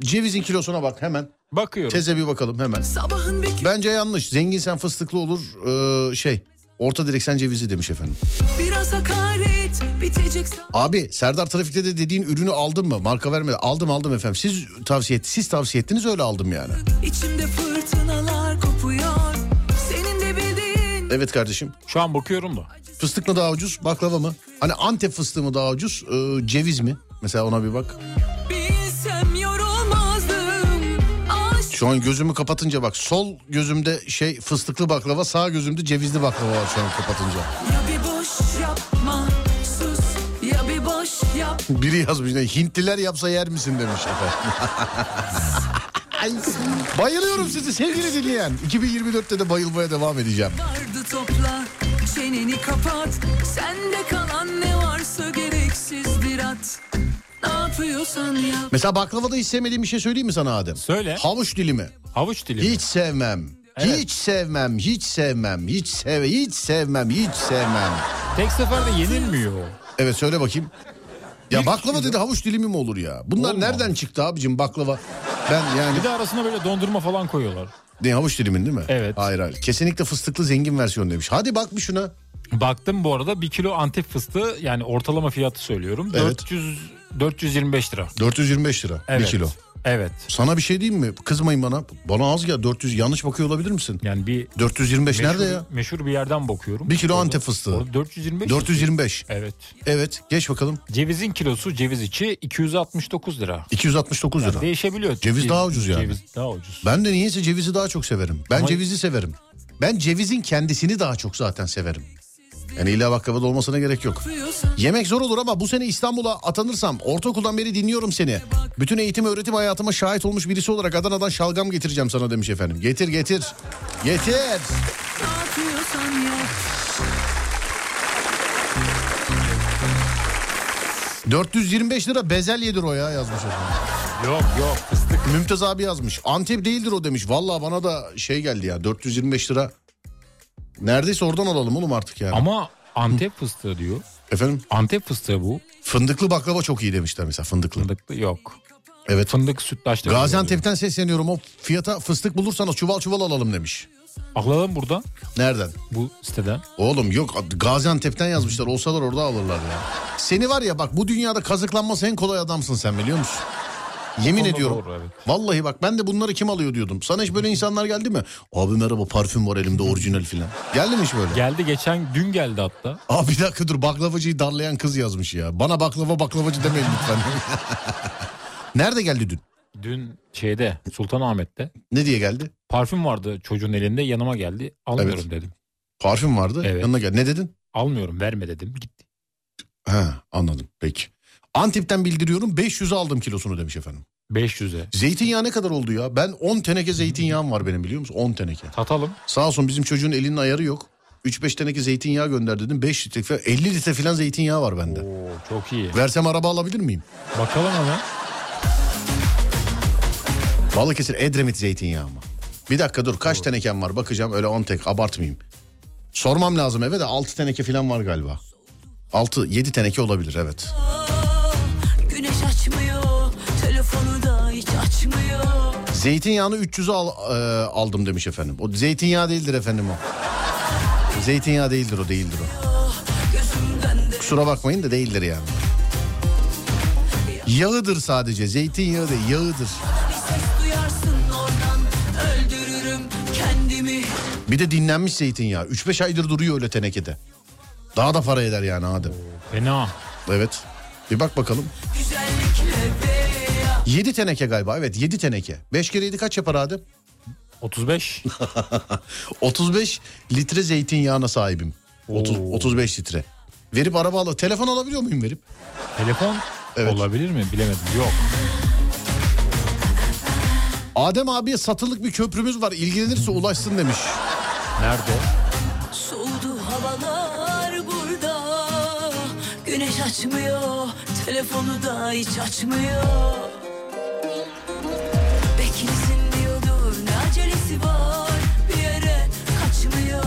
Speaker 2: Cevizin kilosuna bak hemen.
Speaker 3: Bakıyorum.
Speaker 2: Teze bir bakalım hemen.
Speaker 12: Sabahın bir,
Speaker 2: Bence yanlış. Zenginsen fıstıklı olur. ee, şey. Orta direksen cevizli demiş efendim.
Speaker 12: biraz hakaret bitecek
Speaker 2: Abi Serdar Trafik'te de dediğin ürünü aldın mı? Marka vermedi. Aldım aldım efendim. Siz tavsiye et, siz tavsiye ettiniz öyle aldım yani.
Speaker 12: İçimde fırtınalar kopuyor Senin de bildiğin
Speaker 2: Evet kardeşim.
Speaker 3: Şu an bakıyorum da.
Speaker 2: Fıstık mı daha ucuz, baklava mı? Hani Antep fıstığı mı daha ucuz, ee, ceviz mi? Mesela ona bir bak.
Speaker 12: Bilsem yorulmazdım Aşk
Speaker 2: Şu an gözümü kapatınca bak. Sol gözümde şey fıstıklı baklava, sağ gözümde cevizli baklava var şu an kapatınca.
Speaker 12: ya bir boş yapma Sus ya bir boş yap
Speaker 2: Biri yazmış ne? Hintliler yapsa yer misin demiş efendim. Ay, Bayılıyorum sizi sevgili dinleyen. 2024'te de bayılmaya devam edeceğim.
Speaker 12: Vardı topla çeneni kapat Sende kalan ne varsa gereksizdir at Ne yapıyorsan yap
Speaker 2: Mesela baklavada hiç sevmediğim bir şey söyleyeyim mi sana Adem?
Speaker 3: Söyle.
Speaker 2: Havuç dilimi.
Speaker 3: Havuç dilimi.
Speaker 2: Hiç sevmem.
Speaker 3: Evet.
Speaker 2: Hiç sevmem, hiç sevmem, hiç sev, hiç sevmem, hiç sevmem.
Speaker 3: Tek seferde yenilmiyor. o.
Speaker 2: Evet söyle bakayım. Ya baklava dedi havuç dilimi mi olur ya? Bunlar
Speaker 3: Olmaz.
Speaker 2: nereden çıktı abicim baklava? Ben yani
Speaker 3: Bir de arasına böyle dondurma falan koyuyorlar.
Speaker 2: ne havuç dilimin değil mi?
Speaker 3: Evet.
Speaker 2: Hayır hayır. Kesinlikle fıstıklı zengin versiyon demiş. Hadi bak bir şuna.
Speaker 3: Baktım bu arada bir kilo antep fıstığı yani ortalama fiyatı söylüyorum.
Speaker 2: Evet.
Speaker 3: 400 425 lira.
Speaker 2: 425 lira
Speaker 3: Evet.
Speaker 2: bir kilo.
Speaker 3: Evet.
Speaker 2: Sana bir şey diyeyim mi? Kızmayın bana. Bana az ya 400 yanlış bakıyor olabilir misin?
Speaker 3: Yani bir
Speaker 2: 425
Speaker 3: meşhur,
Speaker 2: nerede ya?
Speaker 3: Meşhur bir yerden bakıyorum.
Speaker 2: Bir kilo
Speaker 3: Orada-
Speaker 2: antep fıstığı.
Speaker 3: orada 425.
Speaker 2: 425.
Speaker 3: Evet.
Speaker 2: Evet geç bakalım.
Speaker 3: Cevizin kilosu ceviz içi 269 lira.
Speaker 2: 269
Speaker 3: Yani
Speaker 2: lira.
Speaker 3: değişebiliyor.
Speaker 2: Ceviz daha ucuz yani.
Speaker 3: Ceviz daha ucuz.
Speaker 2: Ben de niyeyse cevizi daha çok severim. Ben
Speaker 3: Ama-
Speaker 2: cevizi severim. Ben cevizin kendisini daha çok zaten severim. Yani illa bakkabada olmasına gerek yok. Yemek zor olur ama bu sene İstanbul'a atanırsam ortaokuldan beri dinliyorum seni. Bütün eğitim öğretim hayatıma şahit olmuş birisi olarak Adana'dan şalgam getireceğim sana demiş efendim. Getir getir. Getir.
Speaker 12: Ne yapıyorsan yap
Speaker 2: 425 lira bezelyedir o ya yazmış efendim.
Speaker 3: Yok yok fıstık.
Speaker 2: Mümtaz abi yazmış. Antep değildir o demiş. Vallahi bana da şey geldi ya 425 lira. Neredeyse oradan alalım oğlum artık yani.
Speaker 3: Ama Antep fıstığı diyor.
Speaker 2: Efendim?
Speaker 3: Antep fıstığı bu.
Speaker 2: Fındıklı baklava çok iyi demişler mesela fındıklı.
Speaker 3: Fındıklı yok.
Speaker 2: Evet.
Speaker 3: Fındık sütlaçta.
Speaker 2: Gaziantep'ten sesleniyorum o fiyata fıstık bulursanız çuval çuval alalım demiş.
Speaker 3: Alalım buradan
Speaker 2: Nereden?
Speaker 3: bu siteden.
Speaker 2: Oğlum yok Gaziantep'ten yazmışlar olsalar orada alırlar ya. Seni var ya bak bu dünyada kazıklanması en kolay adamsın sen biliyor musun? Yemin
Speaker 3: konuda
Speaker 2: ediyorum.
Speaker 3: doğru, evet.
Speaker 2: Vallahi bak ben de bunları kim alıyor diyordum. Sana hiç böyle insanlar geldi mi? Abi merhaba parfüm var elimde orijinal filan. Geldi mi hiç böyle?
Speaker 3: Geldi geçen gün geldi hatta.
Speaker 2: Abi bir dakika dur baklavacıyı darlayan kız yazmış ya. Bana baklava baklavacı demeyin lütfen. Nerede geldi dün?
Speaker 3: Dün şeyde Sultanahmet'te
Speaker 2: Ne diye geldi?
Speaker 3: parfüm vardı çocuğun elinde yanıma geldi. Almıyorum
Speaker 2: Evet.
Speaker 3: dedim.
Speaker 2: Parfüm vardı.
Speaker 3: Evet.
Speaker 2: Yanına gel. Ne dedin?
Speaker 3: Almıyorum verme dedim gitti.
Speaker 2: Ha anladım peki. Antep'ten bildiriyorum 500'e aldım kilosunu demiş efendim.
Speaker 3: 500'e.
Speaker 2: Zeytinyağı ne kadar oldu ya? Ben 10 teneke zeytinyağım var benim biliyor musun? 10 teneke.
Speaker 3: Satalım.
Speaker 2: Sağ olsun bizim çocuğun elinin ayarı yok. 3-5 teneke zeytinyağı gönder dedim. 5 litre falan 50 litre falan zeytinyağı var bende.
Speaker 3: Oo, çok iyi.
Speaker 2: Versem araba alabilir miyim?
Speaker 3: Bakalım hemen.
Speaker 2: Balıkesir Edremit zeytinyağı mı? Bir dakika dur kaç tenekem var bakacağım öyle 10 tek abartmayayım. Sormam lazım eve de 6 teneke falan var galiba. 6 7 teneke olabilir evet.
Speaker 12: Güneş açmıyor Telefonu da hiç açmıyor
Speaker 2: Zeytinyağını 300'e al- e, aldım demiş efendim. O zeytinyağı değildir efendim o. Zeytinyağı değildir o değildir o.
Speaker 12: Gözümden de
Speaker 2: Kusura bakmayın da değildir yani. Yağıdır sadece zeytinyağı değil yağıdır.
Speaker 12: bir ses duyarsın oradan Öldürürüm kendimi
Speaker 2: Bir de dinlenmiş zeytinyağı. 3-5 aydır duruyor öyle tenekede. Daha da para eder yani Adem.
Speaker 3: Fena.
Speaker 2: Evet. Bir bak bakalım.
Speaker 12: Güzellikle veya
Speaker 2: 7 teneke galiba evet 7 teneke. 5 kere 7 kaç yapar Adem?
Speaker 3: 35.
Speaker 2: 35 litre zeytinyağına sahibim. 30,
Speaker 3: Oo.
Speaker 2: 35 litre. Verip araba al. Telefon alabiliyor muyum verip?
Speaker 3: Telefon
Speaker 2: Evet.
Speaker 3: olabilir mi? Bilemedim. Yok.
Speaker 2: Adem abiye satılık bir köprümüz var ilgilenirse ulaşsın demiş.
Speaker 3: Nerede?
Speaker 12: soğudu havalar burada Güneş açmıyor Telefonu da hiç açmıyor Beklesin diyordur ne acelesi var Bir yere kaçmıyor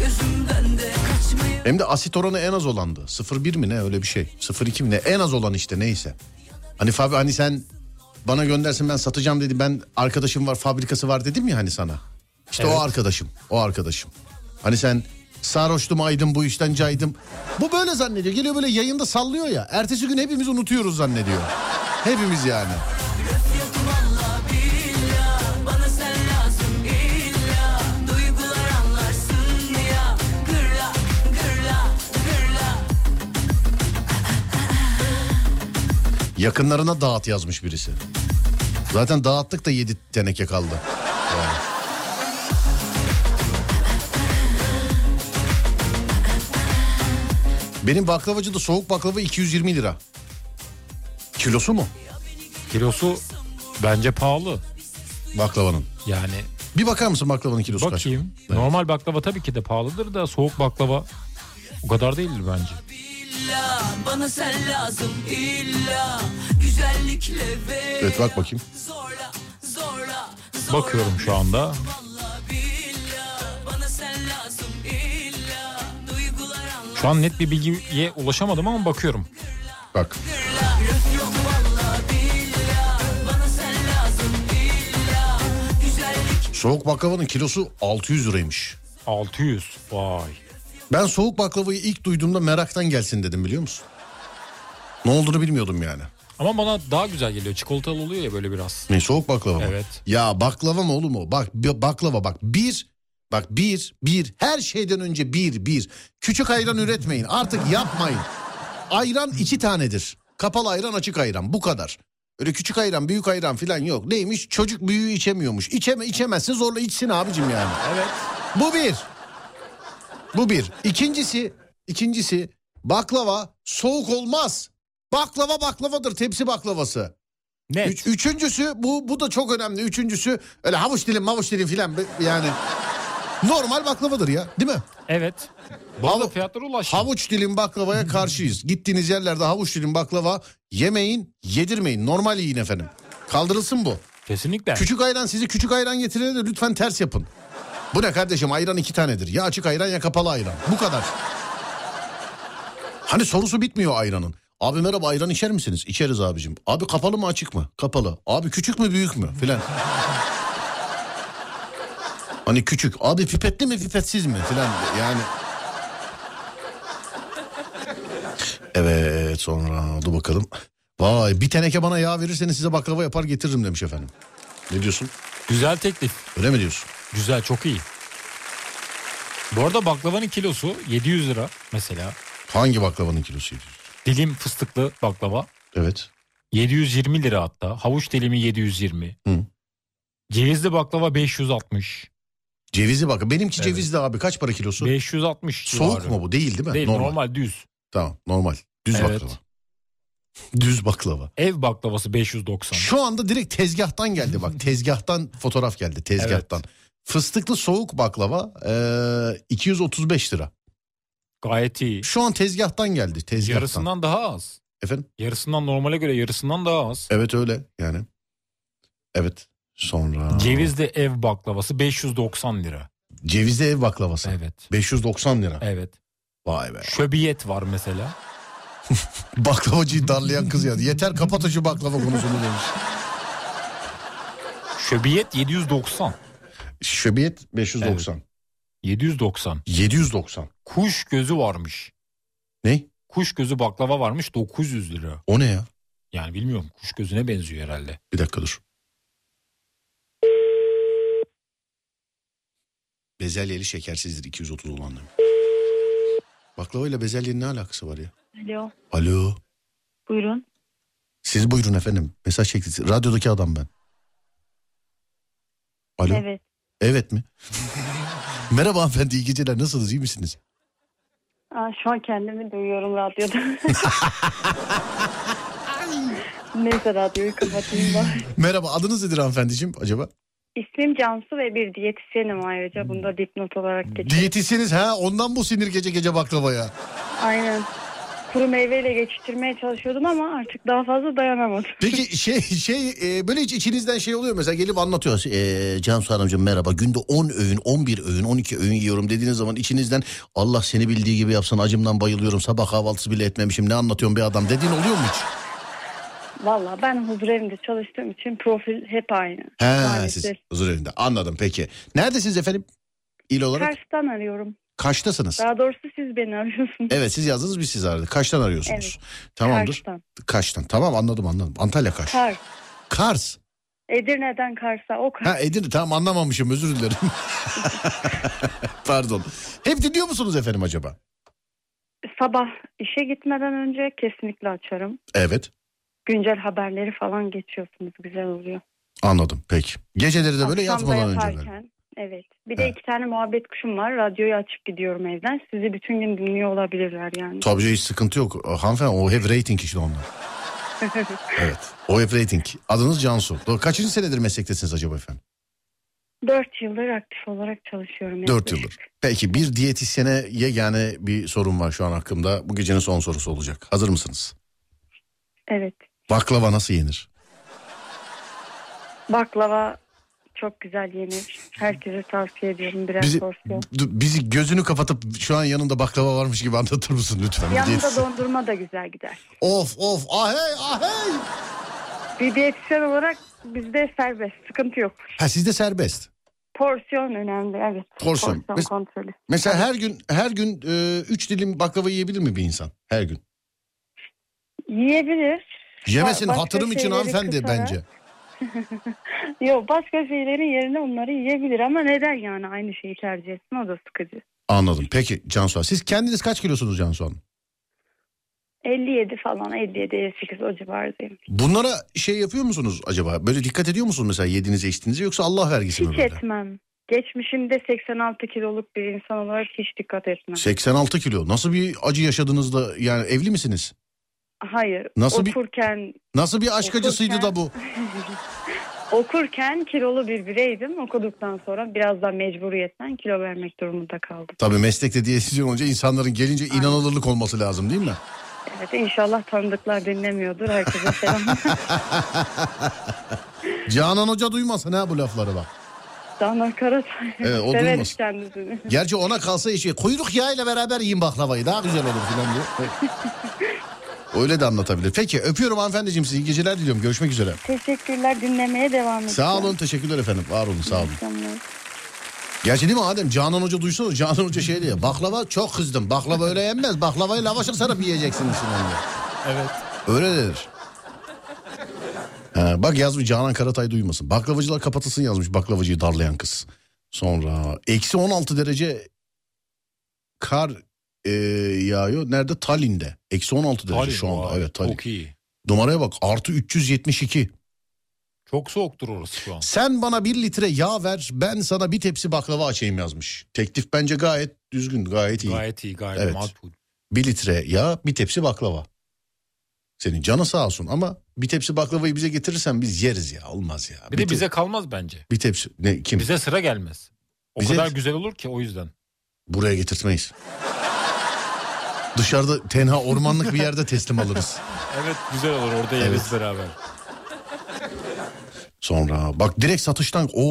Speaker 12: Gözümden de kaçmıyor
Speaker 2: Hem de asit oranı en az olandı. 0.1 mi ne öyle bir şey. 0.2 mi ne en az olan işte neyse. Hani Fabi hani sen bana göndersin ben satacağım dedi. Ben arkadaşım var fabrikası var dedim ya hani sana. İşte o arkadaşım. O arkadaşım. Hani sen sarhoştum aydım bu işten caydım. Bu böyle zannediyor. Geliyor böyle yayında sallıyor ya. Ertesi gün hepimiz unutuyoruz zannediyor. Hepimiz yani.
Speaker 12: Valla billah bana sen lazım illa Duygular anlarsın ya Gırla gırla gırla
Speaker 2: Yakınlarına dağıt yazmış birisi. Zaten dağıttık da 7 teneke kaldı. Yani. Benim baklavacıda soğuk baklava 220 lira. Kilosu mu
Speaker 3: Kilosu bence pahalı.
Speaker 2: baklavanın?
Speaker 3: Yani
Speaker 2: Bir bakar mısın baklavanın kilosu kaç?
Speaker 3: bakayım. Normal baklava tabii ki de pahalıdır da soğuk baklava o kadar değildir bence.
Speaker 12: illa Bana sen lazım illa Güzellikle ve
Speaker 2: Evet bak bakayım.
Speaker 12: zorla zorla zorla
Speaker 3: Bakıyorum şu anda.
Speaker 12: Valla billah bana sen lazım illa Duygular
Speaker 3: Şu an net bir bilgiye ulaşamadım ama bakıyorum.
Speaker 2: Bak.
Speaker 12: anlarsın
Speaker 2: Soğuk baklavanın kilosu 600 liraymış.
Speaker 3: 600. Vay.
Speaker 2: Ben soğuk baklavayı ilk duyduğumda meraktan gelsin dedim biliyor musun? Ne olduğunu bilmiyordum yani.
Speaker 3: Ama bana daha güzel geliyor. Çikolatalı oluyor ya böyle biraz.
Speaker 2: Ne soğuk baklava mı?
Speaker 3: Evet.
Speaker 2: Ya baklava mı oğlum o? Bak bir- baklava bak bir bak bir bir her şeyden önce bir bir. Küçük ayran üretmeyin artık yapmayın. Ayran iki tanedir. Kapalı ayran açık ayran bu kadar. Öyle küçük ayran büyük ayran filan yok. Neymiş çocuk büyüğü içemiyormuş. İçeme, içemezse zorla içsin abicim yani.
Speaker 3: Evet.
Speaker 2: Bu bir. Bu bir. İkincisi, ikincisi baklava soğuk olmaz. Baklava baklavadır tepsi baklavası.
Speaker 3: Net.
Speaker 2: Üç- üçüncüsü bu bu da çok önemli. Üçüncüsü öyle havuç dilim mavuç dilim filan be- yani normal baklavadır ya değil mi?
Speaker 3: Evet. Bu
Speaker 2: Havu-
Speaker 3: arada fiyatlara ulaştı.
Speaker 2: havuç dilim baklavaya karşıyız. Gittiğiniz yerlerde havuç dilim baklava yemeyin yedirmeyin normal yiyin efendim. Kaldırılsın bu.
Speaker 3: Kesinlikle.
Speaker 2: Küçük ayran sizi küçük ayran getirene de lütfen ters yapın. Bu ne kardeşim ayran iki tanedir. Ya açık ayran ya kapalı ayran. Bu kadar. Hani sorusu bitmiyor ayranın. Abi merhaba ayran içer misiniz? İçeriz abicim. Abi kapalı mı açık mı? Kapalı. Abi küçük mü büyük mü? Filan. hani küçük. Abi pipetli mi pipetsiz mi? Filan yani. Evet sonra dur bakalım. Vay bir teneke bana yağ verirseniz size baklava yapar getiririm demiş efendim. Ne diyorsun?
Speaker 3: Güzel teklif.
Speaker 2: Öyle mi diyorsun?
Speaker 3: Güzel çok iyi. Bu arada baklavanın kilosu 700 lira mesela.
Speaker 2: Hangi baklavanın kilosu 700?
Speaker 3: Dilim fıstıklı baklava
Speaker 2: Evet.
Speaker 3: 720 lira hatta. Havuç dilimi 720.
Speaker 2: Hı.
Speaker 3: Cevizli baklava 560.
Speaker 2: Cevizi bak. Benimki
Speaker 3: Evet.
Speaker 2: cevizli abi. Kaç para kilosu?
Speaker 3: 560
Speaker 2: Soğuk
Speaker 3: civarı.
Speaker 2: mu bu? Değil değil mi?
Speaker 3: Değil normal. düz.
Speaker 2: Tamam normal. Düz
Speaker 3: Evet.
Speaker 2: baklava. Düz baklava.
Speaker 3: Ev baklavası 590.
Speaker 2: Şu anda direkt tezgahtan geldi bak. tezgahtan fotoğraf geldi tezgahtan. Fıstıklı soğuk baklava e, eee, 235 lira.
Speaker 3: Gayet iyi.
Speaker 2: Şu an tezgahtan geldi tezgahtan.
Speaker 3: Yarısından daha az.
Speaker 2: Efendim?
Speaker 3: Yarısından normale göre yarısından daha az.
Speaker 2: Evet öyle yani. Evet. Sonra.
Speaker 3: Cevizli ev baklavası 590 lira.
Speaker 2: Cevizli ev baklavası.
Speaker 3: Evet.
Speaker 2: 590 lira.
Speaker 3: Evet.
Speaker 2: Vay be.
Speaker 3: Şöbiyet var mesela.
Speaker 2: Baklavacıyı darlayan kız yazdı. Yeter kapatın şu baklava konusunu demiş.
Speaker 3: Şöbiyet 790.
Speaker 2: Şöbiyet 590.
Speaker 3: 790.
Speaker 2: 790.
Speaker 3: Kuş gözü varmış.
Speaker 2: Ne?
Speaker 3: Kuş gözü baklava varmış 900 lira.
Speaker 2: O ne ya?
Speaker 3: Yani bilmiyorum kuş gözüne benziyor herhalde.
Speaker 2: Bir dakika dur. Bezelyeli şekersizdir 230 olan demiş. Baklava ile bezelyenin ne alakası var ya?
Speaker 8: Alo.
Speaker 2: Alo.
Speaker 8: Buyurun.
Speaker 2: Siz buyurun efendim. Mesaj çektiniz. Radyodaki adam ben. Alo. Evet,
Speaker 8: Evet.
Speaker 2: mi? Merhaba hanımefendi iyi geceler. Nasılsınız iyi misiniz?
Speaker 8: Aa, şu an kendimi duyuyorum radyoda. Neyse radyoyu kapatayım bari.
Speaker 2: Merhaba adınız nedir hanımefendiciğim acaba?
Speaker 8: İsmim Cansu ve bir diyetisyenim ayrıca. Bunu da dipnot olarak geçiyorum.
Speaker 2: Diyetisyeniz ha ondan bu sinir gece gece baklavaya.
Speaker 8: Aynen. Kuru meyveyle geçiştirmeye çalışıyordum ama artık daha fazla dayanamadım.
Speaker 2: Peki şey şey e, böyle hiç içinizden şey oluyor mu? mesela gelip anlatıyoruz. E, Cansu Hanımcığım merhaba günde 10 öğün 11 öğün 12 öğün yiyorum dediğiniz zaman içinizden Allah seni bildiği gibi yapsın acımdan bayılıyorum sabah kahvaltısı bile etmemişim ne anlatıyorsun be adam dediğin oluyor mu hiç?
Speaker 8: Valla ben huzur evinde çalıştığım için profil hep aynı.
Speaker 2: He
Speaker 8: Maalesef.
Speaker 2: siz huzur evinde anladım peki. Neredesiniz efendim? İl olarak
Speaker 8: Kars'tan arıyorum.
Speaker 2: kaçtasınız?
Speaker 8: Daha doğrusu siz beni arıyorsunuz.
Speaker 2: Evet siz yazdınız biz sizi aradık. Kaçtan arıyorsunuz? Tamamdır.
Speaker 8: Kars'tan.
Speaker 2: Kaçtan. Tamam anladım anladım. Antalya Kaş.
Speaker 8: Kars.
Speaker 2: Kars.
Speaker 8: Edirne'den Kars'a. O Kars.
Speaker 2: Ha e- Edirne tamam anlamamışım özür dilerim. Pardon. Hep dinliyor musunuz efendim acaba?
Speaker 8: Sabah işe gitmeden önce kesinlikle açarım.
Speaker 2: Evet
Speaker 8: Güncel haberleri falan geçiyorsunuz. Güzel oluyor.
Speaker 2: anladım peki. Geceleri de böyle
Speaker 8: Akşam da
Speaker 2: yatmadan önce.
Speaker 8: yaparken,
Speaker 2: böyle.
Speaker 8: Evet. Bir de
Speaker 2: Evet.
Speaker 8: iki tane muhabbet kuşum var. Radyoyu açıp gidiyorum evden. Sizi bütün gün dinliyor olabilirler yani.
Speaker 2: Tabii canım, hiç sıkıntı yok. Hanımefendi o hep rating işte onlar. evet o hep rating. Adınız Cansu. Do- Kaçıncı senedir meslektesiniz acaba efendim?
Speaker 8: Dört yıldır aktif olarak çalışıyorum.
Speaker 2: Dört
Speaker 8: yaklaşık.
Speaker 2: yıldır. Peki bir diyetisyene yegane bir sorun var şu an hakkımda. Bu gecenin son sorusu olacak. Hazır mısınız?
Speaker 8: Evet.
Speaker 2: Baklava nasıl yenir?
Speaker 8: Baklava çok güzel yenir. Herkese tavsiye ediyorum birer
Speaker 2: Bizi,
Speaker 8: porsiyon.
Speaker 2: d- bizi gözünü kapatıp şu an yanında baklava varmış gibi anlatır mısın lütfen? Bir
Speaker 8: Yanında
Speaker 2: diyetisyen.
Speaker 8: dondurma da güzel gider.
Speaker 2: Of of Ah, ahey ahey.
Speaker 8: Bir diyetisyen olarak bizde serbest, sıkıntı yok.
Speaker 2: Ha sizde serbest.
Speaker 8: Porsiyon önemli evet.
Speaker 2: Porsiyon. Mes-
Speaker 8: kontrolü.
Speaker 2: Mesela her gün her gün e, üç dilim baklava yiyebilir mi bir insan? Her gün.
Speaker 8: Yiyebilir.
Speaker 2: Yemesin
Speaker 8: başka
Speaker 2: hatırım için
Speaker 8: şeyleri
Speaker 2: hanımefendi
Speaker 8: kısarak-
Speaker 2: bence.
Speaker 8: Yok başka şeylerin yerine onları yiyebilir ama neden yani aynı şeyi tercih etsin o da sıkıcı.
Speaker 2: Anladım. Peki Cansu Hanım. Siz kendiniz kaç kilosunuz Cansu Hanım?
Speaker 8: 57 falan 57 58 o civardayım.
Speaker 2: Bunlara şey yapıyor musunuz acaba? Böyle dikkat ediyor musunuz mesela yediğinize içtiğinize yoksa Allah vergisi mi
Speaker 8: Hiç
Speaker 2: böyle?
Speaker 8: etmem. Geçmişimde 86 kiloluk bir insan olarak hiç dikkat etmem.
Speaker 2: 86 kilo. Nasıl bir acı yaşadınız da yani evli misiniz?
Speaker 8: Hayır.
Speaker 2: Nasıl bir-
Speaker 8: okurken
Speaker 2: Nasıl bir aşk
Speaker 8: Okurken-
Speaker 2: acısıydı da bu?
Speaker 8: okurken kilolu bir bireydim. Okuduktan sonra biraz da mecburiyetten kilo vermek durumunda kaldım.
Speaker 2: Tabii meslekte diyetisyen olunca insanların gelince inanılırlık olması lazım değil mi?
Speaker 8: Evet inşallah tanıdıklar dinlemiyordur. Herkese selam.
Speaker 2: Canan Hoca duymasın ha bu lafları bak.
Speaker 8: Canan Karatay.
Speaker 2: Evet, o
Speaker 8: Severiz
Speaker 2: duymasın.
Speaker 8: kendisini.
Speaker 2: Gerçi ona kalsa işi kuyruk yağıyla beraber yiyin baklavayı daha güzel olur filan diyor. Evet. Öyle de anlatabilir. Peki öpüyorum hanımefendiciğim sizi. İyi geceler diliyorum. Görüşmek üzere.
Speaker 8: Teşekkürler dinlemeye devam edin.
Speaker 2: Sağ olun. Teşekkürler efendim. Var olun. Sağ olun.
Speaker 8: Tamam.
Speaker 2: Gerçi değil mi Adem? Canan Hoca duysa da Canan Hoca şey diyor. Baklava çok kızdım. Baklava öyle yenmez. Baklavayı lavaşa sarıp yiyeceksin içinden diyor.
Speaker 3: Evet.
Speaker 2: Öyle denir. Ha, bak yazmış Canan Karatay duymasın. Baklavacılar kapatılsın yazmış baklavacıyı darlayan kız. Sonra eksi 16 derece kar e, yağıyor. Nerede? Tallinn'de. Eksi 16 derece
Speaker 3: Talin,
Speaker 2: şu anda.
Speaker 3: vay,
Speaker 2: Evet Tallinn.
Speaker 3: Çok iyi.
Speaker 2: Numaraya bak artı 372.
Speaker 3: Çok soğuktur orası şu an.
Speaker 2: Sen bana bir litre yağ ver ben sana bir tepsi baklava açayım yazmış. Teklif bence gayet düzgün gayet iyi.
Speaker 3: Gayet iyi gayet
Speaker 2: Evet.
Speaker 3: makul.
Speaker 2: Bir litre yağ bir tepsi baklava. Senin canı sağ olsun ama bir tepsi baklavayı bize getirirsen biz yeriz ya olmaz ya.
Speaker 3: Bir, de
Speaker 2: te-
Speaker 3: bize kalmaz bence.
Speaker 2: Bir tepsi ne kim?
Speaker 3: Bize sıra gelmez. O
Speaker 2: Bize-
Speaker 3: kadar güzel olur ki o yüzden.
Speaker 2: Buraya getirtmeyiz. Dışarıda tenha ormanlık bir yerde teslim alırız.
Speaker 3: Evet güzel olur orada yeriz
Speaker 2: Evet.
Speaker 3: beraber.
Speaker 2: Sonra bak direkt satıştan o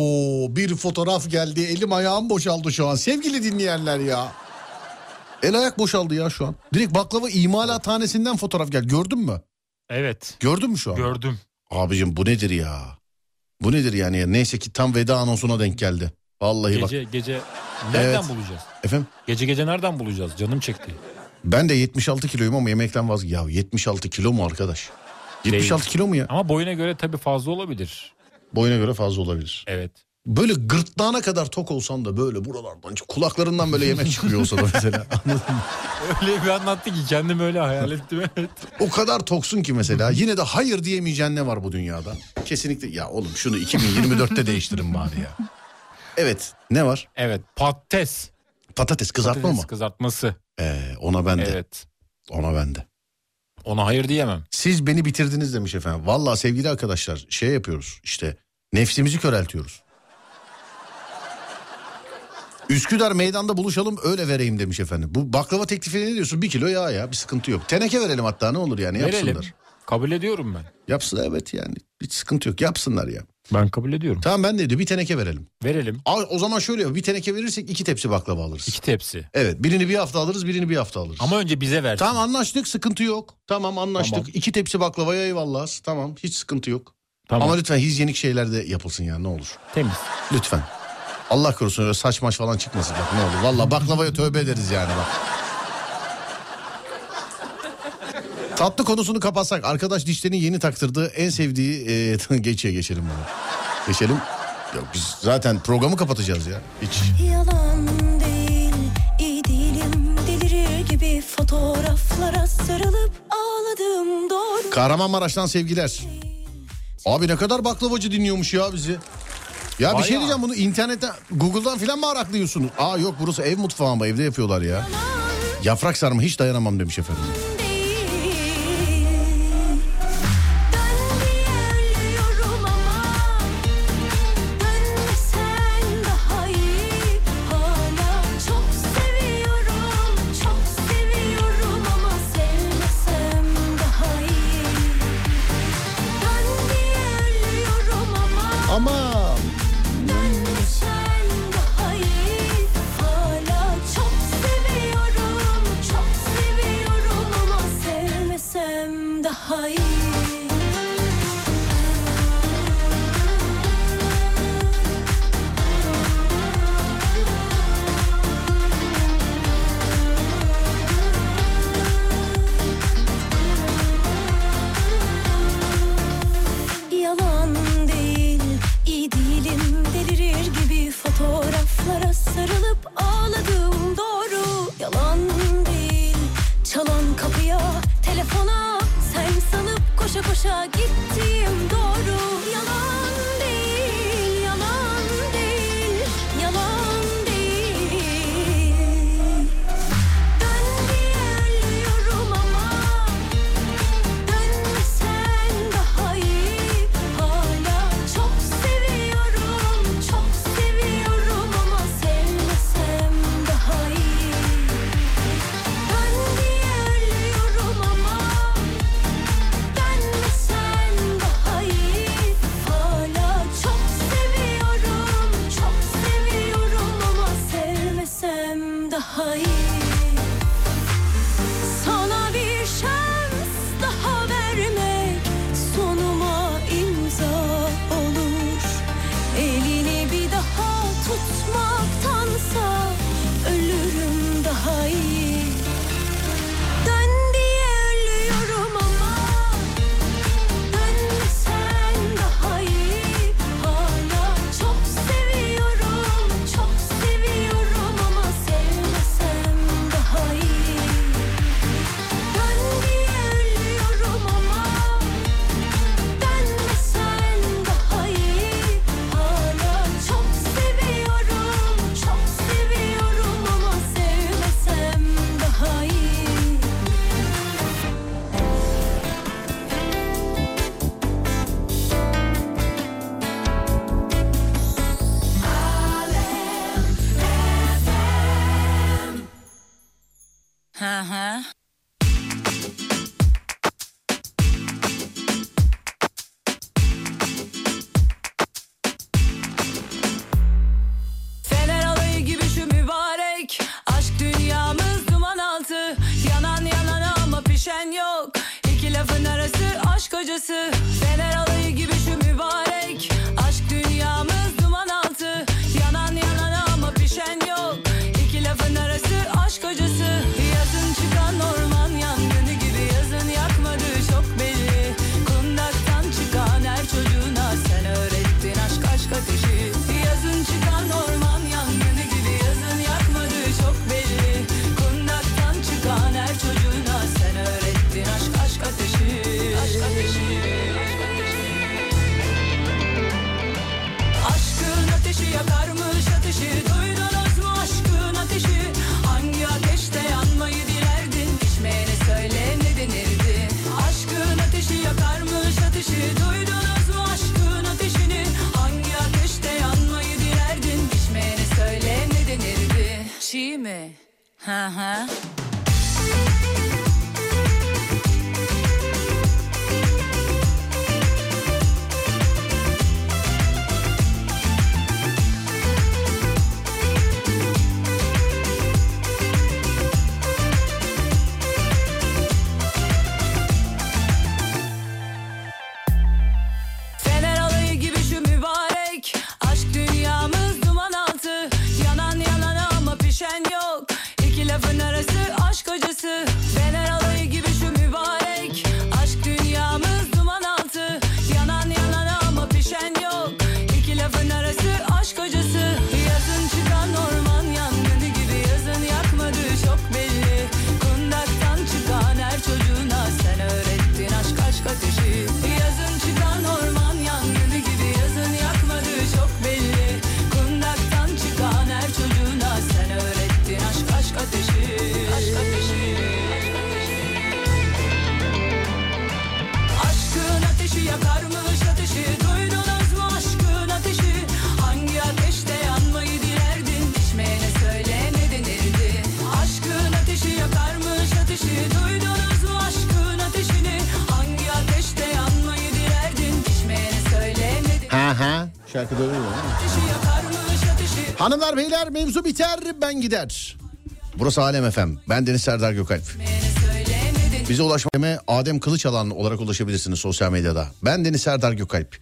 Speaker 2: bir fotoğraf geldi elim ayağım boşaldı şu an sevgili dinleyenler ya. El ayak boşaldı ya şu an. Direkt baklava imalathanesinden fotoğraf geldi gördün mü?
Speaker 3: Evet
Speaker 2: Gördün mü şu an?
Speaker 3: gördüm.
Speaker 2: Abicim bu nedir ya? Bu nedir yani? ya? Neyse ki tam veda anonsuna denk geldi. Vallahi bak.
Speaker 3: Gece gece nereden
Speaker 2: Evet.
Speaker 3: bulacağız?
Speaker 2: Efendim?
Speaker 3: Gece gece nereden bulacağız? Canım çekti.
Speaker 2: Ben de 76 kiloyum ama yemekten vazgeç. Ya 76 kilo mu arkadaş? 76
Speaker 3: Değil.
Speaker 2: kilo mu ya?
Speaker 3: Ama boyuna göre tabii fazla olabilir.
Speaker 2: Boyuna göre fazla olabilir.
Speaker 3: Evet.
Speaker 2: Böyle gırtlağına kadar tok olsan da böyle buralardan kulaklarından böyle yemek çıkıyor olsa da mesela. Anladın mı?
Speaker 3: Öyle bir anlattı ki kendim öyle hayal ettim. Evet.
Speaker 2: O kadar toksun ki mesela yine de hayır diyemeyeceğin ne var bu dünyada? Kesinlikle ya oğlum şunu 2024'te değiştirin bari ya. Evet ne var?
Speaker 3: evet patates.
Speaker 2: Patates kızartma
Speaker 3: Patates
Speaker 2: mı?
Speaker 3: kızartması.
Speaker 2: Ee, ona bende
Speaker 3: Evet.
Speaker 2: ona bende.
Speaker 3: Ona hayır diyemem.
Speaker 2: Siz beni bitirdiniz demiş efendim. Valla sevgili arkadaşlar şey yapıyoruz işte nefsimizi köreltiyoruz. Üsküdar meydanda buluşalım öyle vereyim demiş efendim. Bu baklava teklifine ne diyorsun? Bir kilo yağ ya bir sıkıntı yok. Teneke verelim hatta ne olur yani yapsınlar.
Speaker 3: Verelim. Kabul ediyorum ben.
Speaker 2: Yapsınlar evet yani hiç sıkıntı yok yapsınlar ya.
Speaker 3: Ben kabul ediyorum.
Speaker 2: Tamam ben de diyor bir teneke verelim.
Speaker 3: Verelim.
Speaker 2: Aa, O zaman şöyle yap, bir teneke verirsek iki tepsi baklava alırız.
Speaker 3: iki tepsi.
Speaker 2: Evet birini bir hafta alırız birini bir hafta alırız.
Speaker 3: Ama önce bize versin.
Speaker 2: Tamam anlaştık sıkıntı yok. Tamam anlaştık.
Speaker 3: Tamam.
Speaker 2: İki tepsi baklavaya eyvallah. Tamam hiç sıkıntı yok.
Speaker 3: Tamam.
Speaker 2: Ama lütfen hijyenik şeyler de yapılsın ya ne olur.
Speaker 3: Temiz.
Speaker 2: Lütfen. Allah korusun öyle saç maç falan çıkmasın bak ne olur. Valla baklavaya tövbe ederiz yani bak. Tatlı konusunu kapatsak. Arkadaş dişlerini yeni taktırdığı en sevdiği... E, geçe geçelim bunu. Geçelim. Yok biz zaten programı kapatacağız ya. Hiç.
Speaker 13: Yalan değil, iyi değilim Delirir gibi fotoğraflara sarılıp ağladım doğru
Speaker 2: Kahramanmaraş'tan sevgiler. Abi ne kadar baklavacı dinliyormuş ya bizi. Ya bir
Speaker 3: Vay
Speaker 2: şey
Speaker 3: ya.
Speaker 2: diyeceğim bunu internetten Google'dan filan mı araklıyorsunuz? Aa yok burası ev mutfağı ama evde yapıyorlar ya. Yaprak sarma hiç dayanamam demiş efendim.
Speaker 13: değil Ben diye ölüyorum ama Dönmesen daha iyi Hala çok seviyorum, çok seviyorum Ama sevmesem daha iyi Ben diye ölüyorum ama
Speaker 2: Ama
Speaker 13: Dönmesen daha iyi Hala çok seviyorum Çok seviyorum ama gittiğim doğru Yalan değil, yalan değil, yalan değil Ben diye ölüyorum ama Dönmesen daha iyi Hala çok seviyorum, çok seviyorum ama sevmesem daha iyi Ben diye ölüyorum ama Dönmesen daha iyi Hala çok seviyorum, çok seviyorum ama sevmesem daha iyi sana bir şans daha vermek sonuma imza olur. Elini bir daha tutmaktansa ölürüm daha iyi. Dön diye ölüyorum ama dönmesen daha iyi. Hala çok seviyorum, çok seviyorum ama sevmesem daha iyi. Ben diye ölüyorum ama Dönmesen daha iyi Hala çok seviyorum, çok seviyorum ama sevmesem daha iyi
Speaker 12: Hı hı. Fener alayı gibi şu mübarek Aşk dünyamız duman altı Yanan yanana ama pişen yok İki lafın arası aşk hocası Fener alayı gibi şu mübarek Aşk dünyamız duman altı Yanan yanana ama pişen yok İki lafın arası aşk hocası Yazın çıkan orman yangını gibi Yazın yakmadığı çok belli Kundaktan çıkan her çocuğuna Sen öğrettin aşk aşk ateşi Yazın çıkan orman yangını gibi Yazın yakmadığı çok belli Kundaktan çıkan her çocuğuna Sen öğrettin aşk aşk ateşi Aşk ateşi Aşk ateşi Aşkın ateşi yakarmış ateşi Duydunuz mu aşkın ateşi Hangi ateşte yanmayı dilerdin Pişmeyene söyle ne denirdi Aşkın ateşi yakarmış ateşi Duydunuz mu aşkın ateşini Hangi ateşte yanmayı dilerdin Pişmeyene söyle ne denirdi Çiğ mi? Ha ha Fener alayı gibi şu mübarek Aşk dünyamız duman altı Yanan yanana ama pişen yok İki lafın arası aşk hocası Fener alayı gibi şu mübarek Aşk dünyamız duman altı Yanan yanana ama pişen yok İki lafın arası aşk hocası Yazın çıkan orman yangını gibi Yazın yakmadığı çok belli Kundaktan çıkan her çocuğuna Sen öğrettin aşk aşk ateşi Yazın çıkan orman yangını gibi Yazın yakmadığı çok belli Kundaktan çıkan her çocuğuna Sen öğrettin aşk aşk ateşi Aşk ateşi Aşkın ateşi yakarmış ateşi Duydunuz mu aşkın ateşi Hangi ateşte yanmayı dilerdin Pişmeyene söyle ne denirdi Aşkın ateşi yakarmış ateşi Duydunuz mu aşkın ateşini Hangi ateşte yanmayı dilerdin Pişmeyene söyle ne denirdi
Speaker 2: Ha ha. Şarkıda öyle değil mi?
Speaker 12: Ateşi yakarmış ateşi
Speaker 2: Hanımlar beyler mevzu biter ben gider. Burası Alem FM. Ben Deniz Serdar Gökalp. Bize ulaşmaya Adem Kılıçalan olarak ulaşabilirsiniz sosyal medyada. Ben Deniz Serdar Gökalp.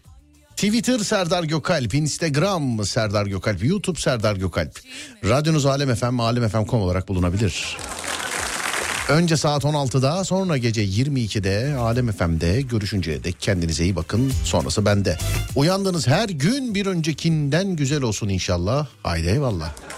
Speaker 2: Twitter Serdar Gökalp, Instagram Serdar Gökalp, YouTube Serdar Gökalp. Radyonuz Alem FM, alemfm.com olarak bulunabilir. Önce saat 16'da sonra gece 22'de Alem FM'de görüşünceye dek kendinize iyi bakın. Sonrası bende. Uyandığınız her gün bir öncekinden güzel olsun inşallah. Haydi eyvallah.